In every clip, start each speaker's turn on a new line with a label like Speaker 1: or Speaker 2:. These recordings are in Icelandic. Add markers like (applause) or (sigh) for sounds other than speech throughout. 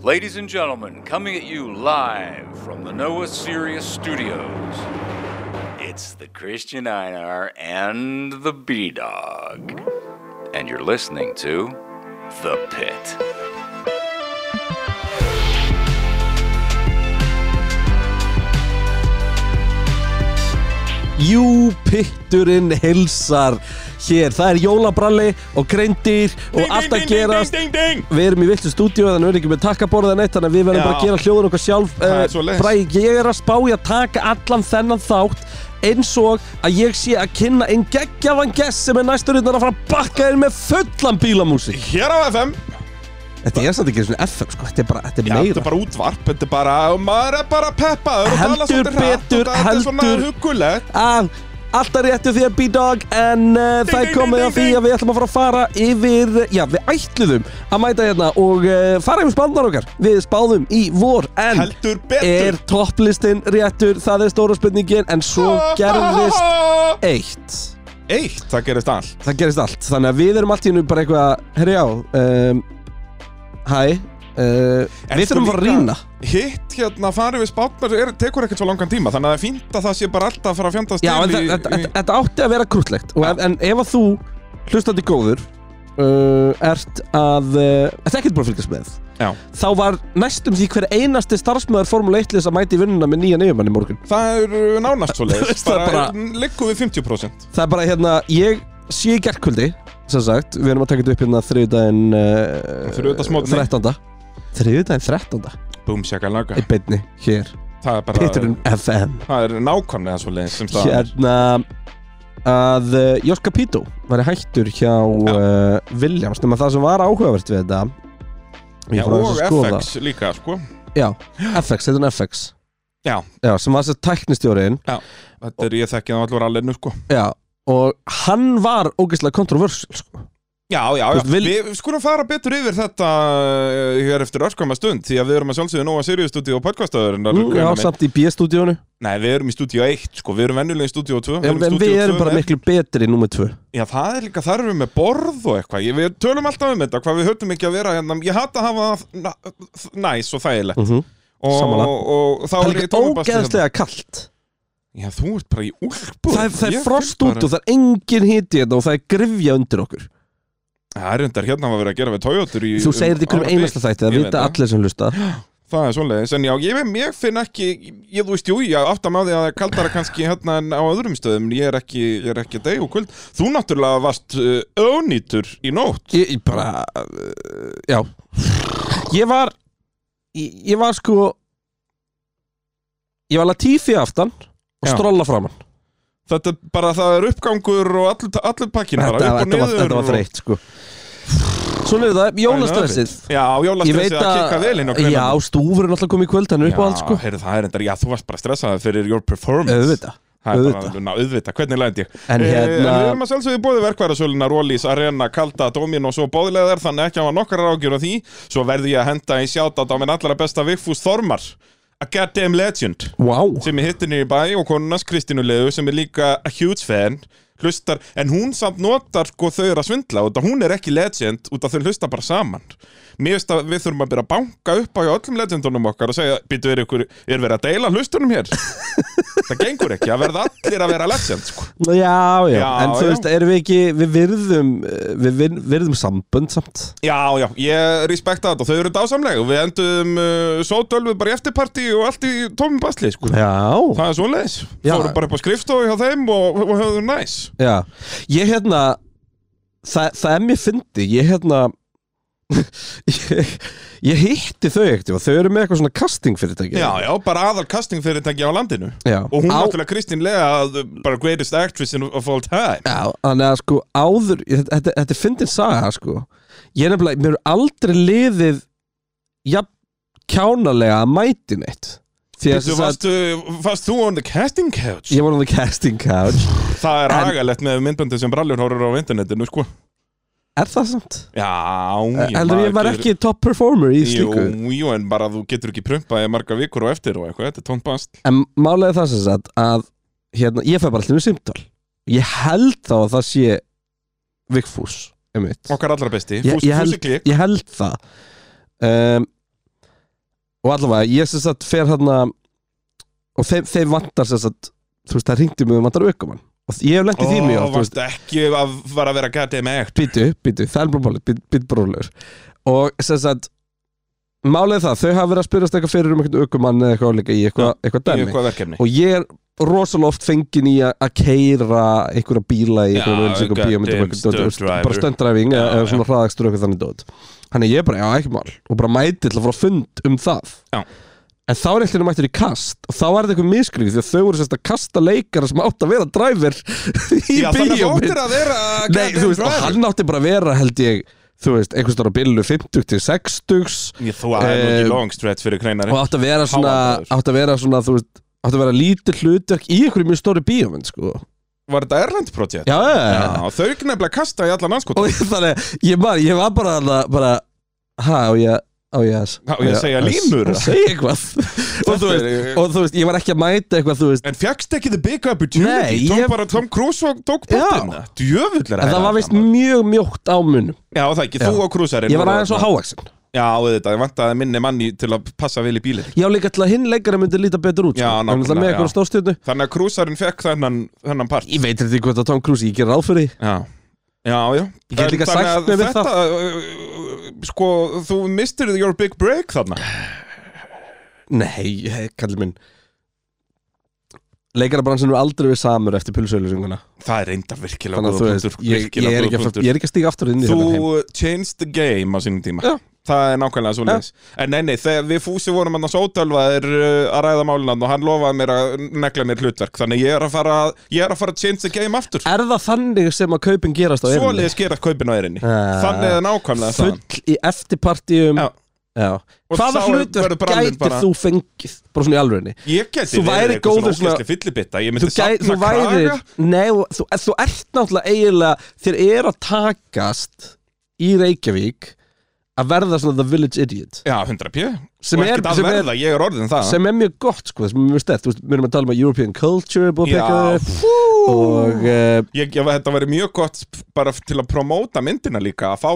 Speaker 1: Ladies and gentlemen, coming at you live from the Noah Sirius Studios, it's the Christian Einar and the B Dog. And you're listening to The Pit.
Speaker 2: Jú, pitturinn hilsar hér, það er jólabralli og kreindir og allt að gerast
Speaker 3: ding, ding, ding.
Speaker 2: Við erum í viltu stúdíu þannig við erum ekki með takkaborða neitt þannig að við verðum
Speaker 3: Já.
Speaker 2: bara að gera hljóður okkar sjálf
Speaker 3: Það er
Speaker 2: Eh,
Speaker 3: svoleiðis.
Speaker 2: Bragi, ég er að spája að taka allan þennan þátt eins og að ég sé að kynna einn geggjavan gest sem er næstur utan að fara að bakka þér með fullan bílamúsík
Speaker 3: Hér á FM
Speaker 2: Þetta er samt ekki svona FM sko, þetta er bara, þetta er
Speaker 3: Já, þetta
Speaker 2: meira
Speaker 3: er bara útvarp, þetta er bara, og maður er bara peppaður og
Speaker 2: Heldur
Speaker 3: tala svolítið hratt
Speaker 2: betur,
Speaker 3: og þetta er svona
Speaker 2: heldur-
Speaker 3: hugulegt
Speaker 2: að alltaf réttu því að B-Dog en uh, það er
Speaker 3: ding,
Speaker 2: komið
Speaker 3: ding,
Speaker 2: að því
Speaker 3: ding.
Speaker 2: að við ætlum að fara að fara yfir, já við ætluðum að mæta hérna og uh, fara yfir spáðnar okkar við spáðum í vor en
Speaker 3: Heldur betur
Speaker 2: er topplistin réttur það er stóra spurningin en svo gerðist eitt
Speaker 3: Eitt, það gerist allt
Speaker 2: það gerist allt, þannig að við erum allt í nú bara eitthvað, herri já um, hæ uh,
Speaker 3: En
Speaker 2: við
Speaker 3: sko
Speaker 2: þurfum að fara að
Speaker 3: líka-
Speaker 2: rýna
Speaker 3: Hitt hérna farið við spátnar er, tekur ekkert svo langan tíma Þannig að það er fínt að það sé bara alltaf að fara að fjandast
Speaker 2: Já, en
Speaker 3: til
Speaker 2: þa-
Speaker 3: í-
Speaker 2: þetta
Speaker 3: í-
Speaker 2: þetta- þetta átti að vera krútlegt og, ef- En ef að þú, hlustandi góður uh, Ert að uh, Þetta er ekkert búin að fylgjast með
Speaker 3: Já.
Speaker 2: Þá var næstum því hver einasti starfsmöður Formule 1 liðs að mæti í vinnuna með nýja neyjumann í morgun
Speaker 3: Það er uh, nánast
Speaker 2: (laughs)
Speaker 3: svo leiðis
Speaker 2: Það er
Speaker 3: Bara,
Speaker 2: bara-
Speaker 3: bara... liggum við 50%
Speaker 2: Það er bara hérna, ég sé í gerkvöldi Sem sagt, við erum að taka þetta upp hérna þriðdæðin uh,
Speaker 3: Þriðjudagsmorgni.
Speaker 2: 13. Þriðdæðin 13.
Speaker 3: Búm, sjaka laga
Speaker 2: Í beinni, hér,
Speaker 3: Það er bara
Speaker 2: Peterun FM
Speaker 3: Það er nákvæmlega svo leiðis sem staðan er.
Speaker 2: hérna að uh, Jos Capito var hættur hjá uh, Williams nema það sem var áhugavert við þetta ég
Speaker 3: Já,
Speaker 2: fór aðeins
Speaker 3: Og
Speaker 2: að skoða.
Speaker 3: FX líka, sko
Speaker 2: já, FX, þetta er FX
Speaker 3: Já,
Speaker 2: já, sem var þess að tæknistjóriðin
Speaker 3: Þetta er ég þekki það allur alveg nú sko
Speaker 2: já, og hann var ógeðslega kontroversial sko.
Speaker 3: Já,
Speaker 2: Þú
Speaker 3: já, já,
Speaker 2: veist, vil-
Speaker 3: við skulum fara betur yfir þetta eh, hér eftir öskama stund því að við erum að sjálfsögðu nóga seriustúdíu og podcastaður
Speaker 2: mm, já, samt í B-stúdíónu
Speaker 3: Nei, við erum í stúdíu 1 sko, við erum venjulega í stúdíu 2
Speaker 2: en en við erum bara miklu betri í númer 2
Speaker 3: Já, það er líka þarfum með borð og eitthvað ég, Við tölum alltaf um þetta, hvað við höfum ekki að vera hérna Ég hata að hafa það na- næs og þægilegt
Speaker 2: Mhm.
Speaker 3: og,
Speaker 2: sammála.
Speaker 3: og, og þá
Speaker 2: það er
Speaker 3: er ég
Speaker 2: líka
Speaker 3: tónabasti hérna.
Speaker 2: ógeðslega kalt
Speaker 3: Já, þú ert bara í úlpu
Speaker 2: það er, það er
Speaker 3: Ég finn
Speaker 2: frost
Speaker 3: bara-
Speaker 2: út og það er engin hiti hérna og það er grifja undir okkur
Speaker 3: Það er reyndar hérna að vera að gera við Toyotur í
Speaker 2: þú segir þetta í hverjum
Speaker 3: árabil.
Speaker 2: einasta þætti það
Speaker 3: Ég veit
Speaker 2: vita allir sem hlusta
Speaker 3: Það er svoleiðis, en já, ég, veit- ég finn ekki, ég þú veist, jú, ég átta með því að það er kaldara kannski hérna en á öðrum stöðum, en ég er ekki, ég er ekki deg og kvöld. Þú náttúrulega varst uh, önýtur í nótt.
Speaker 2: Ég, ég bara, uh, já Ég var Ég, ég var sko Ég var Latifi aftan Og
Speaker 3: Já.
Speaker 2: strolla framann
Speaker 3: Þetta er bara, það er uppgangur og allir, allir pakkin bara,
Speaker 2: þetta,
Speaker 3: upp og
Speaker 2: þetta, var,
Speaker 3: niður.
Speaker 2: þetta var
Speaker 3: og-
Speaker 2: þreytt sko Svona er það, jólastressið
Speaker 3: Já,
Speaker 2: Ég
Speaker 3: jólastressið
Speaker 2: veit
Speaker 3: að kikka vel inn á
Speaker 2: að, já, stúfurinn alltaf komið í kvöld Hann er upp á allt sko
Speaker 3: heyrðu, það er reyndar, já, þú varst bara stressaði fyrir your performance.
Speaker 2: Auðvitað
Speaker 3: Það er
Speaker 2: auðvitað.
Speaker 3: bara, ná, auðvitað, hvernig lænd ég?
Speaker 2: En
Speaker 3: Eh,
Speaker 2: hérna-
Speaker 3: en við erum að sjálfsögðu bóði verkværasöluna, Rólís, Arena, Kalda, Domin og svo bóðilegar þannig ekki að hafa nokkar rákjur á því svo verði ég að henda í sjátátt á minn allra besta Vigfús Þormar a goddamn legend
Speaker 2: Wow,
Speaker 3: sem ég hittin í bæ og konunas Kristínu Leðu sem er líka a huge fan hlustar, en hún samt notar sko þau eru að svindla út að hún er ekki legend út að þau hlusta bara saman mér veist að við þurfum að byrja að banka upp á hjá öllum legendunum okkar og segja býtu er, ykkur, er verið að deila
Speaker 2: (laughs)
Speaker 3: hlustunum hér það gengur ekki, það verða allir að vera legend sko.
Speaker 2: já, já,
Speaker 3: Já,
Speaker 2: en þú
Speaker 3: já.
Speaker 2: veist, erum við ekki Við virðum, eh, við vir- virðum sambönd samt
Speaker 3: Já, já, ég respekta þetta og þau eru dásamlega og við endum uh, sótölvu bara í eftirparti og allt í tómum basli, sko.
Speaker 2: Já
Speaker 3: Það er svoleiðis.
Speaker 2: Já.
Speaker 3: Fórum bara upp á skrifstofu hjá þeim og, og höfðu næs.
Speaker 2: Já, ég hérna það, það er mér fyndi ég hérna (laughs) ég, ég hitti þau ekkert og þau eru með eitthvað svona casting fyrirtæki
Speaker 3: Já, já, bara aðal castingfyrirtæki á landinu.
Speaker 2: Já.
Speaker 3: Og hún
Speaker 2: Á-
Speaker 3: náttúrulega Kristín Lea, the- bara greatest actress in- of all time.
Speaker 2: Já, þannig að sko áður þetta, þetta- þetta er fyndin saga sko ég er nefnilega, mér er aldrei liðið jafn kjánalega að mæti neitt því að
Speaker 3: Þú
Speaker 2: sem sagt,
Speaker 3: varst, varst þú on the casting couch?
Speaker 2: ég var á the casting couch
Speaker 3: Það er
Speaker 2: En-
Speaker 3: agalegt með myndböndin sem brallur horfur á internetinu, sko.
Speaker 2: er það samt?
Speaker 3: Já, já.
Speaker 2: heldur ég var
Speaker 3: maður
Speaker 2: ekki top performer í
Speaker 3: Jú,
Speaker 2: slíku
Speaker 3: jú, en bara þú getur ekki prumpaði marga vikur og eftir og eitthvað, þetta er tónbast.
Speaker 2: En málega það sem sagt að hérna, ég fæ bara allir um simtal Ég held þá að það sé Vigfús, einmitt
Speaker 3: Okkar allra besti,
Speaker 2: Ég-
Speaker 3: Fús,
Speaker 2: ég held-
Speaker 3: Fúsi Klik
Speaker 2: Ég held það um, og allavega ég sem sagt fer hérna og þeim, þeim vantar sem sagt þú veist það ringdi mig og vantar aukumann og ég hef lent í því mjög oft, þú veist,
Speaker 3: varst ekki að fara að vera gætið með ekt
Speaker 2: býtu, býtu, það er bara málið, být- být bróðlegur og sem sagt málið er það, þau hafa verið að spyrjast eitthvað fyrir um eitthvað aukumann eða eitthvað álíka í eitthvað, eitthvað
Speaker 3: í
Speaker 2: dæmi
Speaker 3: eitthvað verkefni
Speaker 2: og ég er rosalega oft fengin í að- að keira einhverja bíla í
Speaker 3: Já,
Speaker 2: einhverjum auðvum
Speaker 3: goddamn stunt
Speaker 2: bara
Speaker 3: driver.
Speaker 2: stöndræfing eða
Speaker 3: Já,
Speaker 2: eða svona
Speaker 3: já.
Speaker 2: hraðakstur eitthvað þannig dót þannig ég er bara, já, ekki mál og bara mæti til að fara að fund um það
Speaker 3: Já.
Speaker 2: en þá er eitthvað mættur í kast og þá er þetta eitthvað miskrifið því að þau voru sérst að kasta leikara sem átt að vera dræfir í
Speaker 3: (laughs) Já, þannig að
Speaker 2: bíómynd
Speaker 3: fóttir að vera
Speaker 2: Nei, þú veist, ah. og hann átti bara að vera held ég, þú veist, einhvers þar á billu 50 til 60
Speaker 3: Þú er nú
Speaker 2: Eh,
Speaker 3: ekki long stretch fyrir kreinari
Speaker 2: og átt að vera svona
Speaker 3: Hávaðaður.
Speaker 2: átt að vera svona, þú veist átt að vera lítið hlutverk í einhverju mjög stóri bíómynd sko.
Speaker 3: Var þetta Erlend projekt?
Speaker 2: já, já, já,
Speaker 3: Já,
Speaker 2: já.
Speaker 3: og þau ekki nefnilega kasta í allan anskot
Speaker 2: og þannig, ég, bara, ég var bara þarna, bara, ha, á ég á ég að
Speaker 3: Á ég að segja línur?
Speaker 2: að segja eitthvað og, þú veist,
Speaker 3: er-
Speaker 2: og þú veist, ég var ekki að mæta eitthvað þú veist,
Speaker 3: En fjagst ekki the big opportunity?
Speaker 2: Nei,
Speaker 3: Tók
Speaker 2: ég-
Speaker 3: bara Tom Cruise og tók bóttina Djöfull er
Speaker 2: en það var veist mjög mjótt á munum
Speaker 3: Já, það ekki, þú
Speaker 2: Já.
Speaker 3: og Cruise
Speaker 2: ég var aðeins á hávaksin
Speaker 3: Já, þetta, ég vantaði minni manni til að passa vel í bílinn
Speaker 2: ég á líka til að hinn leikari myndi líta betur út
Speaker 3: Já,
Speaker 2: sko. En
Speaker 3: nákvæmlega,
Speaker 2: náttúrulega með eitthvað
Speaker 3: já.
Speaker 2: stórstjörnu
Speaker 3: Þannig að Cruisearinn fekk þennan, þennan part
Speaker 2: ég veit þetta hvort að Tom Cruise, ég ger ráð fyrir því
Speaker 3: Já, já, já
Speaker 2: Ég get líka
Speaker 3: Þannig
Speaker 2: sætt mig
Speaker 3: að
Speaker 2: við
Speaker 3: þetta, uh, Sko, þú mistir your big break þarna
Speaker 2: Nei, hey, kallið minn Leikarabransin er aldrei við samur eftir pulsauðlýsinguna
Speaker 3: Það er reyndar virkilega
Speaker 2: Þannig að þú
Speaker 3: góður
Speaker 2: veist,
Speaker 3: punktur,
Speaker 2: ég, ég,
Speaker 3: virkilega
Speaker 2: er
Speaker 3: góður
Speaker 2: ekki, að-
Speaker 3: punktur.
Speaker 2: ég er ekki að stíga aftur inn í þetta heim
Speaker 3: Þú changed the game á sínum tíma
Speaker 2: Já.
Speaker 3: Það er nákvæmlega svo leis En nei, nei, þegar við fúsi vorum annars ótölvaðir uh, að ræða málinan og hann lofaði mér að negla mér hlutverk Þannig ég er að fara, ég er að, fara að change the game aftur
Speaker 2: Er það þannig sem að kaupin gerast á erinni?
Speaker 3: Svoleiðis gerast kaupin á erinni
Speaker 2: Ah.
Speaker 3: Þannig er nákvæmlega það
Speaker 2: Full í eftirpartíum
Speaker 3: Já.
Speaker 2: Já.
Speaker 3: Og
Speaker 2: Hvaða
Speaker 3: þá
Speaker 2: hlutur
Speaker 3: verður brandurinn
Speaker 2: gætir
Speaker 3: bara-
Speaker 2: þú fengið? Bara svona í alvegni
Speaker 3: Ég geti
Speaker 2: Þú værir góður
Speaker 3: svona
Speaker 2: svona-
Speaker 3: ógæsli fyllibitta Ég
Speaker 2: Þú,
Speaker 3: myndi
Speaker 2: gæ, þú
Speaker 3: sapna
Speaker 2: værir
Speaker 3: kraga
Speaker 2: Nei, og þú, þú ert náttúrulega eiginlega Þér er að takast í Reykjavík að verða svona the village idiot
Speaker 3: Já, 100 pjö
Speaker 2: Sem
Speaker 3: Og
Speaker 2: er-
Speaker 3: ekkert að
Speaker 2: sem er-
Speaker 3: verða, ég er orðin það
Speaker 2: sem er mjög gott sko, sem er mjög stert veist, við erum að tala um að European culture er búið
Speaker 3: Já,
Speaker 2: að peka
Speaker 3: fú.
Speaker 2: upp og uh,
Speaker 3: Ég, ég, þetta væri mjög gott bara til að promóta myndina líka að fá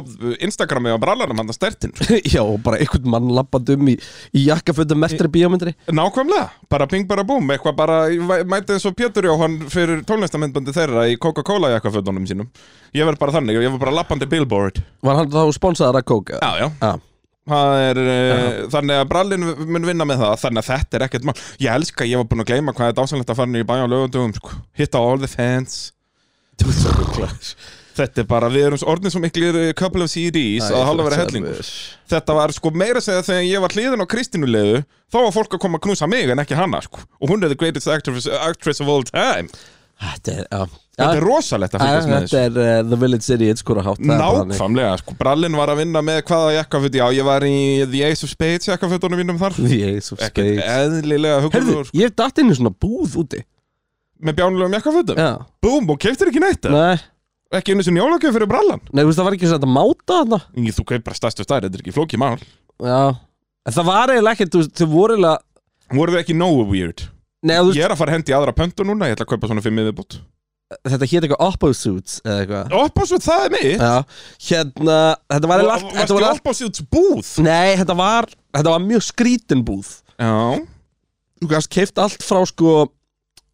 Speaker 3: Instagrami á brallanum hann að stertin
Speaker 2: (laughs) já, og bara einhvern mann lappandi um í, í jakkafötum eftir bíómyndri
Speaker 3: Nákvæmlega, bara ping bara búm eitthvað bara, ég væ- mæti eins og Pétur Jóhann fyrir tónlistamindbandi þeirra í Coca-Cola jakkafötunum sínum Ég verð bara þannig, ég verð bara lappandi billboard
Speaker 2: var hann þá sponsaðar að kóka
Speaker 3: Já, já
Speaker 2: Já.
Speaker 3: Það er, já. þannig að brallin mun vinna með það, þannig að þetta er ekkert mál Ég elska, ég var búinn að gleyma hvað þetta ásanlegt að fara niður í bæja á lögundum, sko. hitta all the fans (laughs) Þetta er bara, við erum orðin svo miklir eh, couple of CDs að halda að vera hellingur Þetta var sko meira að segja þegar ég var hliðin á Kristínu leiðu Þá var fólk að koma að knúsa mig en ekki hana sko Og hún er the greatest actress, actress of all time
Speaker 2: þetta er, já,
Speaker 3: Þetta
Speaker 2: já,
Speaker 3: er rosalegt að fylgjast með
Speaker 2: þetta
Speaker 3: þessu
Speaker 2: er uh, the village city it's skora hátt það er bara þannig. (laughs)
Speaker 3: Nákvæmlega sko, brallin var að vinna með hvaða jakkafut Já, ég var í The Ace of Spades jakkafötunum mínum þar
Speaker 2: Jesus
Speaker 3: Ekkert
Speaker 2: Christ.
Speaker 3: eðlilega
Speaker 2: Heyrðu,
Speaker 3: hugulur sko,
Speaker 2: ég datt inn í svona búð úti
Speaker 3: Með bjánulegum jakkafötum
Speaker 2: já,
Speaker 3: Búm, og keiftir ekki neitt eða?
Speaker 2: nei,
Speaker 3: Ekki einu sem jólagjöf fyrir brallan
Speaker 2: nei, þú veist það var ekki svona að máta þarna
Speaker 3: Í, Þú kaupir bara stærstu stær, þetta er ekki flókið mál
Speaker 2: já, en það var eiginlega ekkert þú veist, þau voru eiginlega
Speaker 3: Voru þið ekki nógu weird?
Speaker 2: Nei, þú veist,
Speaker 3: Ég er að fara að hendi aðra pöntu núna, ég ætla að kaupa svona fimm yfirbútt
Speaker 2: þetta hétt eitthvað Oppo Suits eða eitthvað
Speaker 3: Opposite, það er mitt
Speaker 2: Já, hérna, þetta var allt, þetta
Speaker 3: Varstu
Speaker 2: var
Speaker 3: í
Speaker 2: allt
Speaker 3: Opposites búð?
Speaker 2: Nei, þetta var, þetta var mjög skrítin búð
Speaker 3: Já
Speaker 2: Þú gæst keift allt frá sko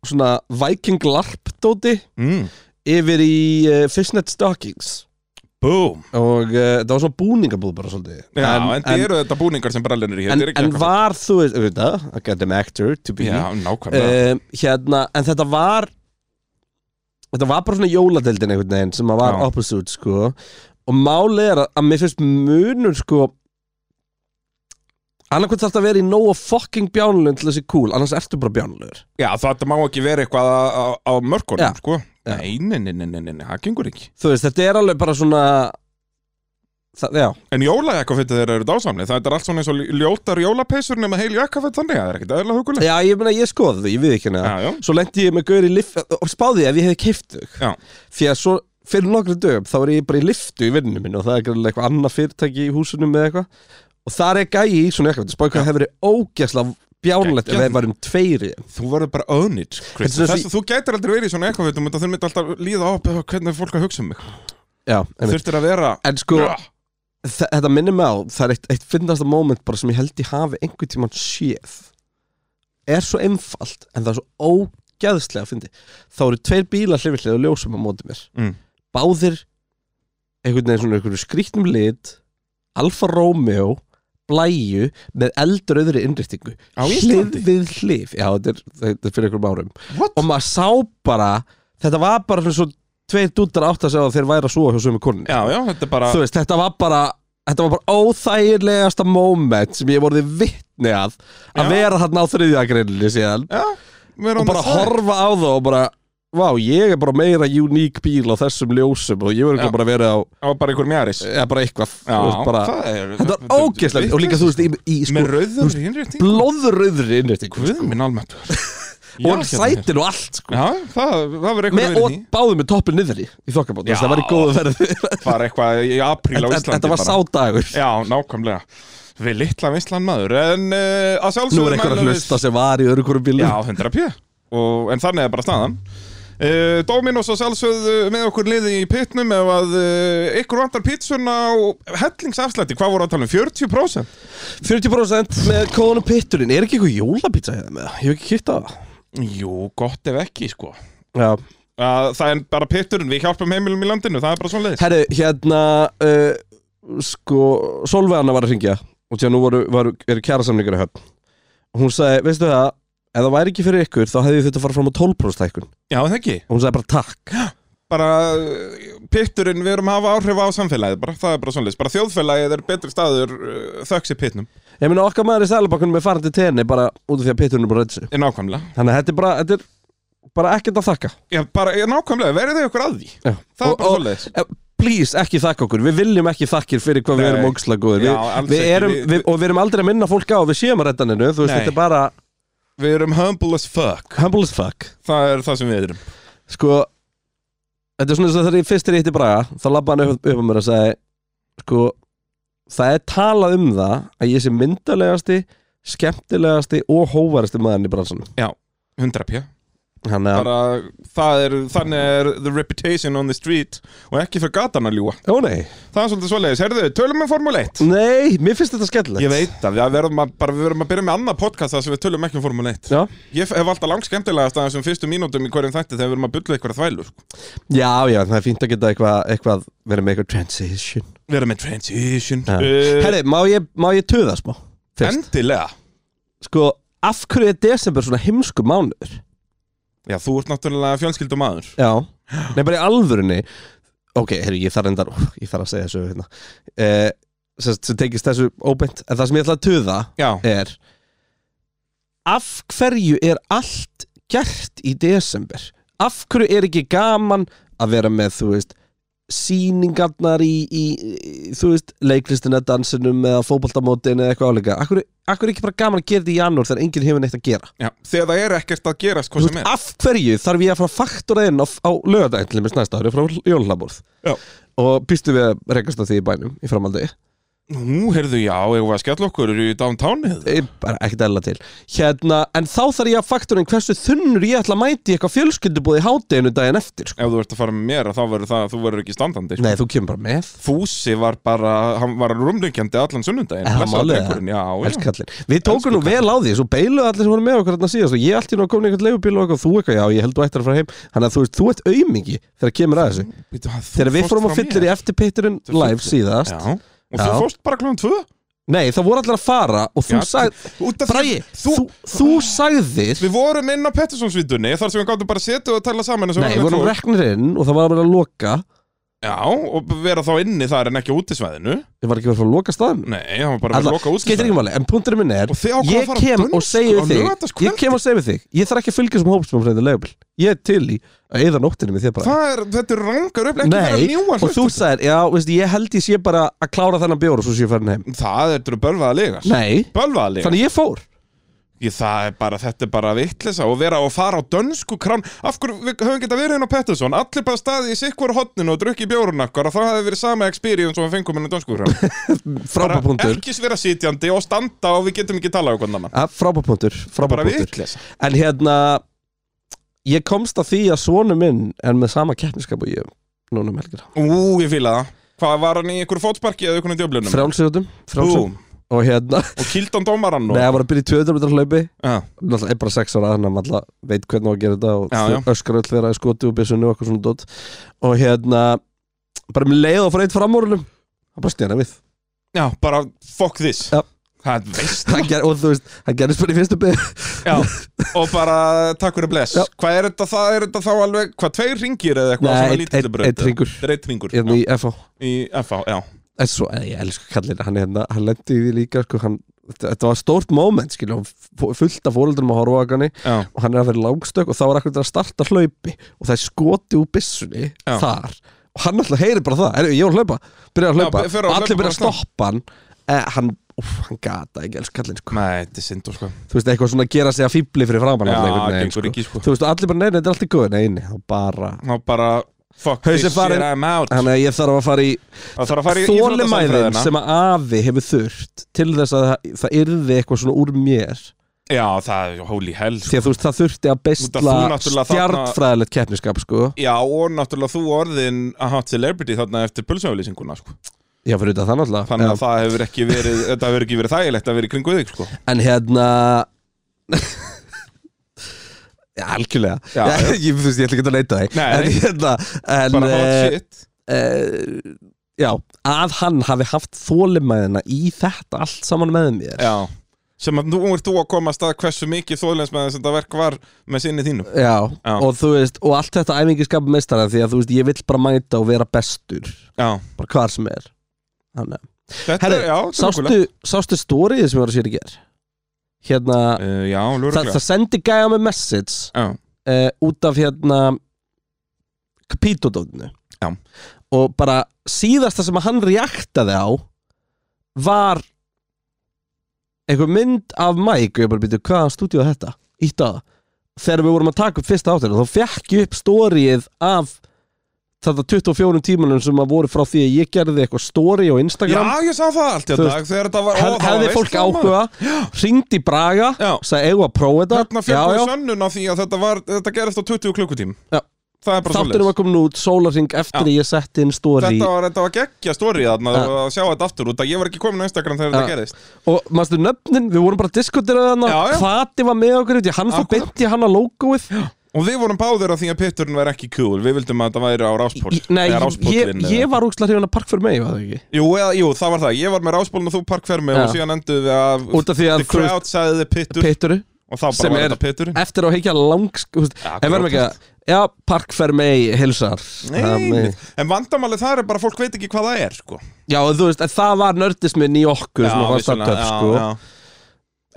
Speaker 2: svona Viking larpdóti
Speaker 3: mm.
Speaker 2: yfir í uh, fishnet stockings
Speaker 3: Búm
Speaker 2: og uh, þetta var svona búningabúð bara svolítið
Speaker 3: Já, en, en,
Speaker 2: en,
Speaker 3: eru þetta búningar sem brallin er í
Speaker 2: en,
Speaker 3: þetta er ekki
Speaker 2: en
Speaker 3: eitthvað-
Speaker 2: var þú veist, auðvitað, I got an actor to be
Speaker 3: Já, nákvæmlega
Speaker 2: um, hérna, en þetta var þetta var bara svona jóladeldin einhvern veginn sem að var
Speaker 3: Já.
Speaker 2: opposite sko og málið er að, að mér finnst munur sko annarkvæmt þarf þetta að vera í nóg og fucking bjánlun til þessi cool, annars ertu bara bjánlur
Speaker 3: Já, þetta má ekki vera eitthvað á, á, á mörkunum,
Speaker 2: Já.
Speaker 3: sko
Speaker 2: Já.
Speaker 3: Nei, nei, nei, nei, nei, nei, nei, það gengur ekki
Speaker 2: þú veist, þetta er alveg bara svona það,
Speaker 3: (laughs)
Speaker 2: já,
Speaker 3: En jólajakkafötu þeirra eru dásamlega Það er allt svona eins og ljótar jólapeysur nema heil jakkaföt þannig að það er ekkert eðla hugulega
Speaker 2: já, ég meina ég skoði þau, ég við ekki hana
Speaker 3: Já, já,
Speaker 2: svo lendi ég með gaur í lift og spáði ég ef ég hefði keift þau
Speaker 3: Já.
Speaker 2: því að svo fyrir nokkru dögum þá er ég bara í liftu í vinninu minn og það er greinilega eitthvað annað fyrirtæki í húsinu með eitthvað og þar er gæi í svona jakkafötum spáði hvað hefur verið ógæslega bjánlegt ef
Speaker 3: Geggjað.
Speaker 2: við varum tveiri
Speaker 3: þú verður bara öðnit
Speaker 2: Þetta er svona
Speaker 3: Þess, Þú gætir aldrei verið í svona jakkafötum og eh, það myndi alltaf líða á hvernig fólk að hugsa um mig
Speaker 2: já, einmitt.
Speaker 3: Þurftir að vera Ah,
Speaker 2: en sko
Speaker 3: Já.
Speaker 2: þe- þetta minnir mig á það er eitt, eitt finnasta moment bara sem ég held ég hafi einhvern tímann séð er svo einfalt en það er svo ógeðslega að fyndi þá eru tveir bílar hlifillega og ljósum á móti mér
Speaker 3: Mm.
Speaker 2: báðir einhvern veginn svona einhvern skrýtnum lit Alfa Romeo blæju með eldröðri innrýtingu
Speaker 3: Á Íslandi?
Speaker 2: við hlif já þetta er, þetta er fyrir einhverjum árum
Speaker 3: What?
Speaker 2: og maður sá bara þetta var bara svona svo tveir dúttar átt að segja að þeir væri að súa hjá sömu konni
Speaker 3: Já, já, þetta er bara
Speaker 2: þú veist, þetta var bara þetta var bara óþægilegasta moment sem ég vorði vittni að að
Speaker 3: Já.
Speaker 2: vera þarna á þriðjagrinni síðan
Speaker 3: Já, við erum
Speaker 2: og bara
Speaker 3: það.
Speaker 2: horfa á það og bara Vá, ég er bara meira uník bíl á þessum ljósum og ég verður
Speaker 3: Já.
Speaker 2: ekki bara verið á
Speaker 3: Það var bara einhver mjaris
Speaker 2: eða bara eitthvað þú
Speaker 3: Já,
Speaker 2: veist, bara,
Speaker 3: það er
Speaker 2: Þetta var ógeðslega og líka þú veist í, í sko,
Speaker 3: Með rauður innrétting
Speaker 2: blóðröðri innrétting
Speaker 3: Guð minn almættur
Speaker 2: og sætin og allt sko.
Speaker 3: Já, það, það var eitthvað
Speaker 2: með,
Speaker 3: verið
Speaker 2: og
Speaker 3: í
Speaker 2: báðum með toppin niður í í þokkabót, þú veist,
Speaker 3: Já.
Speaker 2: það var í góðu verði
Speaker 3: Bara eitthvað í apríl á
Speaker 2: Þetta-
Speaker 3: Íslandi
Speaker 2: þetta var
Speaker 3: bara.
Speaker 2: sá dagur
Speaker 3: Já, nákvæmlega Við litla vinslan maður En uh, að sjálfsögum
Speaker 2: nú er einhver að hlusta sem var í öðru hverju bílum
Speaker 3: Já, 100 p og, En þannig er bara staðan Uh, Dominos og sjálfsögðu með okkur liði í pitnum ef að uh, ykkur vantar pítsuna og hellingsafslætti, hvað voru að tala um 40%?
Speaker 2: 40% með kóðan og pitturinn er ekki eitthvað jólapizza hérna með það, ég hef ekki kýtt á það
Speaker 3: Jú, gott ef ekki sko
Speaker 2: já,
Speaker 3: að það er bara pitturinn, við hjálpum heimilum í landinu, það er bara svona leiðis
Speaker 2: herri, hérna uh, sko, Solveigana var að ringja og tjá nú voru, voru, eru kjærasamlingar í höfn og hún sagði, veistu það ef það væri ekki fyrir ykkur, þá hefði þetta að fara fram á 12% hækkun og
Speaker 3: Já, það ekki,
Speaker 2: hún sagði bara takk
Speaker 3: bara uh, pitturinn, við erum að hafa áhrif á samfélagið bara, það er bara svona leiðis, bara þjóðfélagið er betri staður uh, þöks í pitnum
Speaker 2: ég meina okkar maður í sælubakunum er farin til tenni bara út af því að pitturinn er bara reyndsi
Speaker 3: er nákvæmlega,
Speaker 2: þannig að þetta er bara, þetta er bara ekkert að þakka
Speaker 3: já, bara, er nákvæmlega, verið þau ykkur að því
Speaker 2: Já.
Speaker 3: það er bara
Speaker 2: Og-
Speaker 3: svona leiðis
Speaker 2: Eh, Please, ekki þakka okkur, við viljum ekki þakkir fyrir hvað við
Speaker 3: Nei.
Speaker 2: erum ógislega góðir
Speaker 3: Já,
Speaker 2: við,
Speaker 3: alls
Speaker 2: við
Speaker 3: ekki.
Speaker 2: erum,
Speaker 3: Við-
Speaker 2: við, Og við erum aldrei að minna fólk á að við séum að reddaninu Þú veist,
Speaker 3: Nei.
Speaker 2: þetta er bara
Speaker 3: Við erum humble as fuck,
Speaker 2: humble as fuck
Speaker 3: það er það sem við erum
Speaker 2: Sko, þetta er svona þess að þegar ég fyrst er í hitti braga Þá labba hann upp, upp á mér að segja Sko, það er talað um það Að ég sé myndalegasti, skemmtilegasti og hóvarasti maðurinn í bransanum
Speaker 3: Já, 100 pjö
Speaker 2: Þannig að,
Speaker 3: bara, það er, þannig er the reputation on the street og ekki fyrir gatan að ljúa
Speaker 2: ó nei
Speaker 3: það er svolítið svoleiðis, herðu, tölum við Formule 1
Speaker 2: Nei, mér finnst þetta skemmtilegt
Speaker 3: Ég veit það, við verðum að, bara, við verðum að byrja með annað podcast þar sem við tölum ekki um Formule 1
Speaker 2: Já,
Speaker 3: Ég hef alltaf langt skemmtilegast að þessum fyrstu mínútum í hverjum þætti þegar við erum að bulla eitthvað þvælu sko.
Speaker 2: já, já, það er fínt að geta eitthvað, eitthvað verið með eitthvað transition
Speaker 3: Við erum með transition
Speaker 2: Já.
Speaker 3: uh,
Speaker 2: Herri, má ég, má ég töða smá? Fyrst,
Speaker 3: Endilega
Speaker 2: sko, af hverju er desember svona heimsku mánuður?
Speaker 3: Já, þú ert náttúrulega fjölskyldum maður
Speaker 2: Já, nei bara í alvörunni Ok, herri, ég þarf endar, ég þarf að segja þessu hérna eh, sem, sem tekist þessu óbeint En það sem ég ætla að töða
Speaker 3: Já,
Speaker 2: er Af hverju er allt gert í desember? Af hverju er ekki gaman að vera með, þú veist sýningarnar í, í, í þú veist, leiklistina, dansinum eða fótboltamótin eða eitthvað áleika Akkur, akkur er ekki bara gaman að gera þetta í janúar þegar enginn hefur neitt að gera
Speaker 3: já, þegar það er ekkert að gerast
Speaker 2: Þú
Speaker 3: hvað sem
Speaker 2: veist,
Speaker 3: er
Speaker 2: Af hverju þarf ég að fara að faktúra inn á, á lögadaginn til mér næsta ári frá jólhlaborð
Speaker 3: Já.
Speaker 2: og býstu við að rekast að því í bænum í framaldi
Speaker 3: Nú, heyrðu, já, eigum við að skella okkur í downtownið
Speaker 2: Ég bara ekkert eðla til hérna, en þá þarf ég að fakturinn hversu þunnur ég ætla að mæti eitthvað fjölskyldubúð í hátteginu daginn eftir sko.
Speaker 3: Ef þú ert að fara með mér, þá verður það, þú verður ekki standandi sko.
Speaker 2: nei, þú kemur bara með
Speaker 3: Fúsi var bara, hann var rúmlingjandi allan sunnundaginn
Speaker 2: Er það
Speaker 3: Blessaður
Speaker 2: málið,
Speaker 3: drengurinn, Já, já,
Speaker 2: Elskallin. við tókum
Speaker 3: Elsku
Speaker 2: nú vel á því, svo beiluðu allir sem voru með okkur þarna síðast og ég allt í nú að koma í einhvern leigubíl og eitthvað, þú eitthvað, já, ég held þú ættir að fara heim þannig að þú veist, þú ert aumingi þegar kemur að þessu
Speaker 3: Bíddu, ha, þú
Speaker 2: þegar við
Speaker 3: fórst
Speaker 2: fórum
Speaker 3: Mm. frá
Speaker 2: að fyllir
Speaker 3: mér.
Speaker 2: í eftirpitturinn
Speaker 3: Þú fórst-
Speaker 2: live síðast
Speaker 3: Já, og þú
Speaker 2: Já.
Speaker 3: fórst bara kljóðan tvö
Speaker 2: Nei, það voru allir að fara og þú
Speaker 3: Já,
Speaker 2: sagði
Speaker 3: Út af því
Speaker 2: Bragi, þú, þú, sagðir
Speaker 3: Við vorum inn á Pettersonsvítunni þar sem við gáttum bara að setja og tala saman eins og
Speaker 2: Nei, við
Speaker 3: venjulegt
Speaker 2: vorum
Speaker 3: fólk.
Speaker 2: reknir inn og það var að vera að loka
Speaker 3: Já, og vera þá inni þar en ekki á útisvæðinu
Speaker 2: Ég var ekki verið að fara að loka staðinu
Speaker 3: Nei, það var bara að loka
Speaker 2: skeitir ekki
Speaker 3: útisvæðinu
Speaker 2: máli, en punkturinn minn er
Speaker 3: Og þið ákvað að
Speaker 2: Ég
Speaker 3: fara
Speaker 2: kem
Speaker 3: dönsku
Speaker 2: og segi
Speaker 3: á
Speaker 2: við þig
Speaker 3: laugardagskvöldi.
Speaker 2: Ég kem og segi við þig Ég þarf ekki að fylgja sem hópsmáfræðið legubil Ég er til í að eyða nóttinu með þér bara
Speaker 3: Það er, þetta er rangar upp, ekki vera
Speaker 2: Nei,
Speaker 3: njúan
Speaker 2: og þú sagðir, já, veist, ég held ég sé bara að klára þennan bjór og svo sé ég farin heim
Speaker 3: Það er þetta bölvaða legar
Speaker 2: Nei,
Speaker 3: Bölvaða legar
Speaker 2: þannig ég fór
Speaker 3: Ég, það er bara, þetta er bara vittlisa og vera og fara á dönsku krán af hverju, við höfum geta verið inn á Pettersson allir bara staðið í sikkur hotninu og drukki bjórun okkar og það hefði verið sama experience og við fengum inn á dönsku
Speaker 2: (laughs)
Speaker 3: krán bara
Speaker 2: Frábapunktur,
Speaker 3: ekki vera sitjandi og standa og við getum ekki talað okkur annan
Speaker 2: Ah, frábapunktur,
Speaker 3: bara
Speaker 2: frábapunktur
Speaker 3: vittlisa
Speaker 2: En hérna Ég komst að því að svonu minn er með sama keppniskap og ég núna um helgina
Speaker 3: Ú, ég fíla það Hvað var hann í einhverju fótsparki eða einhverjum djöflunum?
Speaker 2: frjálsjóðum
Speaker 3: Búm.
Speaker 2: og hérna,
Speaker 3: Og kildan dómarann og
Speaker 2: neða, var að byrja í 200 metra hlaupi
Speaker 3: Já,
Speaker 2: náttúrulega er bara sex ára þannig að maður alltaf veit hvernig á að gera þetta og
Speaker 3: Já, já.
Speaker 2: já, öskar öll vera í skoti og byssunni og eitthvað svona dót og hérna bara með leið og fara eitt framúrlum hann bara stjana við
Speaker 3: já, bara fuck this
Speaker 2: Já.
Speaker 3: Það veist
Speaker 2: Hann ger, og þú veist, hann gerðist bara í fyrstu bygg
Speaker 3: Já, og bara takk fyrir bless
Speaker 2: Já.
Speaker 3: Hvað er þetta, það er þetta þá alveg Hvað, tveir ringir eða eitthvað svona
Speaker 2: eitt
Speaker 3: lítill
Speaker 2: eitt-
Speaker 3: braut,
Speaker 2: eitt ringur
Speaker 3: eða? Eitt ringur,
Speaker 2: hérna í FH
Speaker 3: í FH, já
Speaker 2: en svo, en ég elsku kallin, hann, hérna, hann lendi í því líka sko, hann, þetta, þetta var stórt moment skilja, fullt af fóreldrum á horfaganni
Speaker 3: Já,
Speaker 2: og hann er að vera langstökk og þá er akkur að starta hlaupi og það er skoti úr byssunni
Speaker 3: Já.
Speaker 2: þar og hann alltaf heyri bara það Heru, ég var að hlaupa, byrja að
Speaker 3: Já,
Speaker 2: hlaupa
Speaker 3: be- fer að
Speaker 2: og allir
Speaker 3: hlaupa
Speaker 2: byrja
Speaker 3: bara
Speaker 2: að stoppa hann eh, hann, úf, hann gata ekki elsku kallinn sko.
Speaker 3: nei, þetta er synd og sko
Speaker 2: þú veist, eitthvað svona að gera sig að fýbli fyrir framann
Speaker 3: Já,
Speaker 2: alla einhvern veginn,
Speaker 3: gengur ekki, sko.
Speaker 2: þú veist, og allir bara, nei, nei, þetta er allt í góðu nei, nei, þá bara
Speaker 3: Ná bara, fuck
Speaker 2: Hausinn
Speaker 3: this shit,
Speaker 2: farinn.
Speaker 3: I'm out
Speaker 2: þannig að ég þarf að fara í
Speaker 3: Það þarf að fara í
Speaker 2: þólimæðin
Speaker 3: íþróttasamfræðina.
Speaker 2: sem að afi hefur þurft til þess að það, það yrði eitthvað svona úr mér
Speaker 3: Já, það er holy hell sko.
Speaker 2: því að þú veist, það þurfti að
Speaker 3: Út
Speaker 2: bestla
Speaker 3: af þú náttúrulega þarna-
Speaker 2: stjartfræðilegt keppniskap, sko
Speaker 3: Já, og náttúrulega þú orðin að hot celebrity þarna eftir pulsauðlýsinguna sko.
Speaker 2: Já, fyrir utan það náttúrulega
Speaker 3: Þannig að
Speaker 2: Já.
Speaker 3: það hefur ekki verið, þetta hefur ekki verið þægilegt að vera í kringu þig sko.
Speaker 2: En hérna (laughs) Já, algjörlega
Speaker 3: Já, já.
Speaker 2: (laughs) ég, þú veist, ég ætla ekki að leita því
Speaker 3: Nei.
Speaker 2: En hérna en, eh,
Speaker 3: Bara hot shit
Speaker 2: uh, Já, að hann hafi haft þólimæðina í þetta allt saman með mér
Speaker 3: Já, sem að nú ert þú að komast að hversu mikið þóðlensmaður sem þetta verk var með sinni þínum Já.
Speaker 2: og þú veist, og allt þetta æfingiskap meistara því að þú veist, ég vill bara mæta og vera bestur
Speaker 3: Já,
Speaker 2: bara hvar sem er Þannig. að-
Speaker 3: þetta
Speaker 2: Herru,
Speaker 3: er, já, þetta er
Speaker 2: Sástu,
Speaker 3: ógurlegt.
Speaker 2: sástu stóriðið sem ég var að sér í ger Hérna,
Speaker 3: Uh, Já,
Speaker 2: það,
Speaker 3: lúruglega
Speaker 2: það sendi gæja með message
Speaker 3: Já,
Speaker 2: uh, út af hérna Capito-dótinu
Speaker 3: Já.
Speaker 2: og bara síðasta sem að hann reaktaði á var einhver mynd af Mike og ég bara býtu hvaða stúdíu er þetta ítt að þegar við vorum að taka upp fyrsta áttina þá fekk ég upp stóriið af þetta 24 tímanum sem að voru frá því að ég gerði eitthvað stóri á
Speaker 3: já
Speaker 2: Instagram
Speaker 3: ég sá það allt í
Speaker 2: Þú
Speaker 3: dag Þegar þetta var,
Speaker 2: Hef,
Speaker 3: ó, það var
Speaker 2: hefði
Speaker 3: veist
Speaker 2: fólk
Speaker 3: það, maður.
Speaker 2: áhuga hringdi í Braga
Speaker 3: Já.
Speaker 2: sagði eigum við að prófa þetta
Speaker 3: Þarna fjöldið sönnun á því að þetta, var, þetta gerist á 20 klukkutím
Speaker 2: Já.
Speaker 3: Það er bara
Speaker 2: þátturinn
Speaker 3: svoleiðis
Speaker 2: var komin út sólarring eftir að ég setti inn stóri
Speaker 3: Þetta var, þetta var geggja stóri þarna
Speaker 2: Já.
Speaker 3: að sjá þetta aftur út að ég var ekki komin á Instagram þegar þetta
Speaker 2: Já.
Speaker 3: gerist
Speaker 2: Og maður stu nöfnin, við vorum bara að diskutera þannig
Speaker 3: Já, já.
Speaker 2: Hvati var með okkur, út í- hann fór
Speaker 3: Akkurat.
Speaker 2: beint í hann að logoið
Speaker 3: Og við vorum báðir á því að pitturinn var ekki cool Við vildum að þetta væri á ráspól
Speaker 2: Í- Nei,
Speaker 3: Eða
Speaker 2: ég,
Speaker 3: ráspóllinn eða-
Speaker 2: ég var úkslega hrifin að park fyrir mig, var það ekki?
Speaker 3: Jú, eða, jú, það var það, ég var með ráspólun og þú parkfermi
Speaker 2: Já.
Speaker 3: og síðan endur við að
Speaker 2: Út af því að,
Speaker 3: The
Speaker 2: þú veist,
Speaker 3: crowd sagði þið pittur
Speaker 2: pitturu
Speaker 3: og þá bara
Speaker 2: sem
Speaker 3: var
Speaker 2: er-
Speaker 3: þetta pitturinn
Speaker 2: Eftir á að heikja langs, þú veist
Speaker 3: Ja,
Speaker 2: En verðum ekki að, já, park fyrir mig, hilsar
Speaker 3: Nei,
Speaker 2: Það
Speaker 3: nei.
Speaker 2: með-
Speaker 3: en vandamálið það er bara að fólk veit ekki hvað það er sko.
Speaker 2: Já, og þú veist, en það var nördismin í okkur, svona, var
Speaker 3: vissulega,
Speaker 2: startup, sko
Speaker 3: já.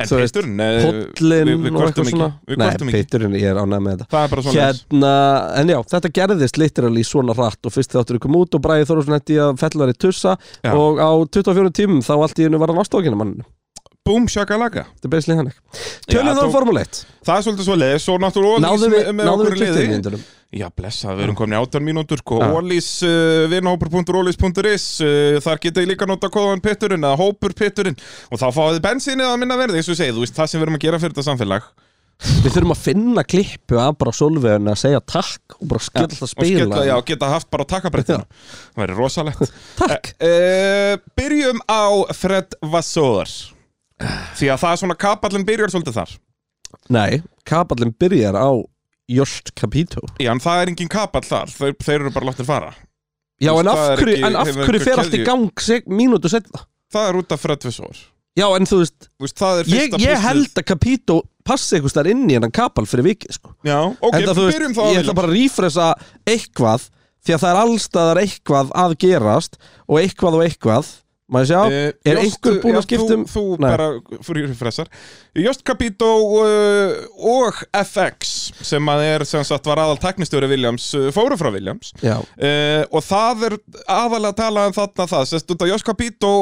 Speaker 3: En
Speaker 2: Þú veist,
Speaker 3: pitturinn eh,
Speaker 2: Hollin
Speaker 3: við, við
Speaker 2: og eitthvað
Speaker 3: kvörtum
Speaker 2: svona
Speaker 3: ekki, við
Speaker 2: Nei,
Speaker 3: kvörtum ekki.
Speaker 2: pitturinn, ég er ánægð með þetta
Speaker 3: Það er bara svona
Speaker 2: Hérna, en já, þetta gerðist literally svona hratt og fyrst þáttur kom út og Bræði Þórsson hætti að fellari tussa
Speaker 3: Já.
Speaker 2: og á 24 tímum þá allt í hennu var hann ástókina manninu.
Speaker 3: Búm, shakalaka
Speaker 2: Þetta er beislega hann ekki.
Speaker 3: Já,
Speaker 2: Tölum þá
Speaker 3: þú-
Speaker 2: um Formule 1.
Speaker 3: Það er svolítið svo leið, svo náttúrulega
Speaker 2: Náðum
Speaker 3: Ólís
Speaker 2: við,
Speaker 3: með, með
Speaker 2: náðum
Speaker 3: okkur
Speaker 2: við
Speaker 3: í
Speaker 2: 20
Speaker 3: liði
Speaker 2: minnundunum.
Speaker 3: Já, blessa, við erum komin í 18 mínútur sko.
Speaker 2: Já.
Speaker 3: Ólís, uh, vinahópur.ólís.is uh, Þar getið líka nota kóðan pitturinn eða hópur pitturinn og þá fáið þið bensinið að minna verði, eins og ég segi, þú veist það sem við erum að gera fyrir þetta samfélag
Speaker 2: Við þurfum að finna klippu að bara Solveigun að segja takk og bara skella það
Speaker 3: Og skella-
Speaker 2: spila.
Speaker 3: Já, geta haft bara takkabrettinu Það væri rosalegt
Speaker 2: Takk.
Speaker 3: uh, Byrjum á Fred Vassóðar Því að það er svona kapallin byrjar svolítið þar
Speaker 2: Nei, kapallin byrjar á Jost Capito.
Speaker 3: Já, en það er engin kapall þar, þeir, þeir eru bara láttir fara
Speaker 2: Já,
Speaker 3: Þú veist,
Speaker 2: en af
Speaker 3: það er
Speaker 2: hverju,
Speaker 3: ekki-
Speaker 2: en af
Speaker 3: hefur
Speaker 2: hverju
Speaker 3: einhver
Speaker 2: fer allt í
Speaker 3: keðju.
Speaker 2: gang seg, mínútu setna?
Speaker 3: Það er út af Fred Vassóðar
Speaker 2: Já, en þú veist,
Speaker 3: Þú veist, það er
Speaker 2: ég,
Speaker 3: fyrsta
Speaker 2: ég
Speaker 3: púslið.
Speaker 2: held að Capito passi eitthvað stær inn í hennan kapal fyrir vikið, sko.
Speaker 3: Já, ok,
Speaker 2: Enda, þú
Speaker 3: byrjum þá
Speaker 2: Ég
Speaker 3: að Willem.
Speaker 2: ætla bara að rífresa eitthvað Því að það er allstaðar eitthvað að gerast Og eitthvað og eitthvað Má ég sjá?
Speaker 3: Eh,
Speaker 2: er
Speaker 3: Jost-
Speaker 2: einhver búinn að
Speaker 3: já,
Speaker 2: skipta um-
Speaker 3: Þú, þú
Speaker 2: Nei.
Speaker 3: bara fyrir fressar Jost Capito uh, og FX sem að er sem sagt var aðal teknistjóri Williams uh, fóru frá Williams
Speaker 2: já
Speaker 3: uh, og það er aðalega að tala um þarna það sérst út að Jost Capito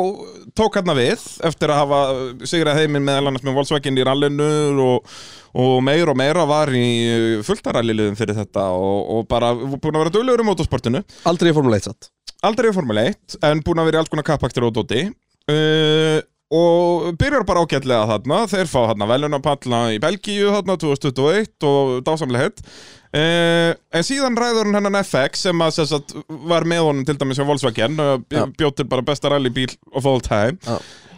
Speaker 3: tók hérna við eftir að hafa uh, sigrað heiminn meðal annars með Volkswagen í rallinu og, og meir og meira var í eh, fulltaralliliðum fyrir þetta og, og bara búin að vera duglegur í motorsportinu
Speaker 2: Aldrei í Formule 1 satt
Speaker 3: aldrei í Formule 1 en búin að vera í alls konar kappaktir og dóti uh, og byrjar bara ágætlega þarna þeir fá þarna velunapalla í Belgíu þarna 2021 og dásamlega hitt Uh, en síðan ræður hann hennan FX sem að sem sagt, var með honum til dæmis hjá Volkswagen og
Speaker 2: Já.
Speaker 3: bjóttir bara besta rallybíl of all time
Speaker 2: Já.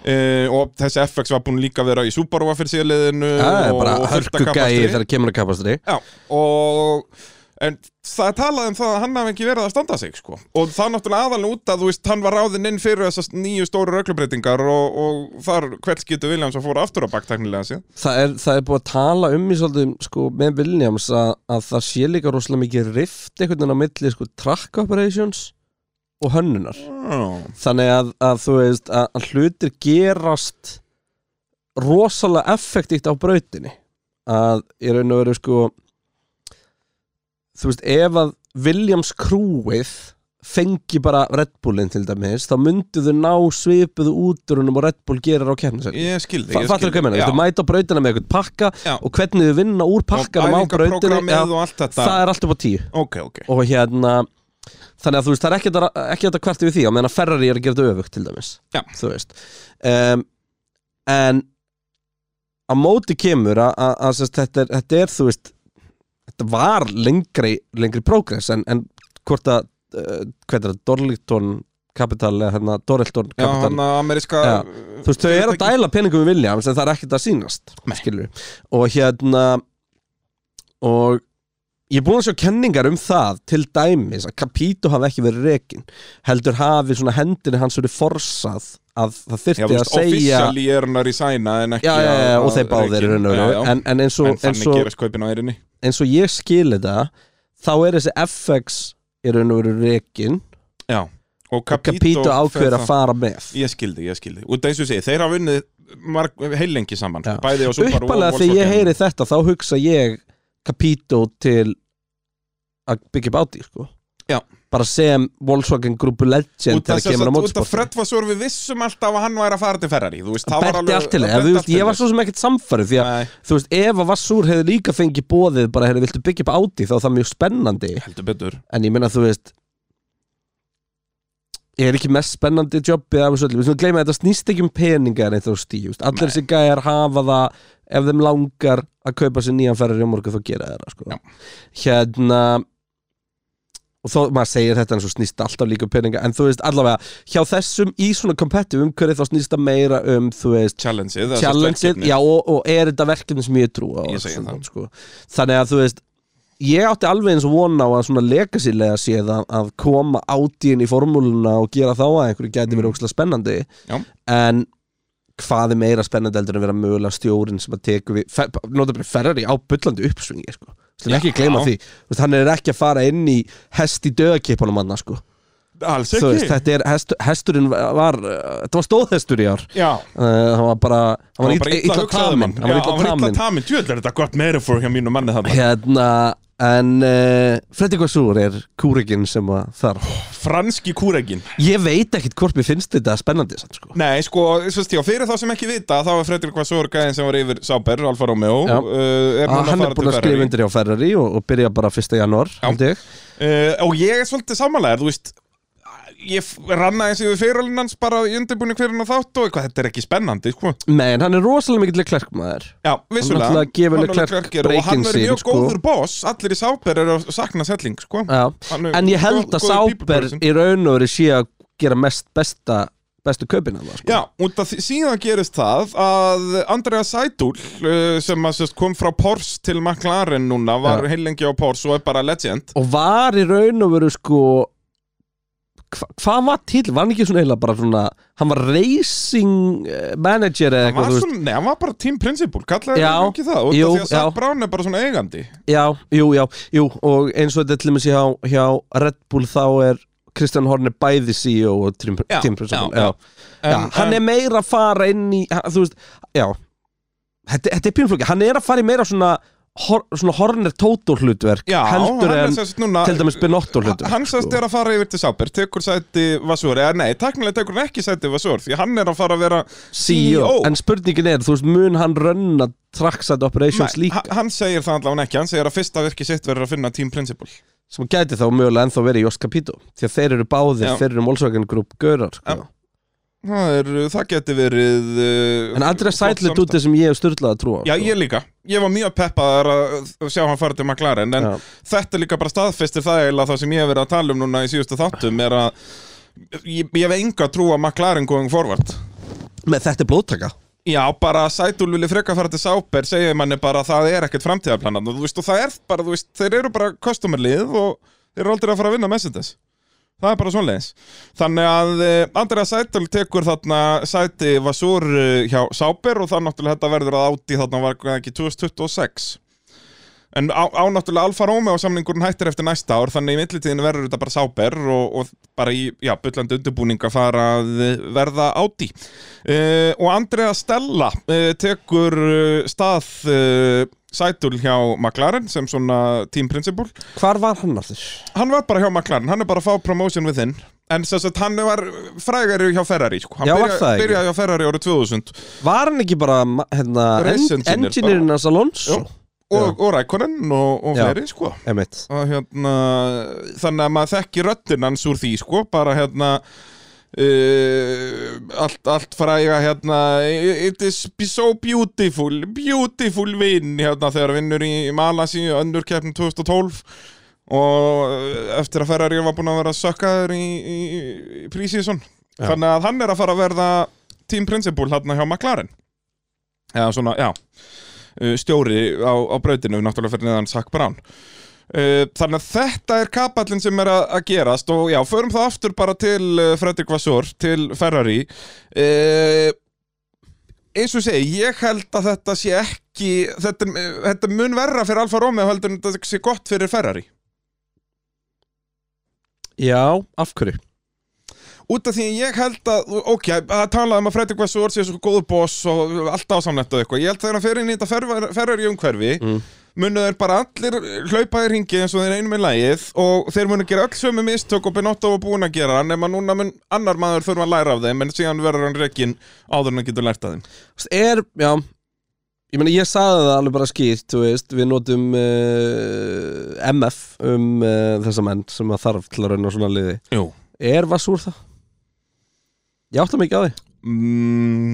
Speaker 3: uh, og þessi FX var búin líka að vera í Subaru að fyrir síðarliðinu
Speaker 2: Það er
Speaker 3: Eh, og,
Speaker 2: bara
Speaker 3: og fullt af
Speaker 2: hörkugæi
Speaker 3: kappakstri.
Speaker 2: þegar kemur að kapastri
Speaker 3: Já, og en það er talað um það að hann hafi ekki verið að standa sig sko. og það er náttúrulega aðalega út að þú veist, hann var ráðinn inn fyrir þessast nýju stóru röglubreitingar og, og þar hvert getur Williams að fóra aftur á bakteknilega sér
Speaker 2: það er, það er búið að tala um í svolítið sko, með Williams að, að það sé líka rosalega mikið rift einhvern veginn á milli sko, track operations og hönnunar þannig að, að þú veist að, að hlutir gerast rosalega effektíkt á brautinni að í raun og veru sko þú veist ef að Williams krúið fengi bara Red Bullin til dæmis þá myndu þau ná svipuðu útrunum og Red Bull gerir á kefnisel
Speaker 3: Ég skildi, ég
Speaker 2: Fattur hvað ég meina,
Speaker 3: Já.
Speaker 2: þú mæta á brautina með eitthvað pakka
Speaker 3: Já.
Speaker 2: og hvernig þau vinna úr pakkanum á
Speaker 3: Og
Speaker 2: brautina
Speaker 3: æfingaprogrammið og allt þetta.
Speaker 2: það er allt upp á tíu
Speaker 3: Ok, ok
Speaker 2: og hérna þannig að þú veist, það er ekki þetta, ekki þetta hvert við því á meðan að Ferrari er að gera þetta öfugt til dæmis
Speaker 3: Já.
Speaker 2: þú veist um, en á móti kemur að, að, að sest, þetta, er, þetta er, þú veist þetta var lengri, lengri progress en, en hvort að uh, hvað er það, Dorlington Capital eða hérna Dorelton
Speaker 3: Já,
Speaker 2: Capital
Speaker 3: hann að ameríska uh,
Speaker 2: Já. þú veist, þau eru að
Speaker 3: Fyrirtæki.
Speaker 2: dæla peningum við Williams en það er ekkert að sýnast
Speaker 3: Nei.
Speaker 2: skilur við. og hérna og ég er búin að sjá kenningar um það til dæmis að Capito hafi ekki verið rekin heldur hafi svona hendinni hans verið forsað að það
Speaker 3: Já,
Speaker 2: þyrfti
Speaker 3: þú
Speaker 2: að
Speaker 3: veist,
Speaker 2: segja
Speaker 3: officially er hann að resigna en ekki
Speaker 2: já, já, já,
Speaker 3: að-
Speaker 2: og þeir báðir
Speaker 3: rekin.
Speaker 2: raun og
Speaker 3: Já,
Speaker 2: veru.
Speaker 3: já.
Speaker 2: en, en, eins,
Speaker 3: En
Speaker 2: og, eins,
Speaker 3: þannig
Speaker 2: og,
Speaker 3: gerir skaupin á eirinni
Speaker 2: eins og ég skili það þá er þessi FX í raun og veru rekin
Speaker 3: Já Og
Speaker 2: og Capito ákveður að fara með
Speaker 3: Ég skildi, ég skildi Og eins og ég segi, þeir hafa unnið marg, heilengi saman
Speaker 2: Já.
Speaker 3: Bæði á Subaru
Speaker 2: uppalega þegar
Speaker 3: hérna.
Speaker 2: ég heyri þetta þá hugsa ég Capito til að byggja upp áti sko.
Speaker 3: Já.
Speaker 2: bara sem Volkswagen grúpu legend
Speaker 3: Út
Speaker 2: þegar
Speaker 3: af þess
Speaker 2: kemur á
Speaker 3: að út af
Speaker 2: mótsport
Speaker 3: Fred var svo við vissum alltaf að hann væri að fara til Ferrari Þú veist, það var
Speaker 2: Berti
Speaker 3: alveg
Speaker 2: allt til
Speaker 3: Berti
Speaker 2: þeim, þú veist,
Speaker 3: allt
Speaker 2: ég var
Speaker 3: til
Speaker 2: svo sem ekkert samfærið því að,
Speaker 3: Nei.
Speaker 2: þú veist, ef að Vassúr hefði líka fengið bóðið bara, hefði viltu byggja upp áti þá er það mjög spennandi,
Speaker 3: Heldur betur
Speaker 2: en ég meina, þú veist ég er ekki mest spennandi jobbið af þessu öllu, við svona gleyma að þetta snýst ekki um peningar eitt á stíu, þú veist, allir þessi gæjar hafa það, ef þeim langar að kaupa sér nýjan ferri á morgun þá gera þeirra sko.
Speaker 3: Já.
Speaker 2: hérna og þó maður segir þetta en svo snýst alltaf líka um peninga, en þú veist allavega hjá þessum í svona competitive umhverju þá snýst það meira um, þú veist
Speaker 3: Challengeið eða
Speaker 2: challengeið,
Speaker 3: verkefnið.
Speaker 2: já og, og er þetta verkefni sem ég trú á
Speaker 3: Ég
Speaker 2: og
Speaker 3: segi
Speaker 2: svona,
Speaker 3: það.
Speaker 2: sko. þannig að þú veist ég átti alveg eins og vona á að svona legacylega séð að, að koma átíðin í formúluna og gera þá að einhverju gæti
Speaker 3: Mm.
Speaker 2: verið ókslega spennandi
Speaker 3: Já.
Speaker 2: en hvað er meira spennandi heldur en vera mögulega stjórin sem að teku við, fer, notabri Ferrari á bullandi uppsvingi sko, slum ekki
Speaker 3: Já.
Speaker 2: gleyma því Þú veist, hann er ekki að fara inn í hest í döðakeipunum manna sko
Speaker 3: Alls
Speaker 2: Þú veist,
Speaker 3: ekki
Speaker 2: þetta er, hestur, hesturinn var þetta var stóðhestur í ár
Speaker 3: Já
Speaker 2: Uh, hann var bara hann var
Speaker 3: var
Speaker 2: illa,
Speaker 3: bara
Speaker 2: illa
Speaker 3: hugsaður,
Speaker 2: tamin
Speaker 3: mann.
Speaker 2: hann var
Speaker 3: Já,
Speaker 2: illa tamin
Speaker 3: tamin Tjöld er þetta gott meira fór hjá mínu manni þarna
Speaker 2: hérna en uh, Freddy Gossúr er kúrikinn sem að þar
Speaker 3: Franski kúregin
Speaker 2: ég veit ekkit hvort mér finnst þetta spennandi sann, sko.
Speaker 3: Nei, sko, svo stjá, fyrir þá sem ekki vita þá var Fredrik Vassur gæðin sem var yfir Sáber, Alfa Romeo
Speaker 2: Já.
Speaker 3: uh, er núna
Speaker 2: að Ah, hann
Speaker 3: fara
Speaker 2: er búin
Speaker 3: til
Speaker 2: að
Speaker 3: Ferrari.
Speaker 2: skrifa undir hjá Ferrari og, og byrja bara 1. janúar held ég.
Speaker 3: uh, og ég er svolítið samanlegar, þú veist ég f- ranna eins yfir fyriralinn hans bara í undirbúinu hverjum að þátt og eitthvað, þetta er ekki spennandi sko.
Speaker 2: menn hann er rosalega mikill klerkmaður
Speaker 3: já, vissulega
Speaker 2: náttúrulega gefur
Speaker 3: Hann er
Speaker 2: Leclerc
Speaker 3: Leclerc er- og hann
Speaker 2: breakin
Speaker 3: er
Speaker 2: sinn,
Speaker 3: mjög
Speaker 2: sko.
Speaker 3: góður boss allir í Sáber eru að sakna selling sko.
Speaker 2: Já.
Speaker 3: Hann er
Speaker 2: en ég held
Speaker 3: góð-
Speaker 2: að
Speaker 3: góður people
Speaker 2: Sáber
Speaker 3: person.
Speaker 2: í raun og verið sé að gera mest besta bestu kaupin hann sko.
Speaker 3: Já, út af því síðan gerist það að Andrea Sædúl uh, sem að sérst, kom frá Pors til McLaren núna, var
Speaker 2: Já.
Speaker 3: heilengi á Pors og er bara legend
Speaker 2: og var í raun og verið sko hva, hvað var til, var hann ekki svona eiginlega bara svona, hann var racing eh, manager eða
Speaker 3: Hann var
Speaker 2: eitthvað, þú veist
Speaker 3: svona, nei, hann var bara team principal, kallaði
Speaker 2: Já,
Speaker 3: hann ekki það út af
Speaker 2: jú,
Speaker 3: því
Speaker 2: já.
Speaker 3: að Sæd Brown er bara svona eigandi
Speaker 2: já, jú, já, jú, og eins og þetta er til dæmis hjá, hjá Red Bull þá er Kristján Horn er bæði CEO og team,
Speaker 3: Já,
Speaker 2: team principal,
Speaker 3: já,
Speaker 2: já,
Speaker 3: já.
Speaker 2: já, hann er meira að fara inn í, ha- þú veist, já þetta, þetta er pínflóki, hann er að fara í meira svona, hor, svona Horner Tótó hlutverk,
Speaker 3: já,
Speaker 2: heldur
Speaker 3: hann er
Speaker 2: en
Speaker 3: sérst núna,
Speaker 2: til dæmis Benotto
Speaker 3: H-
Speaker 2: hlutverk sko.
Speaker 3: Hann sérst er að fara yfir til Sáber, tekur sæti Vassur eða nei, teknilega tekur hann ekki sæti Vassur því hann er að fara að vera
Speaker 2: CEO,
Speaker 3: CEO.
Speaker 2: E en spurningin er, þú veist, mun hann runna trackside operations
Speaker 3: Nei,
Speaker 2: líka
Speaker 3: h- hann segir það allavega ekki, hann segir að fyrsta virki sitt verður að finna team principal
Speaker 2: sem gæti þá mögulega ennþá verið í Jos Capito því að þeir eru báðir,
Speaker 3: Já.
Speaker 2: þeir eru Volkswagen Group Gaurar sko.
Speaker 3: það, er, það geti verið uh,
Speaker 2: En Andrés
Speaker 3: flott
Speaker 2: Sætli
Speaker 3: samstarf.
Speaker 2: dúti sem ég hef styrlað að trúa sko.
Speaker 3: Já, ég líka, ég var mjög peppaðar að að sjá hann fara til McLaren en
Speaker 2: Já.
Speaker 3: þetta líka bara staðfestir það eiginlega það sem ég hef verið að tala um núna í síðustu þáttum er að ég, ég hef enga trú að McLaren going forward
Speaker 2: Með þetta er blóttaka
Speaker 3: Já, bara að Sætúl vilja freka fara til Sáper segir manni bara að það er ekkert framtíðarplanan og þú veist, og það er bara, þú veist, þeir eru bara customerlið og þeir eru aldrei að fara að vinna Mercedes Það er bara svoleiðis Þannig að eh, Andrea Sætúl tekur þarna sæti Vasúr eh, hjá Sáper og það náttúrulega þetta verður að áti þarna var það ekki 2026 En á, á náttúrulega Alfa Romeo samningurinn hættir eftir næsta ár þannig í millitíðinu verður þetta bara Sáper og, og bara í, já, byllandi undirbúning að fara að eh, verða áti Uh, og Andrea Stella uh, tekur uh, stað uh, sætul hjá McLaren sem svona team principal
Speaker 2: Hvar var hann allir?
Speaker 3: hann var bara hjá McLaren, hann er bara að fá promotion við þinn en sem sagt hann var frægari hjá Ferrari sko. hann
Speaker 2: Já, var það ekki?
Speaker 3: byrjaði hjá Ferrari árið 2000
Speaker 2: Var hann ekki bara ma- hérna,
Speaker 3: Race
Speaker 2: en-
Speaker 3: engineer
Speaker 2: engineerinn hans Alonso?
Speaker 3: Jú. og, og Rækonen og, og
Speaker 2: Já.
Speaker 3: fleiri sko
Speaker 2: Emitt
Speaker 3: og hérna þannig að maður þekki röddinn hans úr því sko bara hérna Uh, allt, allt fræga hérna it is be so beautiful beautiful win hérna þegar vinnur í Malasi önnur keppnum 2012 og uh, eftir að Ferrari var búin að vera sökkaður í, í, í prísíson þannig að hann er að fara að verða team principal hérna hjá McLaren eða svona, já uh, stjóri á, á brautinu náttúrulega fyrir neðan Zach Brown Uh, Þannig að þetta er kapallin sem er að, að gerast og já, förum það aftur bara til uh, Fredrik Vassor, til Ferrari uh, eins og ég segi, ég held að þetta sé ekki, þetta, uh, þetta mun verra fyrir Alfa Romeo heldur en þetta sé gott fyrir Ferrari
Speaker 2: Já, af hverju?
Speaker 3: út af því að ég held að, ok, að talaði um að Fredrik Vassur sé svo góð boss og allt ásamnett og eitthvað, ég held þegar hann fer inn í þetta ferrar- ferrar í umhverfi, mm. munu þeir bara allir hlaupa í ringi eins og þeir einu með lægið og þeir munu gera öll sömu mistök og Benotto var búin að gera, nema núna mun annar maður þurfa að læra af þeim, en síðan verður hann reikin áður en hann getur lært af þeim
Speaker 2: Þú veist, Er, já Ég meina, ég saði það alveg bara skýrt, þú veist, við notum uh, MF um uh, þessa menn sem að þarf til að rauna svona liði.
Speaker 3: Jú
Speaker 2: Er Vassúr það? Ég átta mikið á því.
Speaker 3: mm,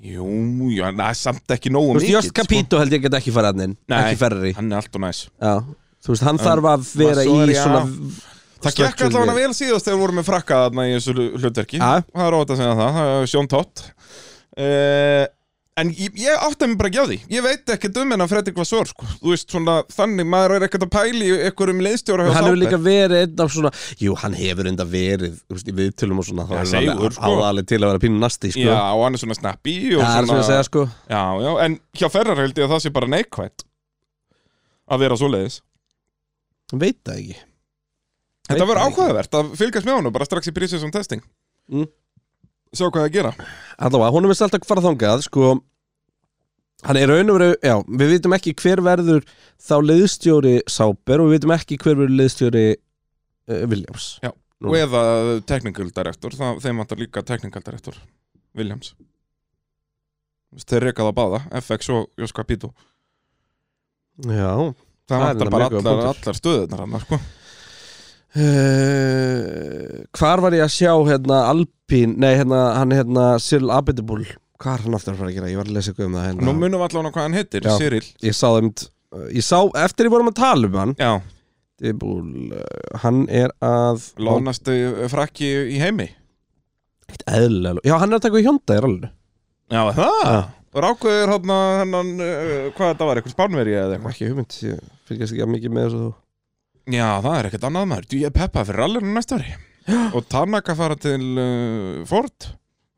Speaker 3: Jú, jú, en það er samt ekki nógu
Speaker 2: Þú veist,
Speaker 3: mikið
Speaker 2: Jost Capito held ég get ekki fara hann inn,
Speaker 3: Nei.
Speaker 2: ekki ferri.
Speaker 3: Hann er allt og næs
Speaker 2: Já, þú veist, hann þarf að vera
Speaker 3: Vassour,
Speaker 2: í
Speaker 3: já.
Speaker 2: svona...
Speaker 3: Það gekk
Speaker 2: structure
Speaker 3: allavega
Speaker 2: lið.
Speaker 3: vel síðast þegar við vorum með frakka þarna í þessu hlutverki
Speaker 2: Ja.
Speaker 3: Það er óvægt að segja það, það er sjón tótt uh, En ég, ég átti mig bara ekki á því Ég veit ekki um hennar Fredrik Vassor sko. Þú veist svona, þannig maður er ekkert að pæli ykkur um leiðstjóra
Speaker 2: Hann
Speaker 3: hjá
Speaker 2: hefur
Speaker 3: Sáber
Speaker 2: líka verið einn af svona Jú, hann hefur enda verið þú veist, í viðtölum og svona þá
Speaker 3: Já,
Speaker 2: hefur hann
Speaker 3: seigur,
Speaker 2: alveg- á
Speaker 3: sko.
Speaker 2: það alveg til að vera pínu nasti sko.
Speaker 3: Já, og hann er svona snappi og
Speaker 2: Já, það er svona að segja sko
Speaker 3: Já, já, en hjá Ferrar held ég að það sé bara neikvætt Að vera svoleiðis
Speaker 2: Hann veit það ekki
Speaker 3: Þetta
Speaker 2: Veit
Speaker 3: verður
Speaker 2: það ekki.
Speaker 3: ákveðavert að fylgjast með honum bara strax í prísið som testing
Speaker 2: Mm.
Speaker 3: Sjá hvað það gera
Speaker 2: Allavega, hún er vist alltaf að fara þangað sko Hann er raun og veru, já, við vitum ekki hver verður þá liðstjóri Sáber og við vitum ekki hver verður liðstjóri uh, Williams
Speaker 3: Já,
Speaker 2: Nú.
Speaker 3: og eða technical director, það, þeim vantar líka technical director, Williams Þú veist, Þeir rekaða báða, FX og Jos Capito
Speaker 2: Já
Speaker 3: Það
Speaker 2: Það er
Speaker 3: vantar
Speaker 2: þetta
Speaker 3: bara
Speaker 2: mjög góður
Speaker 3: allar,
Speaker 2: punktur.
Speaker 3: allar stöðunar hann, sko
Speaker 2: uh, Hvar var ég að sjá hérna Alpín, nei hérna, hann hérna Cyril Abedibul, hvað er hann aftur að fara að gera? Ég var að lesa eitthvað um það
Speaker 3: Nú
Speaker 2: hérna
Speaker 3: munum við allan á hvað hann heitir,
Speaker 2: Já.
Speaker 3: Cyril
Speaker 2: Ég sá þeim, ég sá, eftir ég vorum að tala um hann
Speaker 3: Já,
Speaker 2: Abedibul, hann er að
Speaker 3: lónast eh, frakki í heimi
Speaker 2: Eðlilega, já hann er að taka í hjónda, er alveg
Speaker 3: Já, það
Speaker 2: Já.
Speaker 3: Rákuður hann, hennan, uh, hvað þetta var, eitthvað spánveri
Speaker 2: Ég hef
Speaker 3: eða eitthvað
Speaker 2: ekki hugmynd, ég fylgjast ekki að mikið með þessu þú
Speaker 3: Já, það er ekkert annað maður, þú ég peppa fyrir allir næsta ári Og Tanaka fara til uh, Ford,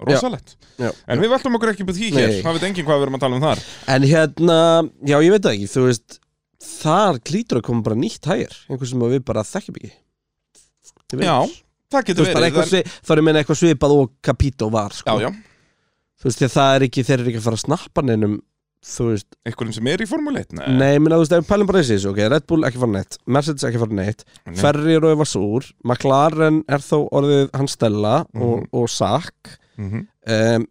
Speaker 3: rosalegt
Speaker 2: Já.
Speaker 3: En við veltum okkur ekki búið því hér,
Speaker 2: Nei.
Speaker 3: það veit enginn hvað við erum að tala um þar
Speaker 2: En hérna, já ég veit það ekki, þú veist Þar klítur að koma bara nýtt hægir Einhver sem að við bara þekkjum ekki Ég veit.
Speaker 3: Já,
Speaker 2: Þú
Speaker 3: það getur
Speaker 2: veist, bara
Speaker 3: verið
Speaker 2: eitthvað
Speaker 3: en-
Speaker 2: svi- Þá er ég meina eitthvað svipað og Capito var
Speaker 3: Já,
Speaker 2: sko.
Speaker 3: já,
Speaker 2: Þú veist, því að það er ekki, þeir eru ekki að fara að snappa neinum Þú veist,
Speaker 3: einhverjum sem er í Formule 1
Speaker 2: nei, nei minna, þú veist, ef við pælum bara þessi Ok, Red Bull ekki fara neitt, Mercedes ekki fara neitt
Speaker 3: Nei.
Speaker 2: Ferri raufa súr, McLaren er þó orðið hann Stella og, og Sack
Speaker 3: Mhm.
Speaker 2: um,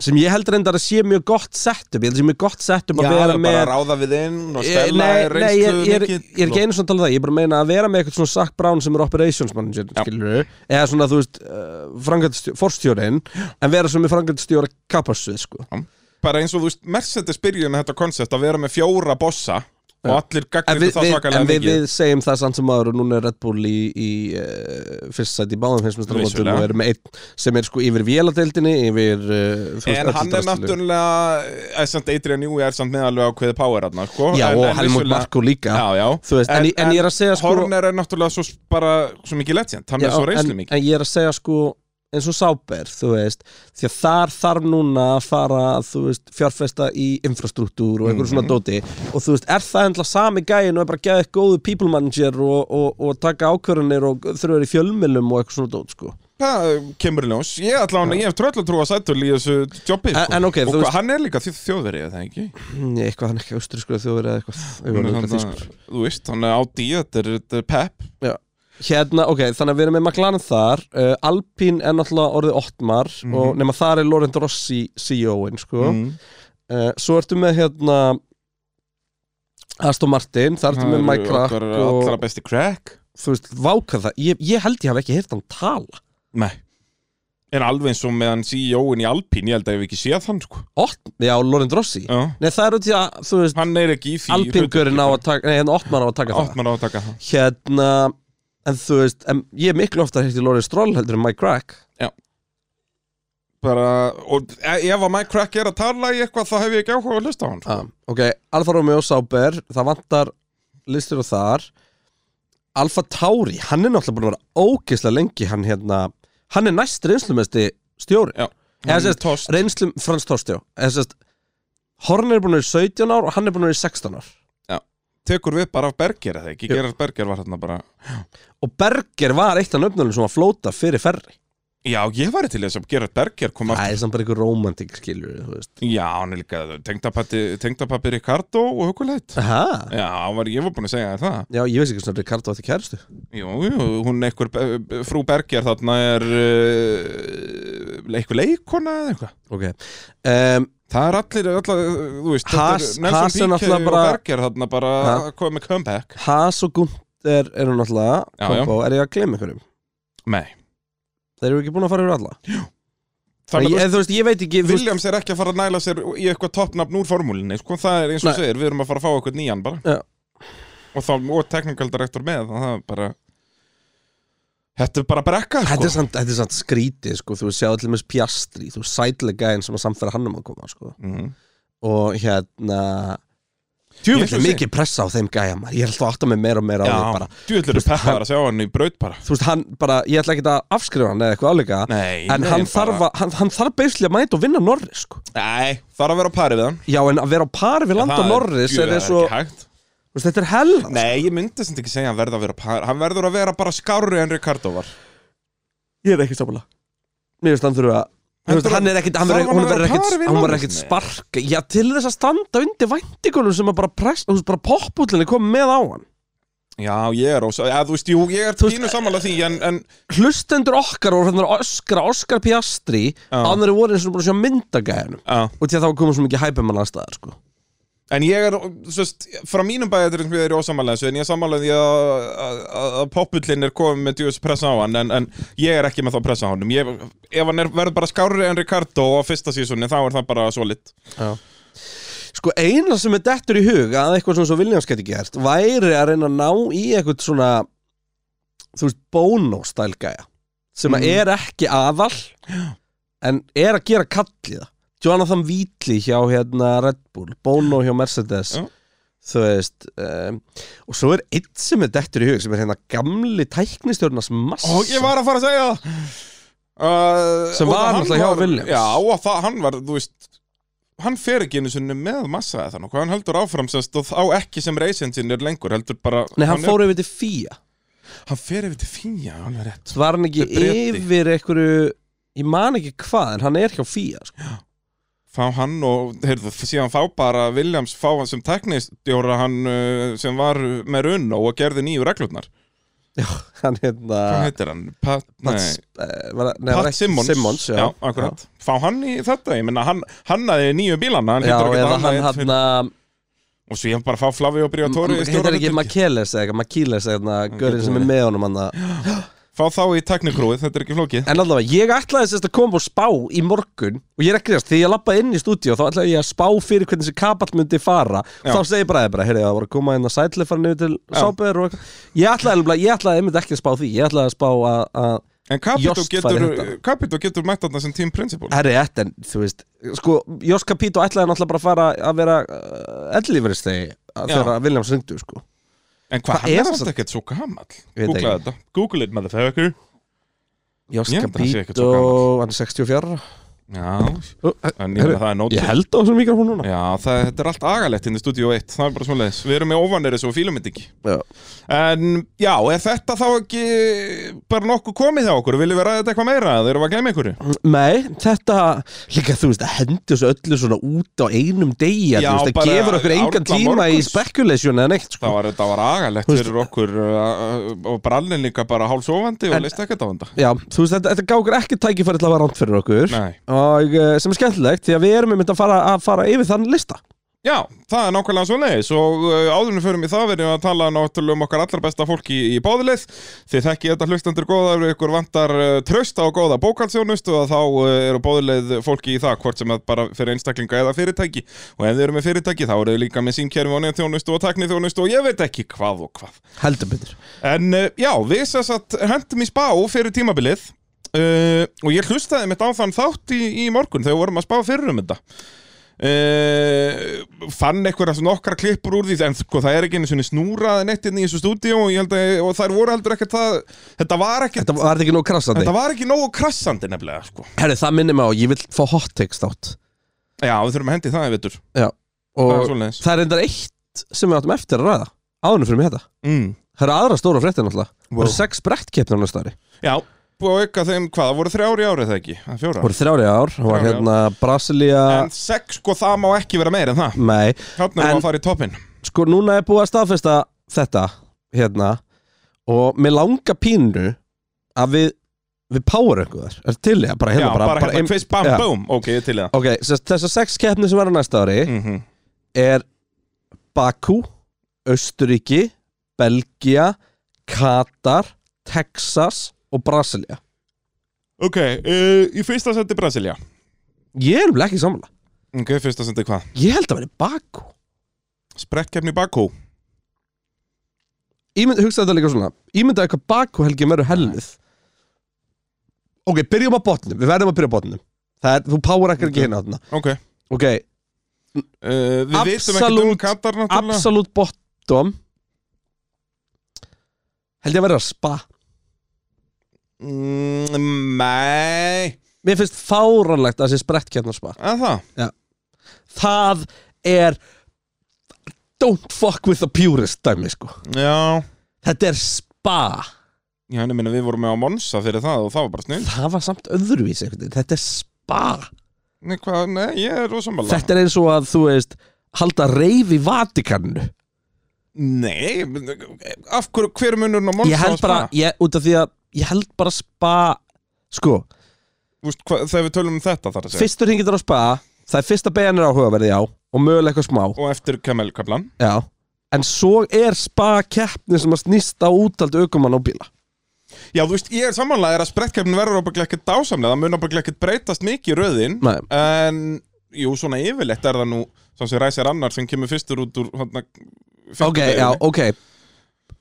Speaker 2: sem ég held reyndar að sé mjög gott setup ég held að sé mjög gott setup að vera
Speaker 3: bara
Speaker 2: með
Speaker 3: ráða við inn og
Speaker 2: Ég-
Speaker 3: stella
Speaker 2: Nei, nei, ég,
Speaker 3: er reynslu
Speaker 2: ég, er-
Speaker 3: mikill
Speaker 2: ég er ekki einu svona að tala um það Ég er bara að meina að vera með eitthvað svona Sack Brown sem er operations manager skilurðu, eða svona, þú veist, uh, forstjórin en vera svona með frangatstjóra kapassu sko.
Speaker 3: og- bara eins og þú veist, Mercedes byrjun þetta konsept að vera með fjóra bossa og allir
Speaker 2: En,
Speaker 3: gagnir
Speaker 2: við,
Speaker 3: það
Speaker 2: við, en
Speaker 3: svakalega
Speaker 2: við,
Speaker 3: mikið
Speaker 2: við segjum það samt sem aður og núna er Red Bull í, í uh, fyrst sæti í báðum heimsmyndstarmóndum
Speaker 3: Vissulega.
Speaker 2: og er með einn sem er sko yfir véladeildinni yfir uh, þú
Speaker 3: En
Speaker 2: öllu
Speaker 3: hann er
Speaker 2: draslinu.
Speaker 3: náttúrulega, eh, samt Adrian Newey er samt meðalveg ákveðið power hann, sko
Speaker 2: Já,
Speaker 3: En-
Speaker 2: og
Speaker 3: en
Speaker 2: Helmut
Speaker 3: vissulega-
Speaker 2: Marko líka
Speaker 3: Já, já
Speaker 2: Þú veist, en, en, en ég er að segja sko
Speaker 3: Horner er náttúrulega svo bara svo mikið legend, hann
Speaker 2: Já,
Speaker 3: er svo reyslu
Speaker 2: en,
Speaker 3: mikið
Speaker 2: en ég er að segja sko eins og Sáber, þú veist því að þar þarf núna að fara þú veist, fjárfesta í infrastruktúr og einhverju
Speaker 3: Mhm.
Speaker 2: svona dóti og þú veist, er það hendla sami gæin og er bara gæðið góðu people manager og, og, og taka ákvörðanir og þurfa í fjölmilum og eitthvað svona dót sko.
Speaker 3: Það kemur í ljós, ég ætla hann, ég hef tröll að trúa sætul í þessu jobbi
Speaker 2: En-
Speaker 3: sko.
Speaker 2: en ok,
Speaker 3: Og
Speaker 2: þú
Speaker 3: hvað,
Speaker 2: veist-
Speaker 3: hann er líka því þjóðverið, er það ekki?
Speaker 2: Nei, eitthvað hann ekki austrískur að þjóður eða eitthvað
Speaker 3: Hann
Speaker 2: Ég
Speaker 3: er
Speaker 2: var örugglega
Speaker 3: þarna-
Speaker 2: þýskur.
Speaker 3: Þú veist, hann er á díu, þetta er, þetta er pep
Speaker 2: Já. hérna, ok, þannig að við erum með McLaren þar uh, Alpín er náttúrulega orðið Ottmar
Speaker 3: Mhm.
Speaker 2: og nema þar er Laurent Rossi CEO-in, sko
Speaker 3: mm.
Speaker 2: Uh, svo ertu með hérna Aston Martin, það ertu með Mike Crack
Speaker 3: okkar
Speaker 2: og
Speaker 3: Allra besti crack
Speaker 2: þú veist, váka það ég, ég held ég hafi ekki heyrt hann tala
Speaker 3: Nei En alveg eins og meðan CEO-in E í Alpine, ég held að ég hef ekki séð hann sko
Speaker 2: Ott, já, Lorenz Rossi
Speaker 3: Já
Speaker 2: Nei, það er út í að, þú veist,
Speaker 3: Eh. Hann er ekki í því
Speaker 2: Alpingurinn á að taka Nei, hérna Ottmar á að taka
Speaker 3: Átt maður á að taka það
Speaker 2: það Hérna, en þú veist en, Ég er miklu ofta heyrt í Lorenz Stroll heldur en Mike Crack
Speaker 3: Bara, og e- ef að Mike Crack er að tala í eitthvað, þá hef ég ekki áhuga að hlusta á hann sko.
Speaker 2: ah, Ok, Alfa Romeo Sauber Það vantar listir og þar Alfa Tauri, hann er náttúrulega búin að vera ógeðslega lengi hann hérna, hann er næst reynslumesti stjóri
Speaker 3: Já,
Speaker 2: Eða
Speaker 3: hann
Speaker 2: sést,
Speaker 3: tost.
Speaker 2: reynslum Frans Torstjó eða sérst Horn er búin að vera í 17 ár og hann er búin að vera í 16 ár
Speaker 3: tekur við bara af Berger eða ekki,
Speaker 2: Jú.
Speaker 3: Gerard Berger var þarna bara
Speaker 2: og Berger var eitt af nöfnunum sem var flóta fyrir ferri
Speaker 3: Já, ég væri til þess að Gerard Berger kom aftur
Speaker 2: það er samt bara einhver romantik skilur þú veist
Speaker 3: Já, hann er líka tengdapappi, tengdapappi Ricardo og Hugulætt
Speaker 2: Aha.
Speaker 3: Já, hann var, ég var búin að segja þér það
Speaker 2: já ég veist ekki svona Ricardo átti kæristu
Speaker 3: Jú, jú, hún einhver, eh, frú Berger þarna er uh, einhver leikona eða eitthvað
Speaker 2: ok um,
Speaker 3: Það er allir, allar, þú veist,
Speaker 2: Haas-
Speaker 3: þetta er
Speaker 2: Haas er
Speaker 3: Nelson Piquet
Speaker 2: náttúrulega
Speaker 3: og
Speaker 2: bara-
Speaker 3: Berger þarna bara
Speaker 2: Ha?
Speaker 3: að koma með comeback
Speaker 2: Haas og Gunther eru náttúrulega
Speaker 3: Já,
Speaker 2: kombo, er ég að gleyma einhverjum
Speaker 3: Nei,
Speaker 2: þeir eru ekki búin að fara yfir alla ég,
Speaker 3: þannig að þú veist,
Speaker 2: en, þú veist ég veit ekki þú veist,
Speaker 3: Williams er ekki að fara að næla sér í eitthvað toppnafn úr formúlinni, sko, það er eins
Speaker 2: Nei.
Speaker 3: og þú segir, við erum að fara að fá eitthvað nýjan bara
Speaker 2: Já.
Speaker 3: Og þá, og technical director með, þannig að það er bara Þetta er bara brekka,
Speaker 2: Þetta er
Speaker 3: sko
Speaker 2: samt, þetta er samt skrítið sko, þú sjáðu allir með Pjastri, þú sætlega gæðin sem að samfæra hann um að koma sko.
Speaker 3: Mhm.
Speaker 2: og hérna
Speaker 3: Ég
Speaker 2: Djúvill
Speaker 3: ætla
Speaker 2: er
Speaker 3: að
Speaker 2: mikið pressa á þeim gæja maður Ég er alltaf að átta mig meira og meira á því
Speaker 3: Já,
Speaker 2: bara
Speaker 3: djúvill eru peppar að sjá hann í braut bara
Speaker 2: Þú veist, hann bara, ég ætla ekki að afskrifa hann eða eitthvað álíka
Speaker 3: Nei,
Speaker 2: En
Speaker 3: nei,
Speaker 2: hann
Speaker 3: bara-
Speaker 2: þarf, að, hann, hann þarf beislega að mæta og vinna Norris sko.
Speaker 3: Nei, þarf að vera á pari við hann
Speaker 2: Já, en að vera á par við landa
Speaker 3: Það er-
Speaker 2: Norris
Speaker 3: djú,
Speaker 2: er
Speaker 3: það
Speaker 2: eins og,
Speaker 3: ekki hægt
Speaker 2: þú veist, þetta er hella
Speaker 3: Nei, ég myndi sem ekki segja að hann verður að vera par Hann verður að vera bara skárri en Ricardo var
Speaker 2: Ég er ekki sammála Mér veist, hann þurfa að Þú veist,
Speaker 3: Heldur
Speaker 2: Hann
Speaker 3: hann-
Speaker 2: er ekkit, hann
Speaker 3: þarf
Speaker 2: er,
Speaker 3: hann
Speaker 2: hún
Speaker 3: að
Speaker 2: verður
Speaker 3: vera á
Speaker 2: ekkit,
Speaker 3: pari við
Speaker 2: hann verður
Speaker 3: Norris?
Speaker 2: ekkit
Speaker 3: Nei.
Speaker 2: sparka Já, til þess að standa undir væntingunum sem að bara press, þú veist, bara poppullin er komið með á hann
Speaker 3: Já, ég er ósá, ja, þú veist, jú, ég er
Speaker 2: Þú veist,
Speaker 3: pínu sammála því en, en
Speaker 2: Hlustendur okkar og hann er öskra, Oscar Piastri
Speaker 3: Já.
Speaker 2: Annari voru eins og búin að sjá myndagæðinum og til að það var komið svo mikið hæpum hann aðstæðar sko.
Speaker 3: en ég er, svo veist, frá mínum bæðir sem ég er ósammála þessu, en ég er sammála því að, að, að poppullin er komið með djúis pressa á hann, en, en ég er ekki með þá pressa á honum, ég, ef hann er, verður bara skárri en Ricardo á fyrsta sísunni, þá er það bara svo lit
Speaker 2: sko eina sem er dettur í hug að eitthvað svona svo Williams geti gert væri að reyna að ná í eitthvað svona þú veist bónóstæl gæja sem að
Speaker 3: Mm.
Speaker 2: er ekki aðal en er að gera kallið Jonathan Wheatley hjá hérna Red Bull, Bono hjá Mercedes
Speaker 3: Já.
Speaker 2: þú veist um, og svo er einn sem er dettur í hug sem er hérna gamli tæknistjórnars massa
Speaker 3: Og ég var að fara að segja það uh,
Speaker 2: Sem
Speaker 3: og
Speaker 2: var
Speaker 3: hann
Speaker 2: náttúrulega hjá
Speaker 3: var-
Speaker 2: Williams.
Speaker 3: Já, og það, hann var, þú veist Hann fer ekki einu sinni með massa eða þannig Hann heldur áfram semst og á ekki sem reisensinir lengur Heldur bara
Speaker 2: Nei, hann
Speaker 3: er-
Speaker 2: fór yfir til FIA
Speaker 3: Hann fer yfir til fíja, hann er rétt
Speaker 2: Var hann ekki
Speaker 3: Þetta er Breti.
Speaker 2: yfir einhverju Ég man ekki hvað, en hann er hjá FIA sko.
Speaker 3: Fá hann og, heyrðu, síðan fá bara Williams fá hann sem teknistjóra hann uh, sem var með runn og gerði nýju reglurnar
Speaker 2: já, hann hérna
Speaker 3: Hvað heitir hann? Pat,
Speaker 2: Pat,
Speaker 3: nei,
Speaker 2: eh, var, nei, var
Speaker 3: Pat
Speaker 2: ekki-
Speaker 3: Simmons
Speaker 2: Simmons já,
Speaker 3: akkurat Fá hann í þetta, ég menna hann hannaði nýju bílana hann
Speaker 2: Já,
Speaker 3: hlýtur að geta
Speaker 2: eða
Speaker 3: annað
Speaker 2: hann
Speaker 3: einn fyrir-
Speaker 2: hérna
Speaker 3: Og svo ég bara að fá Flavi og
Speaker 2: Hittar
Speaker 3: Briatóri í
Speaker 2: Mm, ekki
Speaker 3: stjórnarhlutverki.
Speaker 2: Makeles eða eitthvað Makeles eða hérna, Görinn sem er
Speaker 3: verið.
Speaker 2: með honum hann
Speaker 3: Fá þá í teknikrúið, þetta er ekki flókið
Speaker 2: En allavega, ég ætlaði sérst að koma og spá í morgun Og ég er ekki þess, þegar ég lappaði inn í stúdíu Þá ætlaði ég að spá fyrir hvernig þessi kapall myndi fara
Speaker 3: Já.
Speaker 2: Þá segi ég bara, bara heyrðu, það voru að koma hérna inn að sætli fara niður til
Speaker 3: Já.
Speaker 2: sábæður og eitthvað Ég ætlaði, nefnilega- ég ætlaði einmitt ekki að spá því Ég ætlaði að spá að, að
Speaker 3: En Capito
Speaker 2: Jost
Speaker 3: getur,
Speaker 2: færi þetta.
Speaker 3: Capito getur mætt þarna sem team principal
Speaker 2: Herri, þetta er, þú veist Sko, Jós Capito ætlaði náttúrulega bara að fara að vera uh, ellífuristegi Þegar að Williams ringdu, sko
Speaker 3: En hvað,
Speaker 2: Hvað
Speaker 3: hann
Speaker 2: er
Speaker 3: er
Speaker 2: það
Speaker 3: samt ekkert svo gamall
Speaker 2: Ég veit
Speaker 3: Google
Speaker 2: ekki.
Speaker 3: þetta, Google it motherfucker
Speaker 2: Jós
Speaker 3: Ég held að hann sé ekkert
Speaker 2: Capito,
Speaker 3: svo
Speaker 2: hann er 64
Speaker 3: Já,
Speaker 2: uh,
Speaker 3: en ég meina það er nót
Speaker 2: Ég held á þessum mikrofón núna
Speaker 3: Já, það, þetta er allt agalegt inn í Studio 1 Það er bara svona Við erum með óvanir þessu og fílum þetta ekki
Speaker 2: Já.
Speaker 3: En já, er þetta þá ekki bara nokkuð komið hjá okkur? Viljum við ræða þetta eitthvað meira? Þeir eru að gleyma einhverju?
Speaker 2: Nei, þetta líka þú veist að hendi þessu öllu svona út á einum degi
Speaker 3: Já,
Speaker 2: þú veist,
Speaker 3: bara
Speaker 2: það gefur okkur engan
Speaker 3: árla
Speaker 2: tíma í
Speaker 3: morguns.
Speaker 2: spekulation eða neitt sko.
Speaker 3: Það var, þetta var agalegt fyrir okkur uh, uh, og brallin líka bara hálfsofandi og
Speaker 2: En-
Speaker 3: leist ekkert á þetta
Speaker 2: Já, þú veist þetta, þetta gaf okkur ekki tækifæri til að vera rámt fyrir okkur
Speaker 3: Nei.
Speaker 2: og eh, sem er skemmtilegt því að við erum einmitt að fara, að fara yfir þann lista
Speaker 3: Já, það er nákvæmlega svo leiðis og áðurinn fyrir mig það verðum við að tala náttúrulega um okkar allra besta fólki í, í bóðileið þið þekki þetta hlustendur góða ef ykkur vantar uh, trösta og góða bókalsjónust og þá uh, eru bóðileið fólki í það hvort sem það bara fyrir einstaklinga eða fyrirtæki og ef þið eru með fyrirtæki þá eru þið líka með símkerfi og neðþjónust og tekniþjónust og ég veit ekki hvað og hvað
Speaker 2: heldur betur
Speaker 3: En uh, já, við sess að hendum í spá fyrir tímabilið uh, og ég hlustaði mitt á þann þátt í, í morgun þegar við vorum að spá fyrir um þetta uh, fann einhverja svona okkar klippur úr því en sko, það er ekki einu svona snúrað nettinni í þessu stúdíu og, ég held að, og þær voru heldur ekkert það þetta var ekki
Speaker 2: Þetta var þetta ekki nóg krassandi
Speaker 3: Þetta var ekki nógu krassandi nefnilega sko.
Speaker 2: Herri, það minnir mig á, ég vil fá hot text átt
Speaker 3: Já, við þurfum að hendi það, ég veitur
Speaker 2: Já,
Speaker 3: Það er
Speaker 2: og
Speaker 3: svoleiðis
Speaker 2: það er endar eitt sem við áttum eftir að ræða áðunum fyrir mig þetta
Speaker 3: mm.
Speaker 2: Það eru aðra stóra fréttir náttúrulega Það
Speaker 3: Wow.
Speaker 2: eru sex brettkeppnir á næsta ári
Speaker 3: Já, búið að auka þeim hvað, það voru þrjári árið það ekki? Það Fjóra
Speaker 2: voru þrjári ár, það var
Speaker 3: Þrjár í
Speaker 2: hérna Brasilia
Speaker 3: En sex, sko, það má ekki vera meir en það
Speaker 2: Nei,
Speaker 3: Þannig er
Speaker 2: En-
Speaker 3: að fara í toppin
Speaker 2: sko núna er búið að staðfesta þetta hérna og mér langa pínu að við við power einhver er til ég bara
Speaker 3: Já,
Speaker 2: hérna bara,
Speaker 3: bara, hérna,
Speaker 2: ein-
Speaker 3: quiz, bam,
Speaker 2: já.
Speaker 3: boom Ok, ég er til í það
Speaker 2: ok, sess, þessar sex keppni sem verður næsta ári
Speaker 3: mm
Speaker 2: er Baku Östuríki, Belgia Katar Texas og Brasilia
Speaker 3: Ok,
Speaker 2: eh,
Speaker 3: uh, í fyrsta sendi Brasilia
Speaker 2: ég er um ekki samla,
Speaker 3: Ok, í fyrsta sendi hvað?
Speaker 2: ég held að verði Baku
Speaker 3: Sprettkefni Bakú
Speaker 2: Ímynd, hugsa þetta líka svona Ímyndaðu eitthvað bakuhelgjum eru helluð Ok, byrjum á botnum Við verðum að byrja á botnum Það er, þú power ekkert ekki
Speaker 3: Ok.
Speaker 2: hérna þarna
Speaker 3: Ok,
Speaker 2: Ok,
Speaker 3: uh, við vitum ekkert um
Speaker 2: Absolute-
Speaker 3: Katar náttúrulega
Speaker 2: absolutt bottom Held ég að verða spa
Speaker 3: mm, Nei,
Speaker 2: Mér finnst fáranlegt að þessi sprett kjarnar spa
Speaker 3: að það
Speaker 2: Það er Don't fuck with the purist dæmi sko
Speaker 3: Já,
Speaker 2: Þetta er spa
Speaker 3: já, en ég meina við vorum með á Monsa fyrir það og það var bara snill
Speaker 2: Það var samt öðruvísi einhvern veginn. Þetta er spa
Speaker 3: Nei, hvað, nei, ég er rosamala
Speaker 2: Þetta er eins og að þú veist halda reyf í Vatikaninu
Speaker 3: Nei, af hverju, hver munur á Monsa
Speaker 2: ég held bara, ég, út af því að ég held bara spa sko,
Speaker 3: Vist, hva, Þegar við tölum um þetta þar að segja
Speaker 2: fyrstur hringitur á spa það er fyrsta beðan er áhugaverði já og mögulega eitthvað smá,
Speaker 3: Og eftir Kamelkablan
Speaker 2: já en svo er spa keppni sem að snýst á útald aukumann á bíla
Speaker 3: Já, þú veist, ég er samanlega er að sprettkeppnin verður ábygglega ekkert dásamlega, það mun ábygglega ekkert breytast mikið í röðin,
Speaker 2: Nei.
Speaker 3: en jú, svona yfirleitt er það nú sá sem ræsir annar sem kemur fyrstur út úr hana,
Speaker 2: ok, já, ok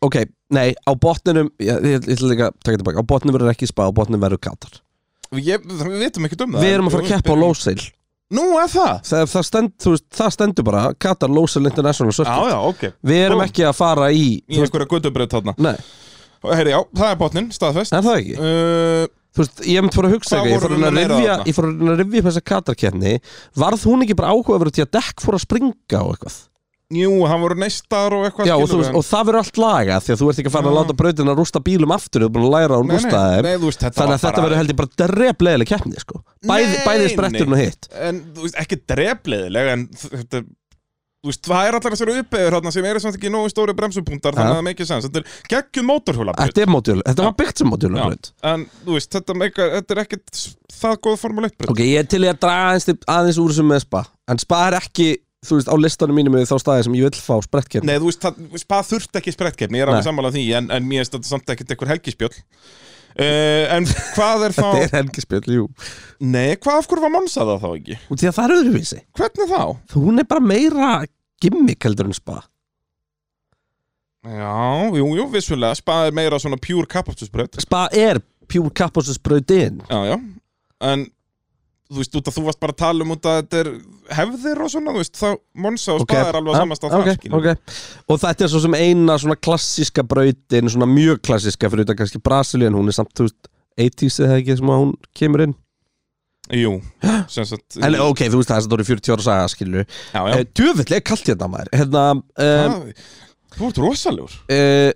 Speaker 2: ok, nei, á botninum ég, ég, ég ætla líka að taka tilbaka, á botninum verður ekki spa á botninum verður katar,
Speaker 3: Ég, það- Við vitum ekkert um það
Speaker 2: við erum að fara að keppa á Lóseil,
Speaker 3: Nú, er það?
Speaker 2: það, það, stend, þú veist, það stendur bara katar Lóseil International
Speaker 3: Já,
Speaker 2: Circuit
Speaker 3: já, ok
Speaker 2: við erum
Speaker 3: Ó.
Speaker 2: ekki að fara í,
Speaker 3: Í einhverja guttubröð þarna
Speaker 2: nei,
Speaker 3: Herri, já, það er botnin, staðfest
Speaker 2: er það ekki?
Speaker 3: uh,
Speaker 2: Þú veist, ég myndi fór að hugsa
Speaker 3: Hvað
Speaker 2: eitthvað, ég fór
Speaker 3: voru
Speaker 2: að reyna
Speaker 3: við
Speaker 2: að
Speaker 3: meira
Speaker 2: rifja,
Speaker 3: þarna?
Speaker 2: ég fór að reyna að rifja upp þessa katarkenni, varð hún ekki bara áhugaverð til að dekk fór að springa og eitthvað
Speaker 3: Jú, hann voru neistar og eitthvað
Speaker 2: Já, og, þú
Speaker 3: skilur
Speaker 2: veist,
Speaker 3: við,
Speaker 2: og það verður allt laga því að þú ert ekki farin að
Speaker 3: Já.
Speaker 2: láta brautin að rústa bílum aftur, þú er búin að læra að hún
Speaker 3: Nei,
Speaker 2: rústa
Speaker 3: nei,
Speaker 2: þeim
Speaker 3: nei, þú veist, þetta
Speaker 2: Þannig
Speaker 3: var
Speaker 2: að þetta
Speaker 3: bara-
Speaker 2: verður held ég bara dreflegileg keppni, sko Bæði,
Speaker 3: Nei,
Speaker 2: bæði spretturinn og hitt
Speaker 3: en, en þú veist, ekki drefleðileg en þ- þetta þú veist, það er allar þessari uppeður hérna sem eru samt ekki nógu stóri bremsupunktar þannig að það make sense, þetta er geggjum mótorhjólabraut
Speaker 2: Þetta er mótjölu, þetta var byggt sem mótjölu
Speaker 3: en þú veist, þetta, make, þetta er ekkit s- það góð formule 1 braut
Speaker 2: Ok, ég er til í að draga aðeins, aðeins úr sem með spa En spa er ekki, þú veist, á listanum mínum við þá staði sem ég vil fá sprettkerni
Speaker 3: Nei, þú veist, það, spað þurft ekki sprettkefni, ég er alveg
Speaker 2: Nei.
Speaker 3: sammála því en, en mér finnst þetta samt ekkert einhver helgispjöll uh, En hvað er þá
Speaker 2: (laughs) Þetta er helgispjöld, jú
Speaker 3: Nei, hvað af hverju var Monsa það þá ekki?
Speaker 2: Og því að það er öðruvísi
Speaker 3: Hvernig þá?
Speaker 2: Þú, Hún er bara meira gimmick heldur en spa
Speaker 3: Já, jú, jú, vissulega, spað er meira svona pure kapastusbröð
Speaker 2: Spa er pure kapphúsusbrautin
Speaker 3: Já, já, en þú veist, út að þú varst bara að tala um út að þetta er hefðir og svona, þú veist, þá Monsa og
Speaker 2: Ok,
Speaker 3: spað er alveg
Speaker 2: ah,
Speaker 3: samast að
Speaker 2: ok,
Speaker 3: það skilur.
Speaker 2: ok. Og þetta er svo sem eina svona klassíska brautin Svona mjög klassíska fyrir þetta kannski Brasilíun Hún er samt, þú veist, 80s eða ekki sem að hún kemur inn (gasps)
Speaker 3: Jú, sem sagt
Speaker 2: En ok, þú veist það er þess að það eru 40 ára saga skilju
Speaker 3: Mm. Já,
Speaker 2: Eh,
Speaker 3: já,
Speaker 2: Djöfull er kallt hérna maður Hérna, um,
Speaker 3: það, þú ert rosalegur
Speaker 2: uh,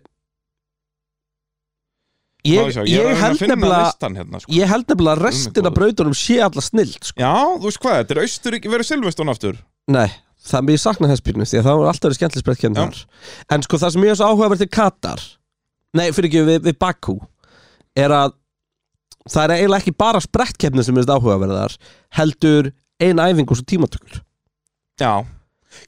Speaker 3: Má
Speaker 2: ég,
Speaker 3: sjá,
Speaker 2: ég,
Speaker 3: er að reyna að
Speaker 2: held
Speaker 3: finna
Speaker 2: nefnilega
Speaker 3: listan hérna, sko.
Speaker 2: Ég held nefnilega að
Speaker 3: Guð
Speaker 2: restin
Speaker 3: minn
Speaker 2: af brautunum sé alla snill sko.
Speaker 3: Já, þú veist hvað, þetta er Austuríki, verður Silveston aftur
Speaker 2: Nei, það mér sakna þess pínu Því að það var alltaf verið skemmtileg sprettkennd
Speaker 3: Já.
Speaker 2: þar En sko það sem ég er svo áhugavert til Katar Nei, fyrir ekki við, við Bakú Er að það er eiginlega ekki bara sprettkeppni sem er áhugaverðar Heldur eina æfingu og svo tímatökur
Speaker 3: Já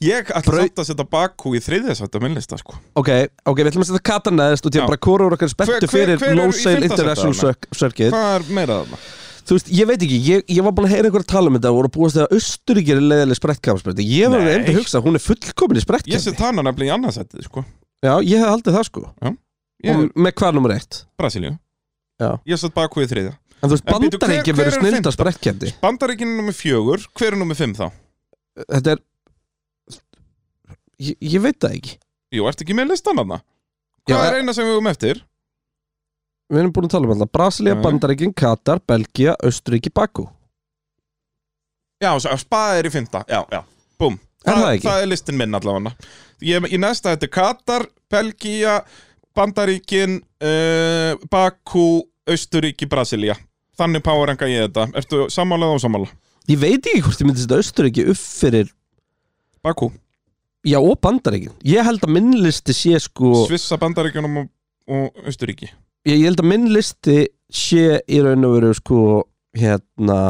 Speaker 3: Ég ætla
Speaker 2: Brau-
Speaker 3: samt að setja Bakú í þriðjasætt á minnlista sko
Speaker 2: Ok, ok, við ætlum að setja Katar neðst og því
Speaker 3: Já.
Speaker 2: að bara hvora úr okkar spettu
Speaker 3: Hver- hver-
Speaker 2: fyrir
Speaker 3: hver er í
Speaker 2: low sale
Speaker 3: fimmta sæti
Speaker 2: international
Speaker 3: þarna?
Speaker 2: Circ- circuit
Speaker 3: Hvað er meira þarna?
Speaker 2: Þú veist, ég veit ekki, ég, ég var búin að heyra einhverja tala um þetta og voru að búast þegar Östuríkir er leiðileg sprettkampsbretti Ég var
Speaker 3: Nei.
Speaker 2: enda að hugsa, að hún er fullkomin í
Speaker 3: Ég
Speaker 2: sprettkampi
Speaker 3: set hana nefnilega í annarsættið sko
Speaker 2: Já, ég hef haldið það sko
Speaker 3: Ég er
Speaker 2: Og með hvað nummer eitt
Speaker 3: Brasilíu
Speaker 2: Já.
Speaker 3: Ég set Bakú í þriðja
Speaker 2: En þú veist,
Speaker 3: En bíddu, hver-
Speaker 2: bandarengi
Speaker 3: hver
Speaker 2: verður
Speaker 3: er
Speaker 2: snild
Speaker 3: fimmta?
Speaker 2: að sprettkampi
Speaker 3: Bandaríkinn er nummer fjögur, hver er nummer fimm þá?
Speaker 2: Þetta er ég, ég veit það ekki
Speaker 3: Jú, ertu ekki með listan þarna?
Speaker 2: Já,
Speaker 3: Hvað er eina sem við höfum eftir?
Speaker 2: Við erum búin að tala um alltaf Brasilia,
Speaker 3: Já.
Speaker 2: Bandarengi, Katar, Belgia, Östuríki, Bakú
Speaker 3: Já, svo- spaði er í fymta, já, já, búm
Speaker 2: Er það ekki?
Speaker 3: Það er listin minn allavega Ég, ég næsta þetta er Katar, Belgía, Bandaríkin, uh, Bakú, Austuríki, Brasilía Þannig poweranga ég þetta, ertu sammála eða ósammála?
Speaker 2: Ég veit ekki hvort ég myndi setja Östuríki upp fyrir
Speaker 3: Bakú,
Speaker 2: Já, og Bandarengi Ég held að minnlisti sé sko
Speaker 3: Svissa, Bandaríkjunum og, og Austuríki
Speaker 2: ég, ég held að minn listi sé í raun og veru sko hérna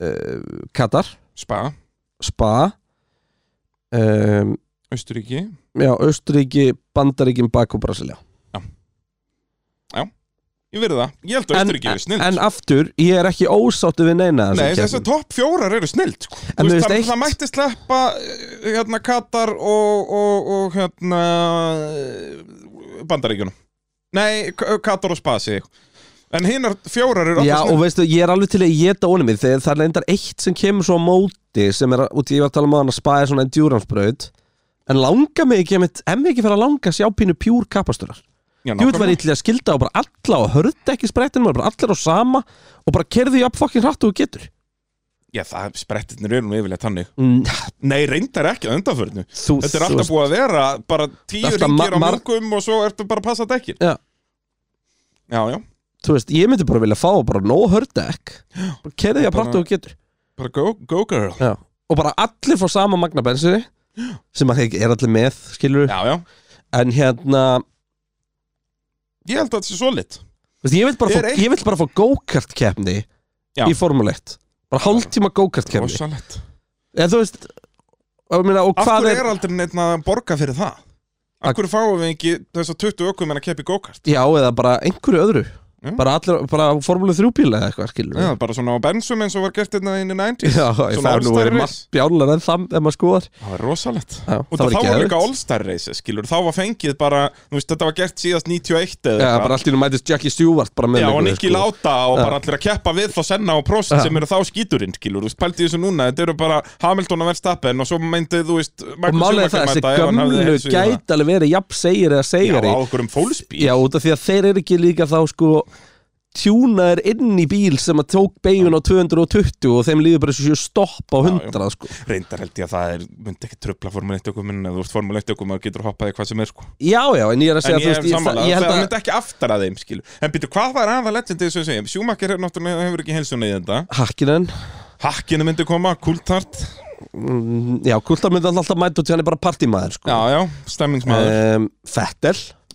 Speaker 2: uh, Katar,
Speaker 3: Spa,
Speaker 2: Spa um,
Speaker 3: Austuríki
Speaker 2: já, Östuríki, Bandaríkin, Bakú, Brasilia
Speaker 3: Ég verði það, ég held að
Speaker 2: en,
Speaker 3: Austuríki er snill
Speaker 2: en aftur, ég er ekki ósáttu við neina
Speaker 3: Nei,
Speaker 2: þessar
Speaker 3: þessi
Speaker 2: keppnum.
Speaker 3: topp fjórar eru snild sko.
Speaker 2: En
Speaker 3: Þú
Speaker 2: þú
Speaker 3: veist,
Speaker 2: veist
Speaker 3: það,
Speaker 2: eitt-
Speaker 3: það mætti sleppa eh, hérna Katar og, og, og hérna eh, Bandaríkjunum Nei, K- Katar og Spasi En hinnar fjórar eru
Speaker 2: Já,
Speaker 3: alltaf
Speaker 2: og
Speaker 3: snild
Speaker 2: veistu, ég er alveg til að geta ónum mið þegar það er reyndar eitt sem kemur svo á móti sem er, út í ég var að tala um að hann að spaði svona endurance-braut en langa mig ekki, einmitt- en mig ekki fyrir að langa sjá pínu pjúr kapasturar
Speaker 3: Já,
Speaker 2: Jú veit
Speaker 3: nákvæmlega.
Speaker 2: var ítli að skilda og bara alla og hörðu ekki sprettin, maður bara allir á sama og bara kerði upp fokkin hratt og þú getur
Speaker 3: Já, það sprettirnir eru nú yfirlega þannig
Speaker 2: Mm,
Speaker 3: Nei, reyndar ekki að undanförnu
Speaker 2: Þú,
Speaker 3: Þetta er alltaf búið að vera bara tíu
Speaker 2: Alltaf
Speaker 3: ringir
Speaker 2: ma-
Speaker 3: á
Speaker 2: mar-
Speaker 3: mörgum og svo ertu bara að passa dekkin
Speaker 2: Já.
Speaker 3: Já, já,
Speaker 2: Þú veist, ég myndi bara vilja fá bara nóg hörðu ekki bara kerði upp
Speaker 3: Bara-
Speaker 2: hratt og þú getur
Speaker 3: bara go, go girl
Speaker 2: Já. og bara allir fá sama magna bensinni sem að er allir með, skilur
Speaker 3: Já, já,
Speaker 2: en hérna,
Speaker 3: ég held að þetta sé svo lit
Speaker 2: þú veist, ég vil bara
Speaker 3: Er
Speaker 2: fá,
Speaker 3: eitt-
Speaker 2: ég vil bara fá go-kart keppni
Speaker 3: Já.
Speaker 2: í Formule 1 bara hálftíma go-kart keppni
Speaker 3: Rosalett
Speaker 2: eða þú veist og, ég meina, og
Speaker 3: Af
Speaker 2: hvað
Speaker 3: hverju
Speaker 2: er,
Speaker 3: er, aldrei neitt að borga fyrir það? Af
Speaker 2: Að-
Speaker 3: hverju fáum við ekki þess að 20 ökum en að keppi go-kart?
Speaker 2: já, eða bara einhverju öðru
Speaker 3: Já.
Speaker 2: bara allir, bara Formule 3 bíla eða eitthvað, skilur
Speaker 3: Já, bara svona á bensum eins og var gert hérna inn í
Speaker 2: (laughs)
Speaker 3: 90s
Speaker 2: Já, ég það er nú verið margt bjálar en það ef maður skoðar
Speaker 3: Það var rosalett
Speaker 2: Já,
Speaker 3: Og
Speaker 2: það var
Speaker 3: þá
Speaker 2: ekki
Speaker 3: var
Speaker 2: eðlitt
Speaker 3: líka all-star race, skilur Þá var fengið bara, þú veist, þetta var gert síðast 91 eða
Speaker 2: Já,
Speaker 3: eitthvað.
Speaker 2: bara allt í nú mætist Jackie Stewart bara með
Speaker 3: Já,
Speaker 2: einhverju,
Speaker 3: og Nicky
Speaker 2: sko.
Speaker 3: Láta og
Speaker 2: Já.
Speaker 3: bara allir að keppa við þá Senna og Prost
Speaker 2: Já.
Speaker 3: sem eru þá skíturinn, skilur Þú veist, pældi þessu núna, þetta eru bara Hamilton að Verstappen og svo myndið, þú veist
Speaker 2: Og málega það, þessi gömlu gæti alveg verið jafn segir eða
Speaker 3: Já,
Speaker 2: segir
Speaker 3: á okkur um fólksbíl
Speaker 2: Já, út af því að þeir eru ekki líka þá sko tjúnaðir inn í bíl sem að tók beigun á 220 og þeim líður bara eins og séu stopp á 100 sko.
Speaker 3: reyndar held ég að það er, myndi ekki tröfla Formule 1 ökum en þú ert Formule 1 ökum að getur hoppað í hvað sem er sko.
Speaker 2: Já, já, en ég er að
Speaker 3: en
Speaker 2: segja
Speaker 3: ég
Speaker 2: þú
Speaker 3: er sammála,
Speaker 2: ég, ég
Speaker 3: það
Speaker 2: held að
Speaker 3: myndi ekki aftar að þeim skilu en býtu, hvað var aða legendið sem við segjum Sjúmakir er náttúrulega hefur ekki helsuna í þetta
Speaker 2: Hakkinen,
Speaker 3: Hakkinu myndi koma, Kultart
Speaker 2: mm, Já, Kultar myndi alltaf mæta út því hann er bara partímaður sko.
Speaker 3: Já, já, stemmingsmaður
Speaker 2: um, Fettel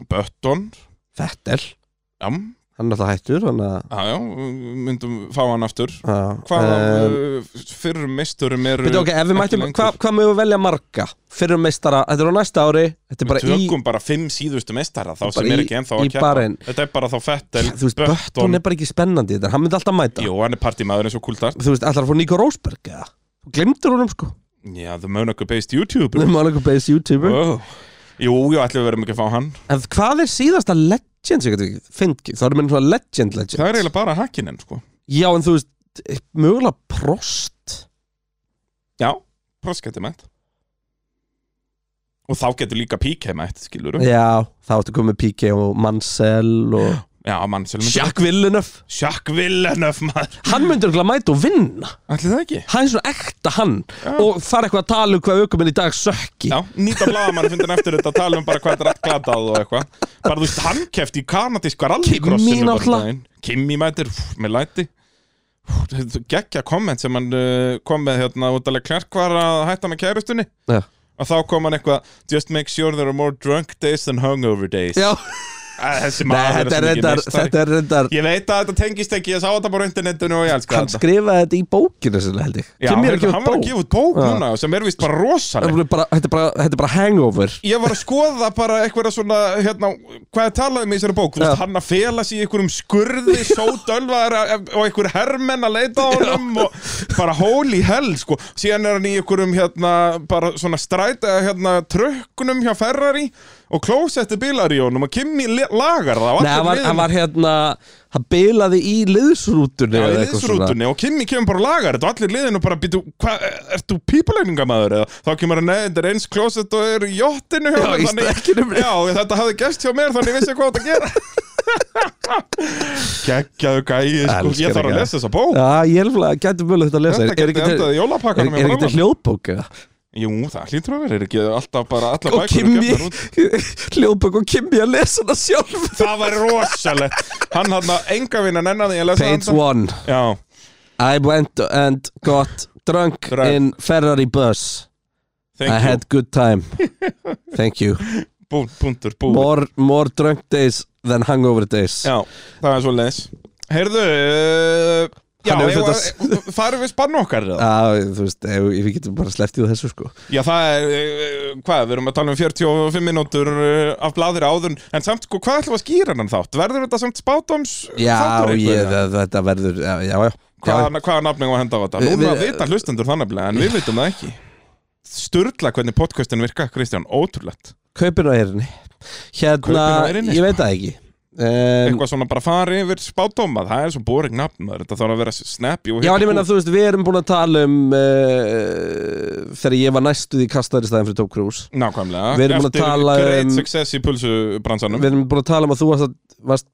Speaker 3: Böttón,
Speaker 2: Fettel,
Speaker 3: já, já,
Speaker 2: hann er alltaf hættur þannig að
Speaker 3: já, myndum fá hann aftur
Speaker 2: já,
Speaker 3: Hvaða
Speaker 2: um,
Speaker 3: um, fyrir meisturum eru
Speaker 2: Veitu, ok, ef við
Speaker 3: ekki
Speaker 2: mættum,
Speaker 3: lengur?
Speaker 2: hvað hva mögum við velja marga fyrir meistara, þetta er á næsta ári þetta er bara í,
Speaker 3: Tökum bara fimm síðustu meistara þá
Speaker 2: Bara
Speaker 3: sem er
Speaker 2: í-
Speaker 3: ekki ennþá að
Speaker 2: í
Speaker 3: keppa
Speaker 2: barinn.
Speaker 3: Þetta er bara þá Fettel,
Speaker 2: þú veist, Böttun er bara ekki spennandi þetta, hann myndi alltaf mæta
Speaker 3: Jú, hann er partímaður eins og kultar
Speaker 2: þú veist, allar fór Nico Rósberg eða, þú glemdur honum sko
Speaker 3: Já, the Monaco based YouTuber
Speaker 2: Monaco alveg beðis YouTuber
Speaker 3: oh. Jú, já, ætlum við verðum ekki að fá hann
Speaker 2: en hvað er síðasta legend sem ég fengi, þá erum við svona legend legend
Speaker 3: Það er eiginlega bara hakkinin, sko
Speaker 2: já, en þú veist, mögulega Prost
Speaker 3: Já, proskætti mætt Og þá getur líka PK mætt, skilur við
Speaker 2: já, þá ertu komið PK og Mansell og
Speaker 3: Já, mann, selum
Speaker 2: Jacques Villeneuve
Speaker 3: Sjakk Villeneuve, maður
Speaker 2: hann myndi örugglega mæta og vinna
Speaker 3: Ætli það ekki?
Speaker 2: hann er svona ekta hann
Speaker 3: Já.
Speaker 2: og það er eitthvað að tala um hvað aukuminn í dag sökki
Speaker 3: Já, nýta bladamann fundin eftir þetta tala um bara hvað þetta er allt glatað og eitthvað Bara þú veist, hann kefti í kanadíska
Speaker 2: Kimi
Speaker 3: rallycrossinu bara
Speaker 2: náttúrulega.
Speaker 3: daginn. Kimi mætir, pff, með læti Pff, þetta Gekkja komment sem hann uh, kom með hérna út alveg klærk var að hætta með kærustunni
Speaker 2: já,
Speaker 3: Og þá kom hann eitthvað Just make sure there are more drunk days than hungover days
Speaker 2: já.
Speaker 3: Æ, Þessi
Speaker 2: Nei,
Speaker 3: maður
Speaker 2: þetta er
Speaker 3: er
Speaker 2: reyndar,
Speaker 3: svo
Speaker 2: þetta
Speaker 3: mikið
Speaker 2: er reyndar
Speaker 3: Ég veit að þetta tengist ekki, ég sá þetta bara á internetinu og ég elska
Speaker 2: hann
Speaker 3: þetta
Speaker 2: skrifaði þetta í bókinu sinni held ég
Speaker 3: Já, hérna,
Speaker 2: Kim er
Speaker 3: hann
Speaker 2: ekki
Speaker 3: hann var að gefa út bók
Speaker 2: Já.
Speaker 3: núna sem er vist bara rosaleg
Speaker 2: út bók þetta er bara- þetta er bara hangover
Speaker 3: Ég var að skoða bara eitthvað svona, hérna, hvað er talað um í þessari bók Þú veist,
Speaker 2: Já.
Speaker 3: hann að fela sig í einhverjum skurði,
Speaker 2: (laughs)
Speaker 3: sótölvaðar og einhver hermenn að leita á honum og bara holy hell, sko Síðan er hann í einhverjum, hérna, bara svona stræta, hérna, trökkunum hjá Ferrari og klósetti bílar í honum og Kimi le- lagar það á
Speaker 2: Nei,
Speaker 3: allir
Speaker 2: hann var, hann
Speaker 3: liðum.
Speaker 2: var hérna hann bilaði í liðsrútunni eða
Speaker 3: Já, í
Speaker 2: eitthvað svona.
Speaker 3: liðsrútunni og Kimi kemur bara og lagar þetta og allir liðin og bara býtu, hvað, ert þú pípulegningamæður eða þá kemur hann, nei, þetta er eins klósett og er í jottinu hjá
Speaker 2: Já,
Speaker 3: mér,
Speaker 2: í strekkinum.
Speaker 3: já, þetta hafði gest hjá mér þannig ég vissi hvað þetta
Speaker 2: (laughs)
Speaker 3: gera Gekkjaðu gæi, sko,
Speaker 2: Elskar
Speaker 3: ég þarf
Speaker 2: þetta.
Speaker 3: að lesa þessa bók
Speaker 2: Já, ég er alveg gæti mjög þetta að lesa
Speaker 3: Þetta
Speaker 2: Er- Er
Speaker 3: gæti
Speaker 2: ekki til-
Speaker 3: endað í
Speaker 2: er-
Speaker 3: jólapakkanum
Speaker 2: er ekki til hljóðbók eða?
Speaker 3: Jú, það hlýtur að vera, er ekki alltaf bara alla
Speaker 2: og
Speaker 3: bækur
Speaker 2: Kimi (laughs) hljóðbók og Kimi að lesa það sjálf
Speaker 3: Það var rosalegt Hann hann að enga vinna nennan því að lesa
Speaker 2: Page
Speaker 3: þetta.
Speaker 2: one
Speaker 3: Já,
Speaker 2: I went and got drunk,
Speaker 3: Drunk.
Speaker 2: in Ferrari bus. I
Speaker 3: thank you,
Speaker 2: had good
Speaker 3: (laughs)
Speaker 2: time. Thank you.
Speaker 3: bú, búntur, bú
Speaker 2: More, more drunk days than hangover days.
Speaker 3: Já, það er svo leis Heyrðu uh, Já,
Speaker 2: Hann hefur
Speaker 3: eigum
Speaker 2: þetta-
Speaker 3: að- farum við spann okkar eða?
Speaker 2: Já, Ah, þú veist, ef, ef við getum bara sleppt í þessu sko
Speaker 3: Já, það er, uh, hvað, við erum að tala um 45 mínútur uh, af blaðir áður En samt, sko, hvað ætlum við að skýra hann þátt? Verður þetta samt spátóms
Speaker 2: Já,
Speaker 3: þáttur
Speaker 2: ég,
Speaker 3: einhverja?
Speaker 2: það- þetta verður, já, já, já. já.
Speaker 3: Hvað, hvaða nafning á að henda á þetta?
Speaker 2: Við-
Speaker 3: Núna
Speaker 2: við-
Speaker 3: vita hlustendur þannig að en við vitum það ekki Sturla hvernig podcastin virka, Kristján, ótrúlegt
Speaker 2: Kaupin á eirinni Hérna,
Speaker 3: Kaupin á eyrinni,
Speaker 2: ég
Speaker 3: sko.
Speaker 2: veit það ekki um,
Speaker 3: Eitthvað svona bara fari yfir spátóma, það er svo boring nafn maður. Þetta þarf að vera snappy og
Speaker 2: Já, en
Speaker 3: hitta
Speaker 2: ég meina,
Speaker 3: kúl.
Speaker 2: þú veist, við erum búin að tala um uh, Þegar ég var næstuð í kastaðir staðin fyrir Top Cruise
Speaker 3: Nákvæmlega,
Speaker 2: Við erum búin að
Speaker 3: eftir
Speaker 2: tala
Speaker 3: great
Speaker 2: um-
Speaker 3: success í pulsubransanum
Speaker 2: Við erum búin að tala um að þú varst, að- varst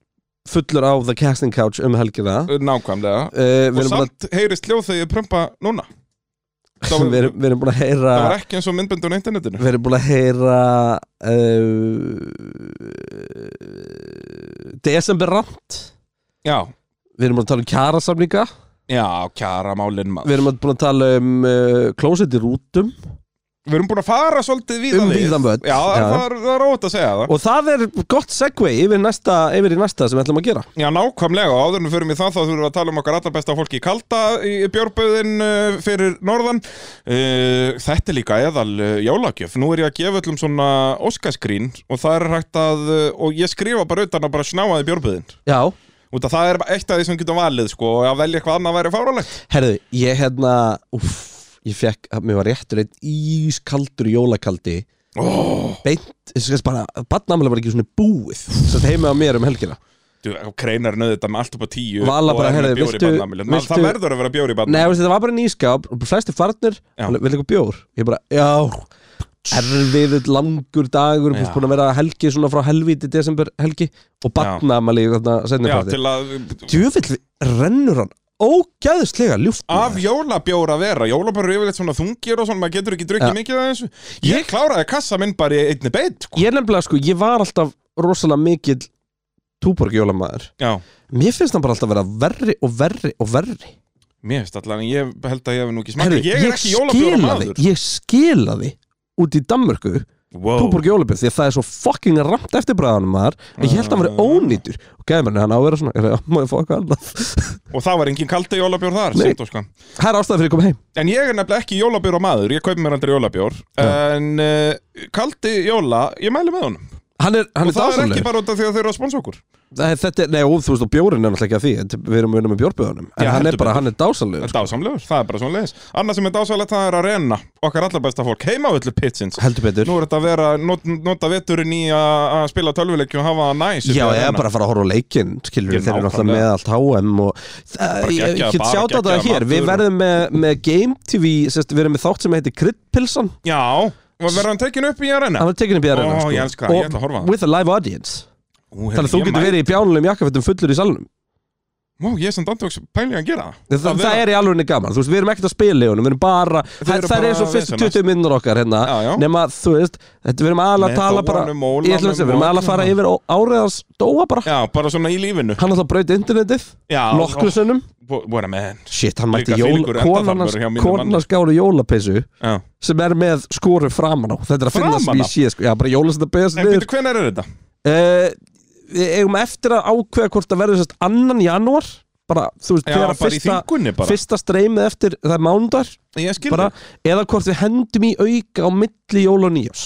Speaker 2: fullur á The Casting Couch um helgina uh,
Speaker 3: Nákvæmlega
Speaker 2: Við
Speaker 3: Og
Speaker 2: erum búin að
Speaker 3: samt heyrist hljóð þegar ég prumpa
Speaker 2: (laughs)
Speaker 3: núna Það
Speaker 2: við
Speaker 3: var,
Speaker 2: erum, við erum búin að heyra
Speaker 3: það var ekki eins og myndböndun á internetinu
Speaker 2: Við erum búin að heyra eh, uh, December Rant
Speaker 3: Já,
Speaker 2: Við erum búin að tala um kjarasamninga
Speaker 3: já, kjara málin maður
Speaker 2: Við erum búin að tala um uh, Closet í rútum
Speaker 3: Við erum búin að fara svolítið víðan
Speaker 2: Um víðan völl,
Speaker 3: Já,
Speaker 2: já.
Speaker 3: Það, er, það er ótt að segja það
Speaker 2: Og það er gott segway yfir, næsta, yfir í næsta sem við ætlum að gera
Speaker 3: Já, nákvæmlega, og áður en við förum í það þá þurfum við að tala um okkar allra besta fólki í kalda í björböðin fyrir norðan Eh, Þetta er líka eðal eh, jólagjöf, nú er ég að gefa öllum svona óskaskrín og það er hægt að, eh, og ég skrifa bara utan að bara snáaði björböðin
Speaker 2: Já,
Speaker 3: Út að það er eitt af því sem getum valið sko og að velja eitthvað annað væri fáralegt
Speaker 2: herðu, ég hérna Úff, ég fekk, mér var réttur einn ískaldur jólakaldi
Speaker 3: oh.
Speaker 2: Beint, þess að bara, badnamlega var ekki svona búið Svo þetta heima á mér um helgina
Speaker 3: Þú kreinar nöðu þetta með allt upp á tíu
Speaker 2: Vala
Speaker 3: og
Speaker 2: bara,
Speaker 3: er með
Speaker 2: heyrðu,
Speaker 3: bjór í
Speaker 2: viltu-
Speaker 3: barnaafmælinu. Maður- Það
Speaker 2: viltu-
Speaker 3: verður að vera bjór í
Speaker 2: Nei,
Speaker 3: barnamili
Speaker 2: veist, þetta var bara nýskáp og flestir farnir,
Speaker 3: Já.
Speaker 2: hann vil eitthvað bjór ég bara, já erfiður, langur dagur,
Speaker 3: Já.
Speaker 2: búst búin að vera helgi svona frá helvíti, desember helgi og hérna batnamali, þarna
Speaker 3: Já,
Speaker 2: setniparti
Speaker 3: til að
Speaker 2: djúvill rennur hann ógæðislega ljúft
Speaker 3: af
Speaker 2: maður.
Speaker 3: jólabjór að vera Jólabjór eru yfirleitt svona þungir og svona maður getur ekki drukkið
Speaker 2: Já.
Speaker 3: mikið af þessu Ég
Speaker 2: Ég-
Speaker 3: kláraði kassa minn bara í einni beitt sko.
Speaker 2: ég er nefnilega sko, ég var alltaf rosalega mikill túborgjólamaður
Speaker 3: Já,
Speaker 2: mér finnst hann bara alltaf vera verri og verri og verri
Speaker 3: Mér finnst allan, ég held að ég hef nú ekki
Speaker 2: Herru,
Speaker 3: smakað Ég er ekki jólabjóra
Speaker 2: skilaði,
Speaker 3: maður
Speaker 2: ég skilaði út í Danmörku
Speaker 3: wow.
Speaker 2: Túborg jólabjörn því að það er svo fucking ramt eftir bræðanum maður að ég held að hann
Speaker 3: Ah.
Speaker 2: veri ónýtur og gæði mér hann á að vera svona, er, já, má ég fá eitthvað annað
Speaker 3: Og það var engin kalda jólabjór þar
Speaker 2: Nei.
Speaker 3: semt og sko.
Speaker 2: það er ástæði fyrir að koma heim
Speaker 3: En ég er nefnilega ekki jólabjóra maður Ég kaupi mér aldrei jólabjór En uh, kaldi jóla, ég mæli með honum
Speaker 2: hann er, hann er
Speaker 3: Og það er ekki
Speaker 2: dásanlegur
Speaker 3: bara út af því að þau eru að sponsa okkur
Speaker 2: Nei, þetta er, nei, og þú veist, og bjórin er náttúrulega ekki að því þetta- við erum að vinna með bjórbjóðunum en
Speaker 3: Já,
Speaker 2: hann er
Speaker 3: heldur
Speaker 2: bara,
Speaker 3: betur.
Speaker 2: hann er dásanlegur
Speaker 3: En dásamlegur, það er bara svona leiðis Annað sem er dásamlegt, það er að reyna Okkar allar besta fólk, heimavöldu pitsins
Speaker 2: heldur betur,
Speaker 3: Nú er þetta að vera, not, nota veturinn í að að spila tölvuleikju og hafa það
Speaker 2: já,
Speaker 3: næs upp í
Speaker 2: eða
Speaker 3: arena.
Speaker 2: bara að fara að horfa á leikinn skilur
Speaker 3: hérna. Ég
Speaker 2: við, þeir eru náttúrulega
Speaker 3: nákvæmlega.
Speaker 2: með allt HM og það, ég
Speaker 3: geggjaður
Speaker 2: get
Speaker 3: bar,
Speaker 2: sjátt á
Speaker 3: geggjaður
Speaker 2: það hér við
Speaker 3: matur.
Speaker 2: verðum með, með Game TV sérst, við erum með þátt sem heitir Kryddpilsan
Speaker 3: Já, og verður hann tekin upp í arena
Speaker 2: hann er tekinn upp í
Speaker 3: Ó,
Speaker 2: aðeina
Speaker 3: ég elska það, ég ætla að horfa á það.
Speaker 2: with a live audience
Speaker 3: Ú,
Speaker 2: Þannig að þú getur verið í bjánulegum jakkafötum fullur í salunum
Speaker 3: Má, ég er samt andjóks pæling að gera
Speaker 2: Það, það, er í alveg gaman, þú veist, við erum ekkert að spila í honum Við erum bara, það, það er
Speaker 3: eru bara
Speaker 2: eins og fyrstu
Speaker 3: að
Speaker 2: 20 minnur okkar hérna
Speaker 3: Já, já.
Speaker 2: Nema, þú veist, þetta, við erum aðalega að
Speaker 3: Með
Speaker 2: tala bara
Speaker 3: dóanum, ólanum,
Speaker 2: Ég ætlum að segja, við erum aðalega að fara
Speaker 3: ólanum.
Speaker 2: yfir ó- árið hans dóa bara
Speaker 3: Já, bara svona í lífinu
Speaker 2: Hann alltaf braut internetið,
Speaker 3: Já, oh,
Speaker 2: nokkru sinnum
Speaker 3: Vara með henn
Speaker 2: Shit, hann mætti
Speaker 3: Líka
Speaker 2: jóla,
Speaker 3: þvílíkur
Speaker 2: konarnas,
Speaker 3: endaþarmur hjá mínum manni.
Speaker 2: konarnas gáru jólapissu
Speaker 3: Já
Speaker 2: Sem er með skoru framan á Þetta er að finna sem
Speaker 3: Framan á?
Speaker 2: ég sé, sko Já, bara jólasenda beðast
Speaker 3: En
Speaker 2: niður
Speaker 3: betur, hvenær er þetta?
Speaker 2: Eh, Við eigum eftir að ákveða hvort það verður sérst annan janúar Bara, þú veist,
Speaker 3: Já,
Speaker 2: þegar að
Speaker 3: bara í
Speaker 2: fyrsta
Speaker 3: þingunni bara
Speaker 2: fyrsta streymið eftir það er mándar
Speaker 3: Ég skil
Speaker 2: bara, eða hvort við hendum í auka á milli jól og nýjás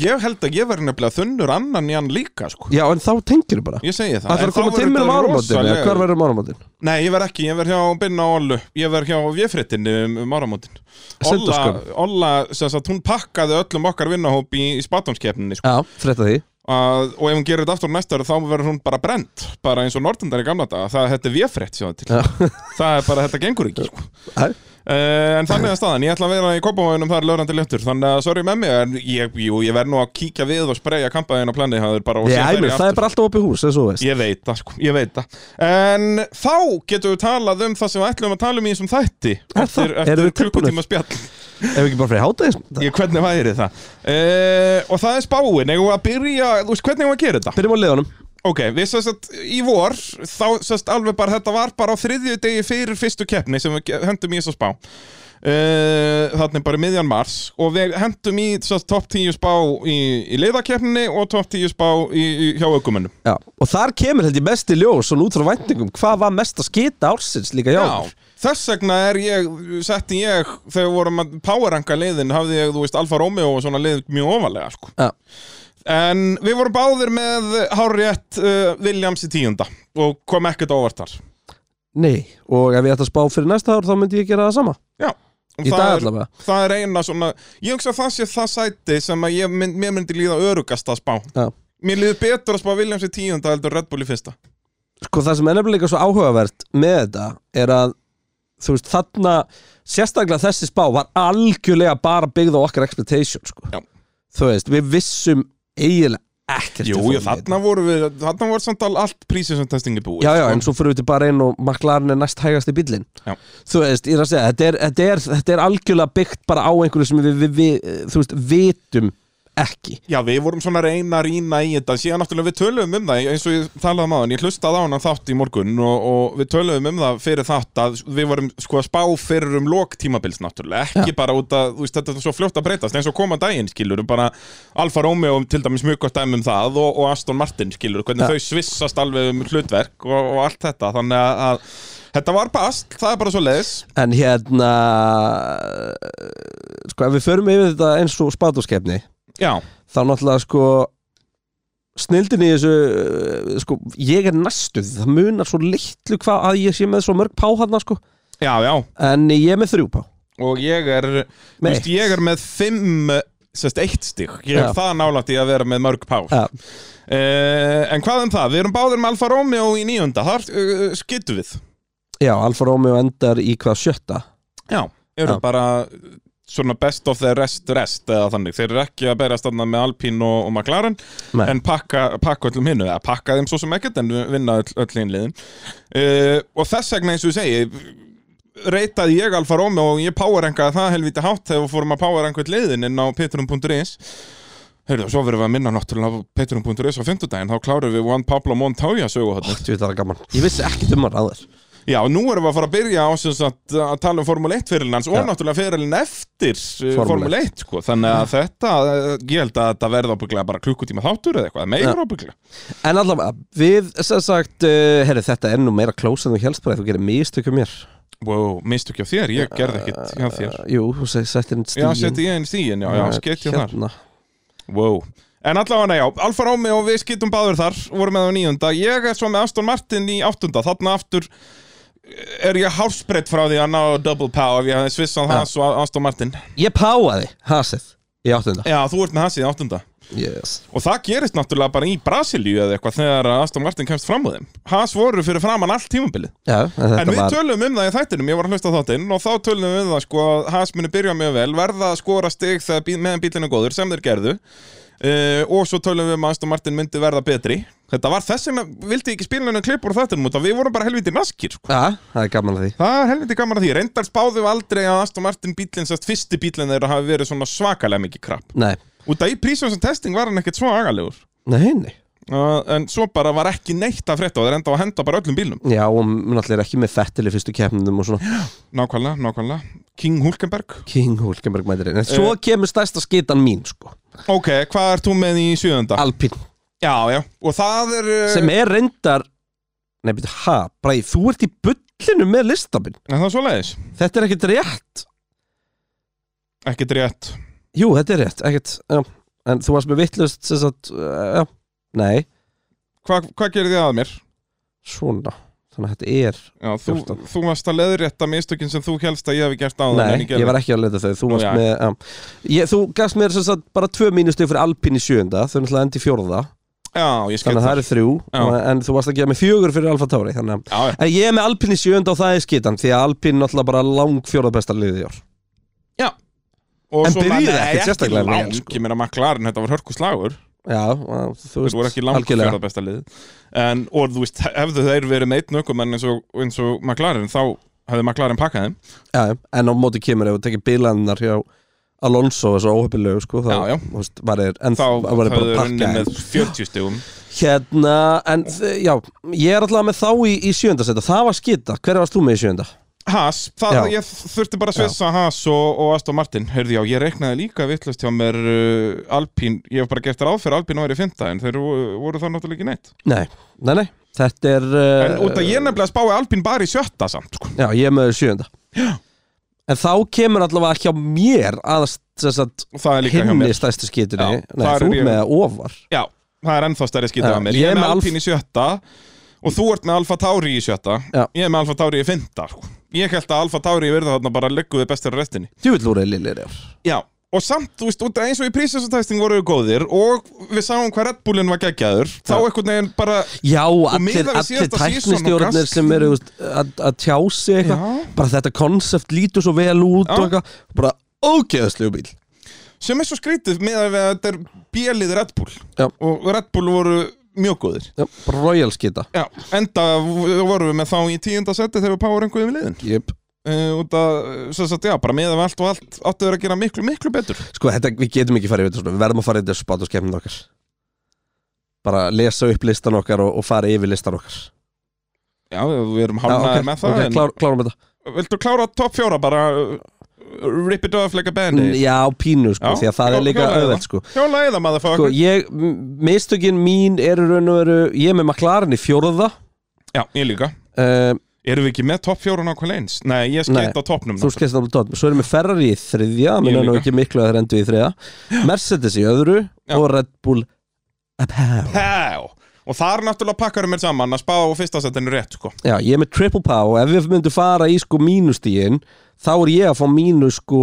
Speaker 3: Ég held að ég verði nefnilega þunnur annan í hann líka, sko
Speaker 2: já en þá tengir við bara
Speaker 3: Ég segi það
Speaker 2: það
Speaker 3: En
Speaker 2: þarf að
Speaker 3: þá
Speaker 2: koma
Speaker 3: verður
Speaker 2: til mér um
Speaker 3: þetta
Speaker 2: áramótin eða
Speaker 3: rosalega-
Speaker 2: hver verður um áramótin
Speaker 3: Nei, ég verð ekki, ég verð hjá Binna og Ollu Ég verð hjá Véfrittin um, um áramótin Olla,
Speaker 2: Sundaskömm.
Speaker 3: Olla sem sagt, hún pakkaði öllum okkar vinnahóp í, í spátumskeppninni sko.
Speaker 2: já, frétta því
Speaker 3: að, og ef hún gerir þetta aftur næsta ári þá verður hún bara brent, bara eins og Nortendar í gamla daga, það þetta er Véfritt sjáðu til
Speaker 2: já.
Speaker 3: (laughs) það er bara, þetta gengur ekki sko.
Speaker 2: Æ,
Speaker 3: Uh, en þannig að staðan, ég ætla að vera í Kópavóinum þar lögrandi leftur, þannig að sorry með mig en ég, jú, ég verð nú að kíkja við og spreja kampaðin á planið hafður bara og
Speaker 2: ég,
Speaker 3: síðan fer
Speaker 2: æmur, það
Speaker 3: ég aftur.
Speaker 2: er bara alltaf opið hús eins og þú veist
Speaker 3: Ég veit það, sko, ég veit það En þá getum við talað um það sem við ætlum að tala um í þessum þætti
Speaker 2: Er það?
Speaker 3: Eftir,
Speaker 2: Erum
Speaker 3: eftir
Speaker 2: við tilbúnir?
Speaker 3: klukkutíma spjall
Speaker 2: ef ekki bara fyrir hátæðis
Speaker 3: ég, Hvernig væri það? Uh, og það er spáin, eigum við að byrja, þú veist, hvernig eigum við að gera þetta?
Speaker 2: byrjum á leðunum
Speaker 3: Ok, við sérst að í vor þá sérst alveg bara þetta var bara á þriðju degi fyrir fyrstu keppni sem við ge- hendum í þessu spá uh, þannig bara í miðjan mars og við hendum í sérst topp 10 spá í, í leiðakeppninni og topp 10 spá í, í, hjá aukumennum
Speaker 2: já. og þar kemur held ég mest í ljós og út frá væntingum hvað var mest að skita ársins líka hjá okkur?
Speaker 3: Þess vegna er ég, setti ég þegar við vorum að powerranka leiðin hafði ég, þú veist, Alfa Romeo og svona leið mjög ofalega, sko
Speaker 2: já.
Speaker 3: En við vorum báðir með Hárétt uh, Williams í tíunda og kom ekkert á óvart þar
Speaker 2: nei, og ef ég ætti að spá fyrir næsta ár þá myndi ég gera það sama
Speaker 3: Já og
Speaker 2: Í
Speaker 3: það
Speaker 2: dag
Speaker 3: er-
Speaker 2: allavega.
Speaker 3: Það er eina svona Ég hugsa að það sé það sæti sem að ég mynd, mér myndi líða örugast að spá
Speaker 2: já
Speaker 3: Mér líður betur að spá Williams í tíunda heldur Red Bull í fyrsta
Speaker 2: sko það sem er nefnilega svo áhugavert með þetta er að þú veist þarna sérstaklega þessi spá var algjörlega bara byggð á okkar expectation sko.
Speaker 3: Já.
Speaker 2: þú veist við vissum eiginlega ekkert um
Speaker 3: Jú,
Speaker 2: við fórum
Speaker 3: ég,
Speaker 2: í
Speaker 3: þarna voru við Þarna voru samt al- allt prísið sem testingi búið sko.
Speaker 2: Já, já, en svo fyrir við til bara einn og McLaren er næst hægast í bílinn
Speaker 3: Já.
Speaker 2: Þú veist, ég er að segja, þetta er, þetta, er, þetta er algjörlega byggt bara á einhverju sem við, við, við þú veist, vitum ekki
Speaker 3: Já, við vorum svona að reyna að rýna í þetta síðan náttúrulega við töluðum um það eins og ég talaði um aðan, ég hlustaði á hann þátt í morgun og, og við töluðum um það fyrir þátt að við vorum sko að spá fyrir um lok tímabils náttúrulega, ekki bara út að þú veist, þetta er svo fljótt að breytast eins og koma daginn skilur bara Alfa Romeo til dæmis mjög gott dæmi um það og, og Aston Martin skilur hvernig
Speaker 2: Já.
Speaker 3: þau svissast alveg um hlutverk og, og allt þetta þannig að, að þetta var bast, það er bara svo leis
Speaker 2: En hérna, sko, ef við förum yfir þetta eins og spátuskefni
Speaker 3: Já,
Speaker 2: þá náttúrulega sko snildin í þessu uh, sko, ég er næstuð, það munar svo litlu hvað að ég sé með svo mörg pá hann sko.
Speaker 3: já, já
Speaker 2: en ég er með þrjú pá
Speaker 3: og ég er þú
Speaker 2: Með
Speaker 3: veist, ég er með fimm sérst eitt stig, ég er
Speaker 2: Já.
Speaker 3: það nálægt í að vera með mörg pár
Speaker 2: Já.
Speaker 3: Eh, en hvað um það, við erum báðir með Alfa Romeo í nýjunda, þar uh, skytum við
Speaker 2: já, Alfa Romeo endar í hvað sjötta
Speaker 3: já, eru
Speaker 2: Já.
Speaker 3: bara eh, svona best of the rest rest eða þannig, þeir eru ekki að berjast þarna með Alpine og, og McLaren
Speaker 2: Nei.
Speaker 3: en pakka, pakka öllum hinnu, eða pakka þeim svo sem ekkert en vinna öll, öll hinliðin uh, og þess vegna eins og ég segi reytaði ég Alfa Romeo og ég powerrankaði það helviti hátt þegar við fórum að powerranka öll liðin inn á petrum.is Heyrðu, svo verðum við að minna náttúrulega á petrum.is á fimmtudaginn, þá klárum við One Pablo Montoya sögu
Speaker 2: Þú veit það er gaman, ég vissi ekkert um hann aður
Speaker 3: Já, nú erum við að fara að byrja á sem sagt, að tala um Formule 1 fyrirlin hans og
Speaker 2: Já.
Speaker 3: náttúrulega fyrirlin eftir Formule,
Speaker 2: Formúlu
Speaker 3: Formule 1, sko. þannig
Speaker 2: Mhm.
Speaker 3: að þetta eh, ég held að þetta verða ábygglega bara klukkutíma þáttur eða eitthvað, meira ábygglega
Speaker 2: En allavega, við sem sagt uh, Herri, þetta er nú meira klósa en þú helst bara Þú gerir mistökum mér
Speaker 3: Wow, mistu ekki á þér, ég gerði ekkit hjá þér
Speaker 2: uh, Jú, þú seg- settir inn
Speaker 3: Já,
Speaker 2: stíin
Speaker 3: seti ég inn stíin, já, já, skeitt hjá þar
Speaker 2: hérna.
Speaker 3: Wow En allavega, já, Alfa Romeo og við skittum báður þar vorum með á nýjunda, ég er svo með Aston Martin í áttunda, þarna aftur eh, er ég hálfsbreytt frá því að ná double power, ég hafði svissað
Speaker 2: Já.
Speaker 3: hans og Aston Martin
Speaker 2: Ég páaði hasið í áttunda
Speaker 3: Já, þú ert með hans í áttunda
Speaker 2: yes.
Speaker 3: Og það gerist náttúrulega bara í Brasilíu eða eitthvað þegar að Aston Martin kemst fram á þeim Haas voru fyrir framann allt tímabilið
Speaker 2: Já, en þetta
Speaker 3: En við
Speaker 2: var
Speaker 3: tölum um það í þættinum, ég var að hlusta á þáttinn og þá tölum við um það sko að Haas muni byrja mjög vel, verða að skora stig þegar bí- meðan bílinn er góður sem þeir gerðu uh, og svo tölum við um að Aston Martin myndi verða betri Þetta var þess vegna, vildi ég ekki spila hennar klippur á þættinum út að við vorum bara helviti naskir sko.
Speaker 2: Já, það er gaman að því
Speaker 3: Það er helviti gaman að því, reyndar spáðum við aldrei að Aston Martin bílinn, sérst fyrsti bílinn þeirra hafi verið svona svakalega mikið krapp
Speaker 2: Nei,
Speaker 3: Út að í prísjónsum testing var hann ekkert svo agalegur
Speaker 2: nei, nei
Speaker 3: Uh, en svo bara var ekki neitt að frétta og þeir enda á að henda bara öllum bílnum
Speaker 2: Já, og hún allir er ekki með fettil í fyrstu keppnum og svona
Speaker 3: Nákvæmlega, nákvæmlega King Hulkenberg
Speaker 2: King Hulkenberg mætir inn En svo
Speaker 3: Eh.
Speaker 2: kemur stærsta skitan mín, sko
Speaker 3: Ok, hvað ert þú með í sjöðunda?
Speaker 2: Alpín
Speaker 3: já, já Og það er uh,
Speaker 2: Sem er reyndar Nei, betur, ha, bræði, þú ert í bullinu með listabinn
Speaker 3: En það er svoleiðis
Speaker 2: Þetta er ekkert rétt
Speaker 3: Ekkert rétt
Speaker 2: Jú, þetta er rétt, ekkert já. En þú varst með vittlust, sem sagt uh, já. Nei,
Speaker 3: Hva, Hvað gerði þið að mér?
Speaker 2: svona Þannig að þetta er
Speaker 3: Já, þú,
Speaker 2: 14.
Speaker 3: þú varst að leiðrétta mistökin sem þú helst að ég hefði gert áður
Speaker 2: Nei, ég var ekki að leta þau Þú,
Speaker 3: Nú,
Speaker 2: varst
Speaker 3: já.
Speaker 2: með, já. ég, þú gafst mér sem sagt, bara tvö mínustug fyrir Alpín í sjönda Þau er náttúrulega endi í fjórða
Speaker 3: Já, ég skil
Speaker 2: Þannig að það
Speaker 3: það
Speaker 2: eru þrjú
Speaker 3: Já.
Speaker 2: og- En þú varst að gefa mig fjögur fyrir Alfa Tauri Þannig að
Speaker 3: Já, já.
Speaker 2: En ég er með Alpín í sjönda og það er skitan Því að Alpín náttúrulega bara lang fjórða besta liðið í ár
Speaker 3: Og
Speaker 2: En
Speaker 3: svo-
Speaker 2: byrjuðu
Speaker 3: Nei,
Speaker 2: ekkert sérstaklega vel,
Speaker 3: langt,
Speaker 2: sko.
Speaker 3: Ég meina maklarinn, þetta var hörkuslagur
Speaker 2: Já, á, þú
Speaker 3: Þetta voru
Speaker 2: veist,
Speaker 3: ekki langt
Speaker 2: algjörlega.
Speaker 3: fjörða besta lið en, Og þú veist, hefðu þeir verið með einn ökum eins og, eins og maklarinn, þá hefði maklarinn pakkað þeim
Speaker 2: Já, já. en á móti kemur ef þú tekir bílanar hjá Alonso þessu óhefilegu sko, þá
Speaker 3: Já, já.
Speaker 2: þú veist, var er, en
Speaker 3: þá
Speaker 2: þá var er
Speaker 3: höfðu
Speaker 2: bara að
Speaker 3: runni
Speaker 2: pakka
Speaker 3: með
Speaker 2: en-
Speaker 3: 40 stegum
Speaker 2: hérna, en þ- já, ég er alltaf með þá í, í sjöndasetta, það var skita hver varst þú með í sjönda?
Speaker 3: Haas, það,
Speaker 2: Já.
Speaker 3: ég þurfti bara að svissa Haas og, og Aston Martin Hörðu já, ég reiknaði líka vittlust hjá mér uh, Alpín, ég hef bara gert ráð fyrir Alpín og er í fynda en þeir voru, voru það náttúrulega ekki neitt
Speaker 2: Nei, nei, nei, þetta er
Speaker 3: En
Speaker 2: uh,
Speaker 3: út að ég nefnilega spái Alpín bara í sjötta samt sko.
Speaker 2: já, ég er með í sjönda en þá kemur allavega hjá mér að þess að
Speaker 3: Og það er líka hjá
Speaker 2: hinni
Speaker 3: mér
Speaker 2: stæstu skitinni
Speaker 3: Já,
Speaker 2: nei,
Speaker 3: þar
Speaker 2: þú
Speaker 3: er
Speaker 2: er
Speaker 3: ég-
Speaker 2: með að ofar
Speaker 3: Já, það er ennþá stærri skýtur
Speaker 2: Já,
Speaker 3: af mér Ég er með Alpín í sjötta og þú ert með Alfa Tauri í sjötta
Speaker 2: Já.
Speaker 3: Ég er með Alfa Tauri í fynda Ég held að Alfa Tauri verða þarna bara legguði bestir að restinni
Speaker 2: djúvillúri lillir já,
Speaker 3: Já, og samt, þú veist, út af eins og í prísinsatæsting voru við góðir og við sáum hvað Red Bullin var geggjaður þá
Speaker 2: Já.
Speaker 3: einhvern veginn bara
Speaker 2: já allir,
Speaker 3: miðað við
Speaker 2: allir
Speaker 3: síðasta season og
Speaker 2: tæknistjórnir
Speaker 3: gask-
Speaker 2: sem eru þú veist, að, að tjá sig eitthvað
Speaker 3: Já.
Speaker 2: bara þetta konsept lítur svo vel út
Speaker 3: Já.
Speaker 2: og eitthvað, bara ógeðaslegu bíl
Speaker 3: sem er svo skrítið með að þetta er bjelið Red Bull
Speaker 2: Já.
Speaker 3: og Red Bull voru mjög góðir
Speaker 2: Já, bara royal skita
Speaker 3: Já, enda voru við með þá í tíunda seti þegar við power enguðum í liðin
Speaker 2: yep.
Speaker 3: uh, út af, sem sagt, já, bara með að allt og allt áttu þeir að gera miklu, miklu betur
Speaker 2: sko þetta, við getum ekki farið í þetta svona, við verðum að fara í þetta spátt og skemmið okkar bara lesa upp listan okkar og, og fara yfir listan okkar já,
Speaker 3: Já, við erum hálfnaðir með það
Speaker 2: ok,
Speaker 3: en
Speaker 2: klár, klárum þetta
Speaker 3: Viltu klára topp fjóra bara uh, rip it off like a band-aid
Speaker 2: já, pínu sko,
Speaker 3: Já,
Speaker 2: því að það
Speaker 3: klá-
Speaker 2: er líka
Speaker 3: kláraðu það.
Speaker 2: auðvelt sko
Speaker 3: Hjóla eða maður
Speaker 2: sko, ég, m- mistökin mín eru raun og veru, ég er með McLaren í fjórða
Speaker 3: Já, ég líka
Speaker 2: uh,
Speaker 3: Erum við ekki með topp fjóra nákvæmlega eins? Nei, ég skeitt
Speaker 2: Nei,
Speaker 3: á toppnum
Speaker 2: þú skilst náttúrulega tótt svo erum við Ferrari í þriðja
Speaker 3: Ég
Speaker 2: minna nú
Speaker 3: líka.
Speaker 2: ekki miklu að þeir endu í þriðja Mercedes í öðru
Speaker 3: Já.
Speaker 2: og Red Bull Apple.
Speaker 3: Há! Og þar náttúrulega pakkar mér saman að spá á fyrsta setinu rétt, sko
Speaker 2: Já, ég er með triple power og ef við myndum fara í sko mínustígin þá er ég að fá mínus sko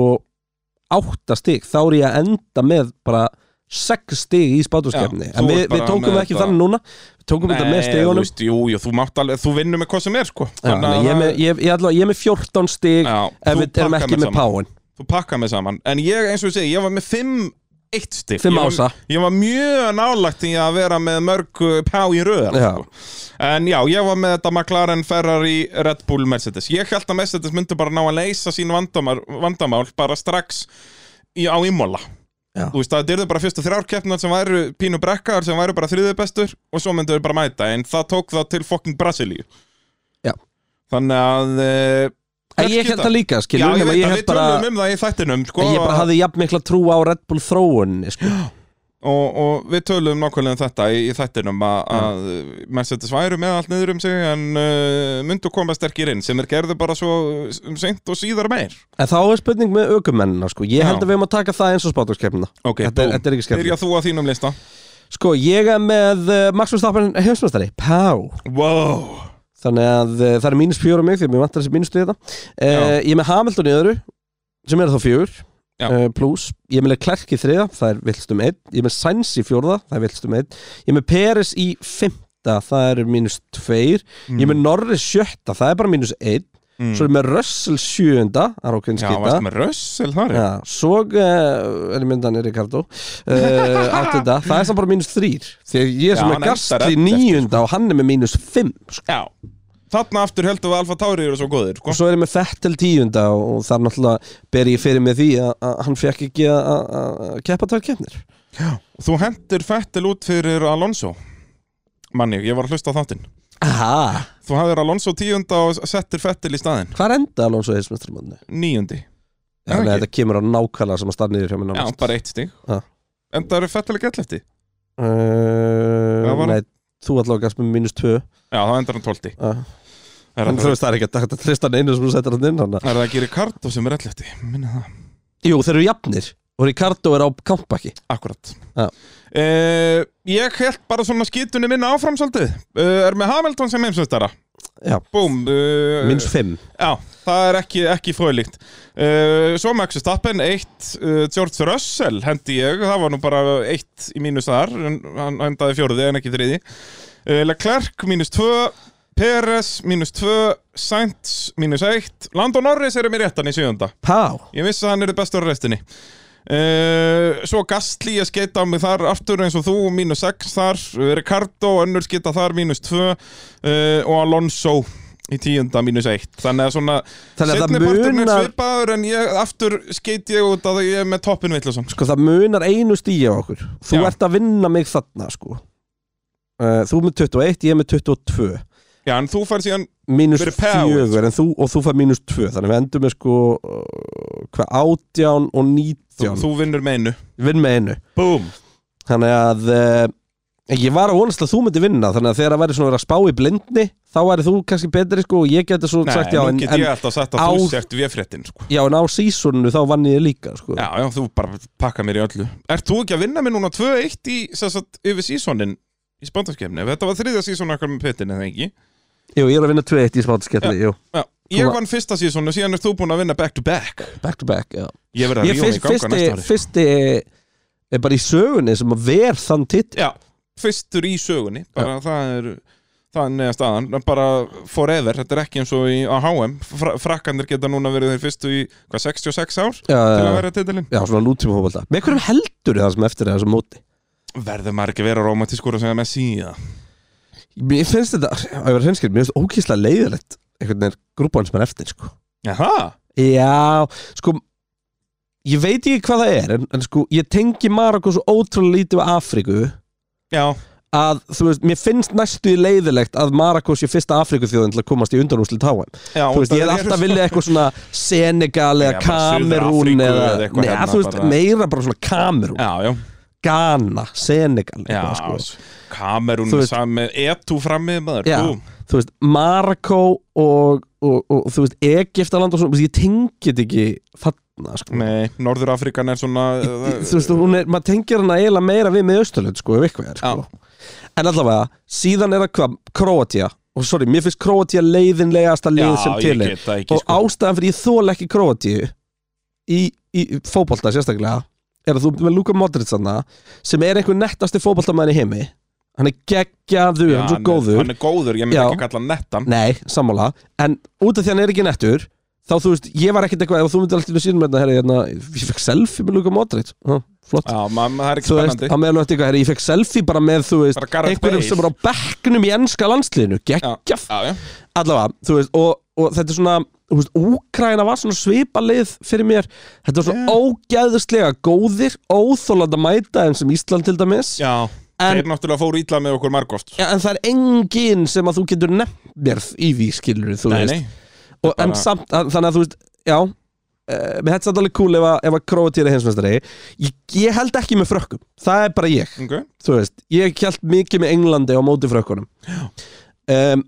Speaker 2: átta stig, þá er ég að enda með bara sex stig í spátuskefni
Speaker 3: Já, þú
Speaker 2: en við,
Speaker 3: ert bara
Speaker 2: við tókum
Speaker 3: með
Speaker 2: ekki
Speaker 3: þetta-
Speaker 2: þannig núna við tókum þetta með
Speaker 3: Eh, þú
Speaker 2: stigunum Já,
Speaker 3: veist, jú, jú, þú mátt alveg, þú vinnur með hvað sem er, sko
Speaker 2: þannig að ég, er með, ég, ég, ætla, ég er með 14 stig
Speaker 3: Já,
Speaker 2: ef
Speaker 3: þú
Speaker 2: við erum
Speaker 3: pakkar
Speaker 2: ekki
Speaker 3: mér
Speaker 2: með
Speaker 3: saman.
Speaker 2: powerin
Speaker 3: Þú pakkar mér saman En ég, eins og ég segi, ég var með fimm eitt stig
Speaker 2: Fimm
Speaker 3: Ég var-
Speaker 2: ása.
Speaker 3: Ég var mjög nálagt í að vera með mörg uh, pá í röðar,
Speaker 2: Já.
Speaker 3: sko En já, ég var með þetta McLaren, Ferrari, Red Bull, Mercedes Ég held að Mercedes myndi bara ná að leysa sín vandamál, vandamál bara strax í, á Imola
Speaker 2: Já.
Speaker 3: Þú veist, það yrðu bara fyrstu þrjár keppnar sem væru pínu brekkaðar sem væru bara þriðið bestur og svo myndu þau bara mæta, en það tók það til fokking Brasilíu
Speaker 2: Já.
Speaker 3: þannig að eh,
Speaker 2: En
Speaker 3: kannski
Speaker 2: ég held
Speaker 3: það-
Speaker 2: það líka,
Speaker 3: Já,
Speaker 2: skilur
Speaker 3: ég
Speaker 2: nema ég
Speaker 3: veit að
Speaker 2: held
Speaker 3: við
Speaker 2: bara,
Speaker 3: tölum um það í þættinum sko,
Speaker 2: ég bara hafði jafn mikla trú á Red Bull þróuninni sko.
Speaker 3: og, og við tölum nákvæmlega um þetta í, í þættinum að, að Mercedes væru með allt niður um sig en uh, myndu koma sterkir inn sem er gerðu bara svo um seint og síðar meir
Speaker 2: En þá er spurning með aukumennina sko. Ég held
Speaker 3: Já.
Speaker 2: að við erum að taka það eins og spátumskeppnina
Speaker 3: Ok,
Speaker 2: þetta, er-
Speaker 3: búm.
Speaker 2: þetta er ekki skemmt
Speaker 3: Byrja þú á þínum lista
Speaker 2: Sko, ég er með uh, Max Verstappen heimsmestari Pá
Speaker 3: Wow
Speaker 2: Þannig að uh, það er mínus fjóra mig því að mér vantar þessi mínus til þetta uh,
Speaker 3: Já.
Speaker 2: Ég er með Hamilton í öðru sem er þá fjögur
Speaker 3: Já.
Speaker 2: uh, plus, ég er með Klerk í þriða það er vilstum einn, ég er með Sainz í fjórða það er vilstum einn, ég er með Peres í fymta, það er mínus tveir ég er með Norris sjötta, það er bara mínus einn,
Speaker 3: mm.
Speaker 2: svo er ég með Russell sjöunda, það er okkur en
Speaker 3: Já,
Speaker 2: skita
Speaker 3: varstu með Russell þar
Speaker 2: Já, svo uh, er myndan er Ricardo uh, áttunda,
Speaker 3: (laughs)
Speaker 2: það er samt bara mínus þrýr því að ég er sem
Speaker 3: Já, hann
Speaker 2: með
Speaker 3: endar
Speaker 2: Garstli
Speaker 3: eftir, sko.
Speaker 2: níunda og hann er með mínus fimm sko.
Speaker 3: Já Þarna aftur heldur við að Alfa Tauri eru svo góðir sko.
Speaker 2: og svo er ég með Fettel tíunda og, og þar náttúrulega ber ég fyrir með því að, að hann fekk ekki að- að að keppa tvær keppnir
Speaker 3: Þú hendur Fettel út fyrir Alonso Manni, ég var að hlusta á þáttinn
Speaker 2: Aha,
Speaker 3: Þú hafðir Alonso tíunda og settir Fettel í staðinn
Speaker 2: hvað er enda Alonso heilsmestramannu?
Speaker 3: Níundi Já,
Speaker 2: Þannig að
Speaker 3: ekki.
Speaker 2: þetta kemur á nákvæmlega sem að starf niður hjá mér
Speaker 3: Já,
Speaker 2: nánast
Speaker 3: bara eitt stig
Speaker 2: Já.
Speaker 3: En það eru Fettel ekki ellefti Já,
Speaker 2: uh, Eh,
Speaker 3: bara-
Speaker 2: Nei, þú allavega gafst með mínus tvö
Speaker 3: Já, þá endar hann tólti
Speaker 2: uh,
Speaker 3: Er
Speaker 2: En
Speaker 3: það,
Speaker 2: þú veist það er ekki að þetta tristan einu sem þú setjar hann inn hann
Speaker 3: er það ekki Ricardo sem er ellefti? Minna það
Speaker 2: Jú, þeir eru jafnir og Ricardo er á kampbaki
Speaker 3: Akkurat
Speaker 2: Já.
Speaker 3: Eh, Ég held bara svona skýtunni minna áfram svolítið uh, Er með Hamilton sem heimsveistara
Speaker 2: Já,
Speaker 3: Búm uh,
Speaker 2: mínus fimm
Speaker 3: Já, það er ekki, ekki fröðlíkt uh, Svo Max Verstappen, eitt uh, George Russell hendi ég Það var nú bara eitt í mínus þar en Hann hendaði fjóruði en ekki þriði uh, Leclerc, mínus tvö Peres, mínus tvö Sainz, mínus eitt Landon Norris erum í réttan í sjöunda
Speaker 2: Pá
Speaker 3: Ég vissi að hann er bestur á restinni uh, Svo Gastli ég skeita á mig þar aftur eins og þú, mínus 6 þar uh, Ricardo, önnur skeita þar, mínus 2 uh, Og Alonso í tíunda, mínus 1 Þannig að svona
Speaker 2: Þannig að það
Speaker 3: seinni parturinn er
Speaker 2: munar-
Speaker 3: svipaður En ég, aftur skeit ég út að ég er með toppin vitlusam
Speaker 2: Sko það munar einu stíi á okkur Þú
Speaker 3: Já.
Speaker 2: ert að vinna mig þarna sko uh, Þú með 21, ég með 22
Speaker 3: Já, en þú fær síðan
Speaker 2: Mínus
Speaker 3: Fyrir power,
Speaker 2: fjögur en þú, og þú fær mínus 2 Þannig við endum með sko uh, Hvað átján og
Speaker 3: Þú,
Speaker 2: nítján
Speaker 3: þú vinnur með einu
Speaker 2: Vinn með einu
Speaker 3: Búm
Speaker 2: Þannig að uh, ég var að vonast að þú myndi vinna Þannig að þegar það væri svona að vera að spá í blindni Þá væri þú kannski betri sko og Ég geti svo
Speaker 3: Nei,
Speaker 2: sagt já
Speaker 3: nú
Speaker 2: en,
Speaker 3: get
Speaker 2: en,
Speaker 3: ég alltaf sagt að þú
Speaker 2: á-
Speaker 3: sért véfréttin sko.
Speaker 2: Já en á sísoninu þá vann ég líka sko
Speaker 3: Já, já, þú bara pakka mér í öllu Ert þú ekki að vinna mér núna 2-1 í sem sagt, yfir sísonin í spándarskefni Þetta var þriðja síson okkar með pittin eða ekki
Speaker 2: Jú, ég er að vinna 2-1 í smátaskeppni, jú
Speaker 3: já, Ég
Speaker 2: Þú-
Speaker 3: vann fyrsta síson og síðan ert þú búin að vinna back to back
Speaker 2: Back to back, já
Speaker 3: Ég verði að
Speaker 2: Ég
Speaker 3: rífa
Speaker 2: fyrst,
Speaker 3: mig í
Speaker 2: fyrsti,
Speaker 3: ganga næsta ári sko.
Speaker 2: fyrsti er bara í sögunni sem að ver þann titt
Speaker 3: Já, fyrstur í sögunni bara það er þannig að staðan bara forever, þetta er ekki eins og í á HM, Fra frakkandir geta núna verið þeir fyrstu í, hvað, 66 ár
Speaker 2: Já,
Speaker 3: til að
Speaker 2: já,
Speaker 3: vera titilin
Speaker 2: já, svona nútíma hófalda Með hverjum heldur það sem eftir er þessum móti?
Speaker 3: Verður maður ekki að vera romantískur að segja Messi í það
Speaker 2: Mér finnst þetta, að ég var hreinskir, mér finnst ókýrslega leiðilegt einhvern veginn grúpan sem er eftir, sko
Speaker 3: Jaha,
Speaker 2: Já, sko Ég veit ekki hvað það er, en, en sko ég tengi Marokko svo ótrúlega lítið við Afríku
Speaker 3: já,
Speaker 2: að, þú veist, mér finnst næstu í leiðilegt að Marokko sé fyrsta Afríku þjóðin til að komast í undanúsli táa
Speaker 3: já
Speaker 2: þú veist, ég
Speaker 3: það
Speaker 2: hef
Speaker 3: eru
Speaker 2: alltaf
Speaker 3: svo-
Speaker 2: viljað eitthvað svona Senegal
Speaker 3: Já,
Speaker 2: eða
Speaker 3: bara
Speaker 2: Kamerún
Speaker 3: Suður-Afríku
Speaker 2: eða,
Speaker 3: eða eitthvað
Speaker 2: neða,
Speaker 3: hérna
Speaker 2: þú veist,
Speaker 3: bara.
Speaker 2: meira bara svona Kamerún,
Speaker 3: Já, já,
Speaker 2: Ghana, Senegal
Speaker 3: Já,
Speaker 2: eitthvað, sko.
Speaker 3: Kamerún
Speaker 2: Þú
Speaker 3: veist,
Speaker 2: veist-
Speaker 3: sami, etú framið maður
Speaker 2: Já.
Speaker 3: búm.
Speaker 2: þú veist, Marokko og, og, og þú veist, Egiptaland og svona, þú veist, ég tengi þetta ekki þarna, sko
Speaker 3: Nei, Norður Afrikan er svona uh,
Speaker 2: þú veist, hún er, maður tengir hana eiginlega meira við með Östurlönd, sko, ef eitthvað er, sko en allavega, síðan er það hvað Kroatia, og sorry, mér finnst Kroatia leiðinlegasta lið sem til er
Speaker 3: ég get það ekki sko.
Speaker 2: og ástæðan fyrir ég þóla ekki Kroatíu í, í fótbolta sérstaklega er að þú ert með Luka Modric þarna sem er einhver nettasti fótboltamæðin í heimi hann er geggjaður, hann er svo góður
Speaker 3: Hann er góður, ég myndi
Speaker 2: Já.
Speaker 3: ekki kalla hann nettan
Speaker 2: nei, sammála, en út af því hann er ekki nettur þá þú veist, ég var ekkert eitthvað ef þú myndir alltaf síðan með þetta, herri, hérna, ég fekk selfie með Luka Modric, Há, flott
Speaker 3: Já, man, það er ekki
Speaker 2: þú veist,
Speaker 3: spennandi
Speaker 2: á meðan þú ert eitthvað, herri, ég fekk selfie bara með, þú veist,
Speaker 3: Bara Gareth
Speaker 2: einhverjum
Speaker 3: Bale.
Speaker 2: sem er á bekknum í ennska landsliðinu, geggjaf
Speaker 3: Já, já,
Speaker 2: allavega, þú veist, og, og þetta er svona þú veist, Úkraina var svona svipalið fyrir mér, þetta var svona ógæðuslega góðir, óþólanda mæta en sem Ísland til dæmis,
Speaker 3: já
Speaker 2: en,
Speaker 3: Þeir náttúrulega fóru ítla með okkur margóft
Speaker 2: ja, en það er engin sem að þú getur nefnt mér í því skilur þú
Speaker 3: Nei,
Speaker 2: veist
Speaker 3: nei,
Speaker 2: og, en
Speaker 3: bara-
Speaker 2: samt, að- þannig að þú veist, já uh, mér hætti samt alveg cool ef að, ef að Kroatíra hinsmestari ég, ég held ekki með frökkum það er bara ég,
Speaker 3: ok
Speaker 2: þú veist ég held mikið með Englandi á móti frökkunum um,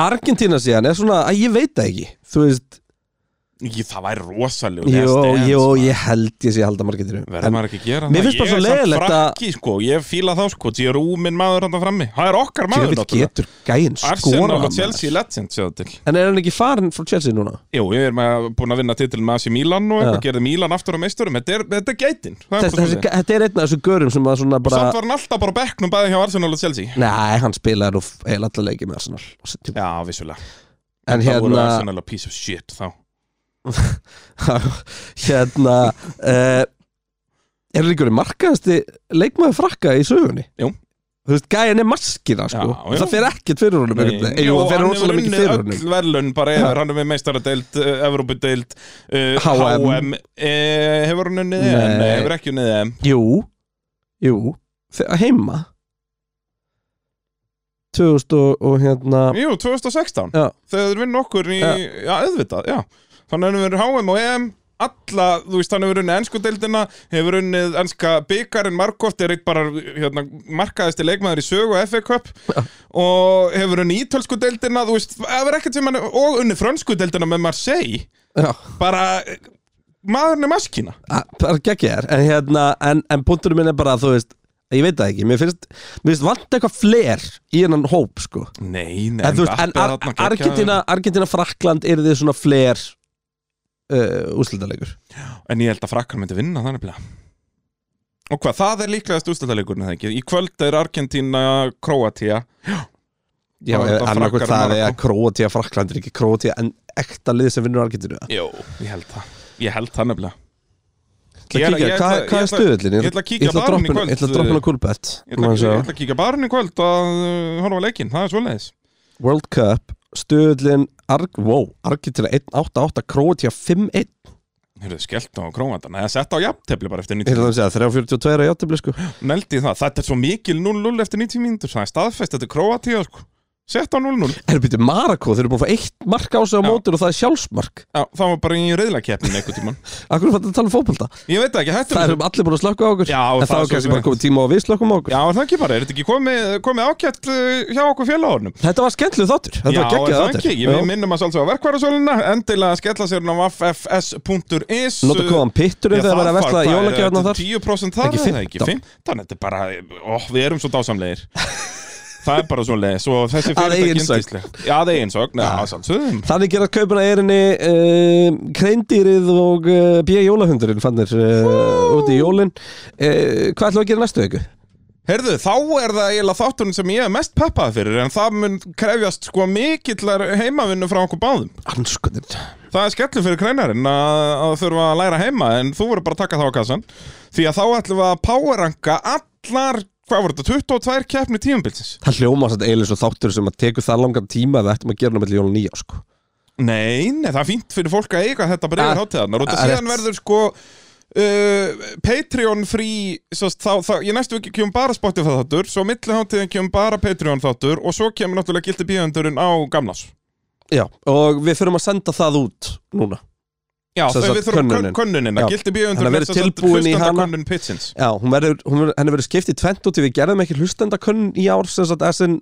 Speaker 2: Argentina síðan er svona að ég veit það ekki, þú veist
Speaker 3: Í, Það væri rosalega
Speaker 2: jú, jú, ég held ég sé að halda margættir
Speaker 3: sko. Verður maður ekki að gera
Speaker 2: Mér
Speaker 3: það?
Speaker 2: finnst bara
Speaker 3: Ég
Speaker 2: svo
Speaker 3: er samt
Speaker 2: leiðilegt að-
Speaker 3: frakki, sko, Ég fíla þá sko, ég er rúminn maður hann frammi Það er okkar maður
Speaker 2: Djöfull
Speaker 3: náttúrulega.
Speaker 2: getur gæinn skora
Speaker 3: Arsenal og
Speaker 2: maður.
Speaker 3: Chelsea legend sjáðu til
Speaker 2: En er hann ekki farin frá Chelsea núna?
Speaker 3: Jú, við erum að búin að vinna titil með Asi Milan og eitthvað,
Speaker 2: Já.
Speaker 3: gerði Milan aftur á meisturum Þetta er, þetta er gætin Það
Speaker 2: Þess,
Speaker 3: er bara
Speaker 2: þessi,
Speaker 3: svoleiðis.
Speaker 2: þetta er einn af þessu görum sem að svona
Speaker 3: Og
Speaker 2: bara
Speaker 3: Samt var hann alltaf bara á bekknum bæði hjá Arsenal og Chelsea
Speaker 2: Nei, hann spilaði nú heil allar leiki með Arsenal á sinn tíma.
Speaker 3: Já, vissulega
Speaker 2: En
Speaker 3: Það voru
Speaker 2: hérna,
Speaker 3: Arsenal a piece of shit þá
Speaker 2: hérna uh, Er hann einhverju markaðasti leikmaður frakka í sögunni?
Speaker 3: Jú.
Speaker 2: Þú veist, gæin er maskina sko
Speaker 3: Já, já.
Speaker 2: Það fer ekkert fyrir honum einhvern veginn. Jú,
Speaker 3: Jú,
Speaker 2: það fer
Speaker 3: hann
Speaker 2: rosalega
Speaker 3: hefur
Speaker 2: mikið
Speaker 3: unnið
Speaker 2: fyrir honum
Speaker 3: öll verðlun bara
Speaker 2: Já.
Speaker 3: yfir, hann er með meistaradeild, uh, Evrópudeild, uh,
Speaker 2: HM.
Speaker 3: HM, eh, hefur hann unnið EM?
Speaker 2: Nei.
Speaker 3: Nei, hefur ekki unnið EM
Speaker 2: Jú, jú Þegar heima 2000 og, og hérna
Speaker 3: Jú, 2016
Speaker 2: Já.
Speaker 3: Þegar þeir vinna okkur í,
Speaker 2: Já.
Speaker 3: já, auðvitað, já Þannig að hann hefur HM og EM Alla, þú veist, hann hefur unnið ennsku deildina Hefur unnið ennska byggarinn Markoft er eitt bara, hérna, markaðasti leikmaður í sögu og FA Cup Og hefur unnið ítölsku deildina Þú veist, hefur ekkert sem hann Og unnið frönsku deildina með Marseille
Speaker 2: Já
Speaker 3: Bara, eh, maðurinn er maskina
Speaker 2: Ah, bara geggjaðar en, hérna, en, en punkturinn minn er bara að þú veist ég veit það ekki, mér finnst, mér finnst vant eitthvað fler í hennan hóp sko
Speaker 3: Nei, nei,
Speaker 2: en þú veist, en Ar Argentina, Argentina Frakland er þið svona fler uh, úslitalegur
Speaker 3: En ég held að frakkar myndi vinna þannig bila Og hvað, það er líklegast úrstættalegurinn það ekki Í kvöld er Argentina Kroatia
Speaker 2: Já,
Speaker 3: Bara þetta
Speaker 2: annarkvæmt
Speaker 3: Frakkar
Speaker 2: það er að
Speaker 3: Marokkó.
Speaker 2: Króatia, Frakland er ekki Króatia en ekta lið sem vinnur Argentínu Það
Speaker 3: Jó, ég held það Ég held það nefnilega
Speaker 2: kíkja,
Speaker 3: Ég- ég-
Speaker 2: Hvað
Speaker 3: ég-
Speaker 2: hvað er
Speaker 3: ég-
Speaker 2: stuðullin?
Speaker 3: Ég ætla að kíkja á barinn í kvöld
Speaker 2: Ég ætla að droppa hana kulbett
Speaker 3: Ég ætla- ég ætla að kíkja á barinn í kvöld að uh, horfa á leikinn, það er svoleiðis
Speaker 2: World Cup, stuðullin Arg, wow, Argentina 1-8-8 Króatia 5-1
Speaker 3: Hefur þið skellt á krómatana eða sett á jafntefli bara eftir
Speaker 2: Ég
Speaker 3: 90
Speaker 2: ætla að segja 3-42 er að játtabli sko
Speaker 3: Neldi það, þetta er svo mikil 0-0 eftir 90 mínútur Það er staðfest, þetta er Króatia sko Sett á 0-0
Speaker 2: Herru býttu Marakó, þeir eru búin að fá eitt mark á sig á
Speaker 3: Já.
Speaker 2: mótur og það er sjálfsmark
Speaker 3: Já, það var bara í reyðlakeppnin einhvern tíman
Speaker 2: Akkur fannst að tala um fótbolta
Speaker 3: Ég veit það ekki, hættum
Speaker 2: Það erum allir búin að slökka á okkur
Speaker 3: Já,
Speaker 2: En
Speaker 3: það
Speaker 2: það
Speaker 3: er
Speaker 2: var
Speaker 3: svo
Speaker 2: kannski bara
Speaker 3: glænt.
Speaker 2: komið tíma á að við slökkum á okkur
Speaker 3: Já, er það ekki bara, er þetta ekki komið, komið ágætt uh, hjá okkur félagunum?
Speaker 2: Þetta var skemmtlið þáttur Þetta
Speaker 3: Já,
Speaker 2: var
Speaker 3: er
Speaker 2: geggjað
Speaker 3: það
Speaker 2: þáttur
Speaker 3: ekki? Ég við minnum að sjálfsög á verkvarasöluna, endilega skella sér hún á ffs.is
Speaker 2: Nota kóðan pitturinn þegar verið að vesla jólagjafna
Speaker 3: það
Speaker 2: þar
Speaker 3: er 10% þar,
Speaker 2: Ekki
Speaker 3: er það ekki
Speaker 2: 15?
Speaker 3: 15, þetta er bara, ó, við erum svo
Speaker 2: (laughs)
Speaker 3: dásamlegir Það er bara svo leið, svo þessi
Speaker 2: Að eigin
Speaker 3: fyrirtæki
Speaker 2: sögn.
Speaker 3: yndisleg. Já, það er einsögn, já, sjálfsögum
Speaker 2: Þannig gerað kaupuna erinni uh, Kreindýrið og uh, B.A. Jólahundurinn fannir uh, úti í jólin uh, Hvað ætlum við að gera næstu viku?
Speaker 3: Herðu, þá er það eiginlega þátturinn sem ég er mest peppað fyrir, en það mun krefjast sko mikillar heimavinnu frá okkur báðum.
Speaker 2: Anskunin
Speaker 3: Það er skellur fyrir kreinarinn að, að þurfa að læra heima en þú verður bara að taka þá á kassan því að þá ætlum við að powerranka allar, hvað voru þetta, 22 keppni tímabilsins?
Speaker 2: Það hljóma satt eiginlega svo þáttur sem að teku það langan tíma að við ættum að gera náttúrulega jólun nýja sko.
Speaker 3: Nei, nei, það er fínt fyrir fólk að eiga þetta bara yfir
Speaker 2: Ah,
Speaker 3: hátíðarnar og
Speaker 2: ah,
Speaker 3: þetta síðan
Speaker 2: rétt.
Speaker 3: verður sko uh, Patreon frí svo, þá, þá, ég næstu ekki kemum bara Spotify þáttur svo milli hátíðan kemum bara Patreon þáttur og svo kemur náttúrulega gildi bíðandurinn á gamlas
Speaker 2: Já, og við þurfum að senda það út núna
Speaker 3: Já,
Speaker 2: Sem
Speaker 3: þegar
Speaker 2: sagt,
Speaker 3: við þurfum
Speaker 2: könnunin.
Speaker 3: könnunin, könnunina,
Speaker 2: Já.
Speaker 3: gildi
Speaker 2: Þannig að
Speaker 3: bíðandurinn
Speaker 2: verið tilbúin í hana.
Speaker 3: könnun pitsins
Speaker 2: Já, hún verður, hún verður, henni verður skipt í tvent út því við gerðum ekki hlustendakönn í ár sem sagt að sem,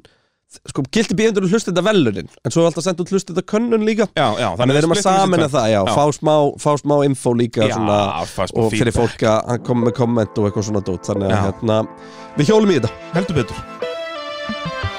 Speaker 2: sko, gildi bíðendur hlustendavellunin, en svo er alltaf sendt út hlustendakönnun líka,
Speaker 3: Já, já,
Speaker 2: þannig við erum að
Speaker 3: splittum þessu í
Speaker 2: samina
Speaker 3: tvennt.
Speaker 2: það, já,
Speaker 3: Já.
Speaker 2: fá smá, fá smá info líka
Speaker 3: Já,
Speaker 2: svona,
Speaker 3: fá smá
Speaker 2: og fyrir
Speaker 3: feedback.
Speaker 2: fólk að hann kom með komment og eitthvað svona dót, þannig að
Speaker 3: Já.
Speaker 2: hérna, við hjólum í þetta
Speaker 3: Heldur betur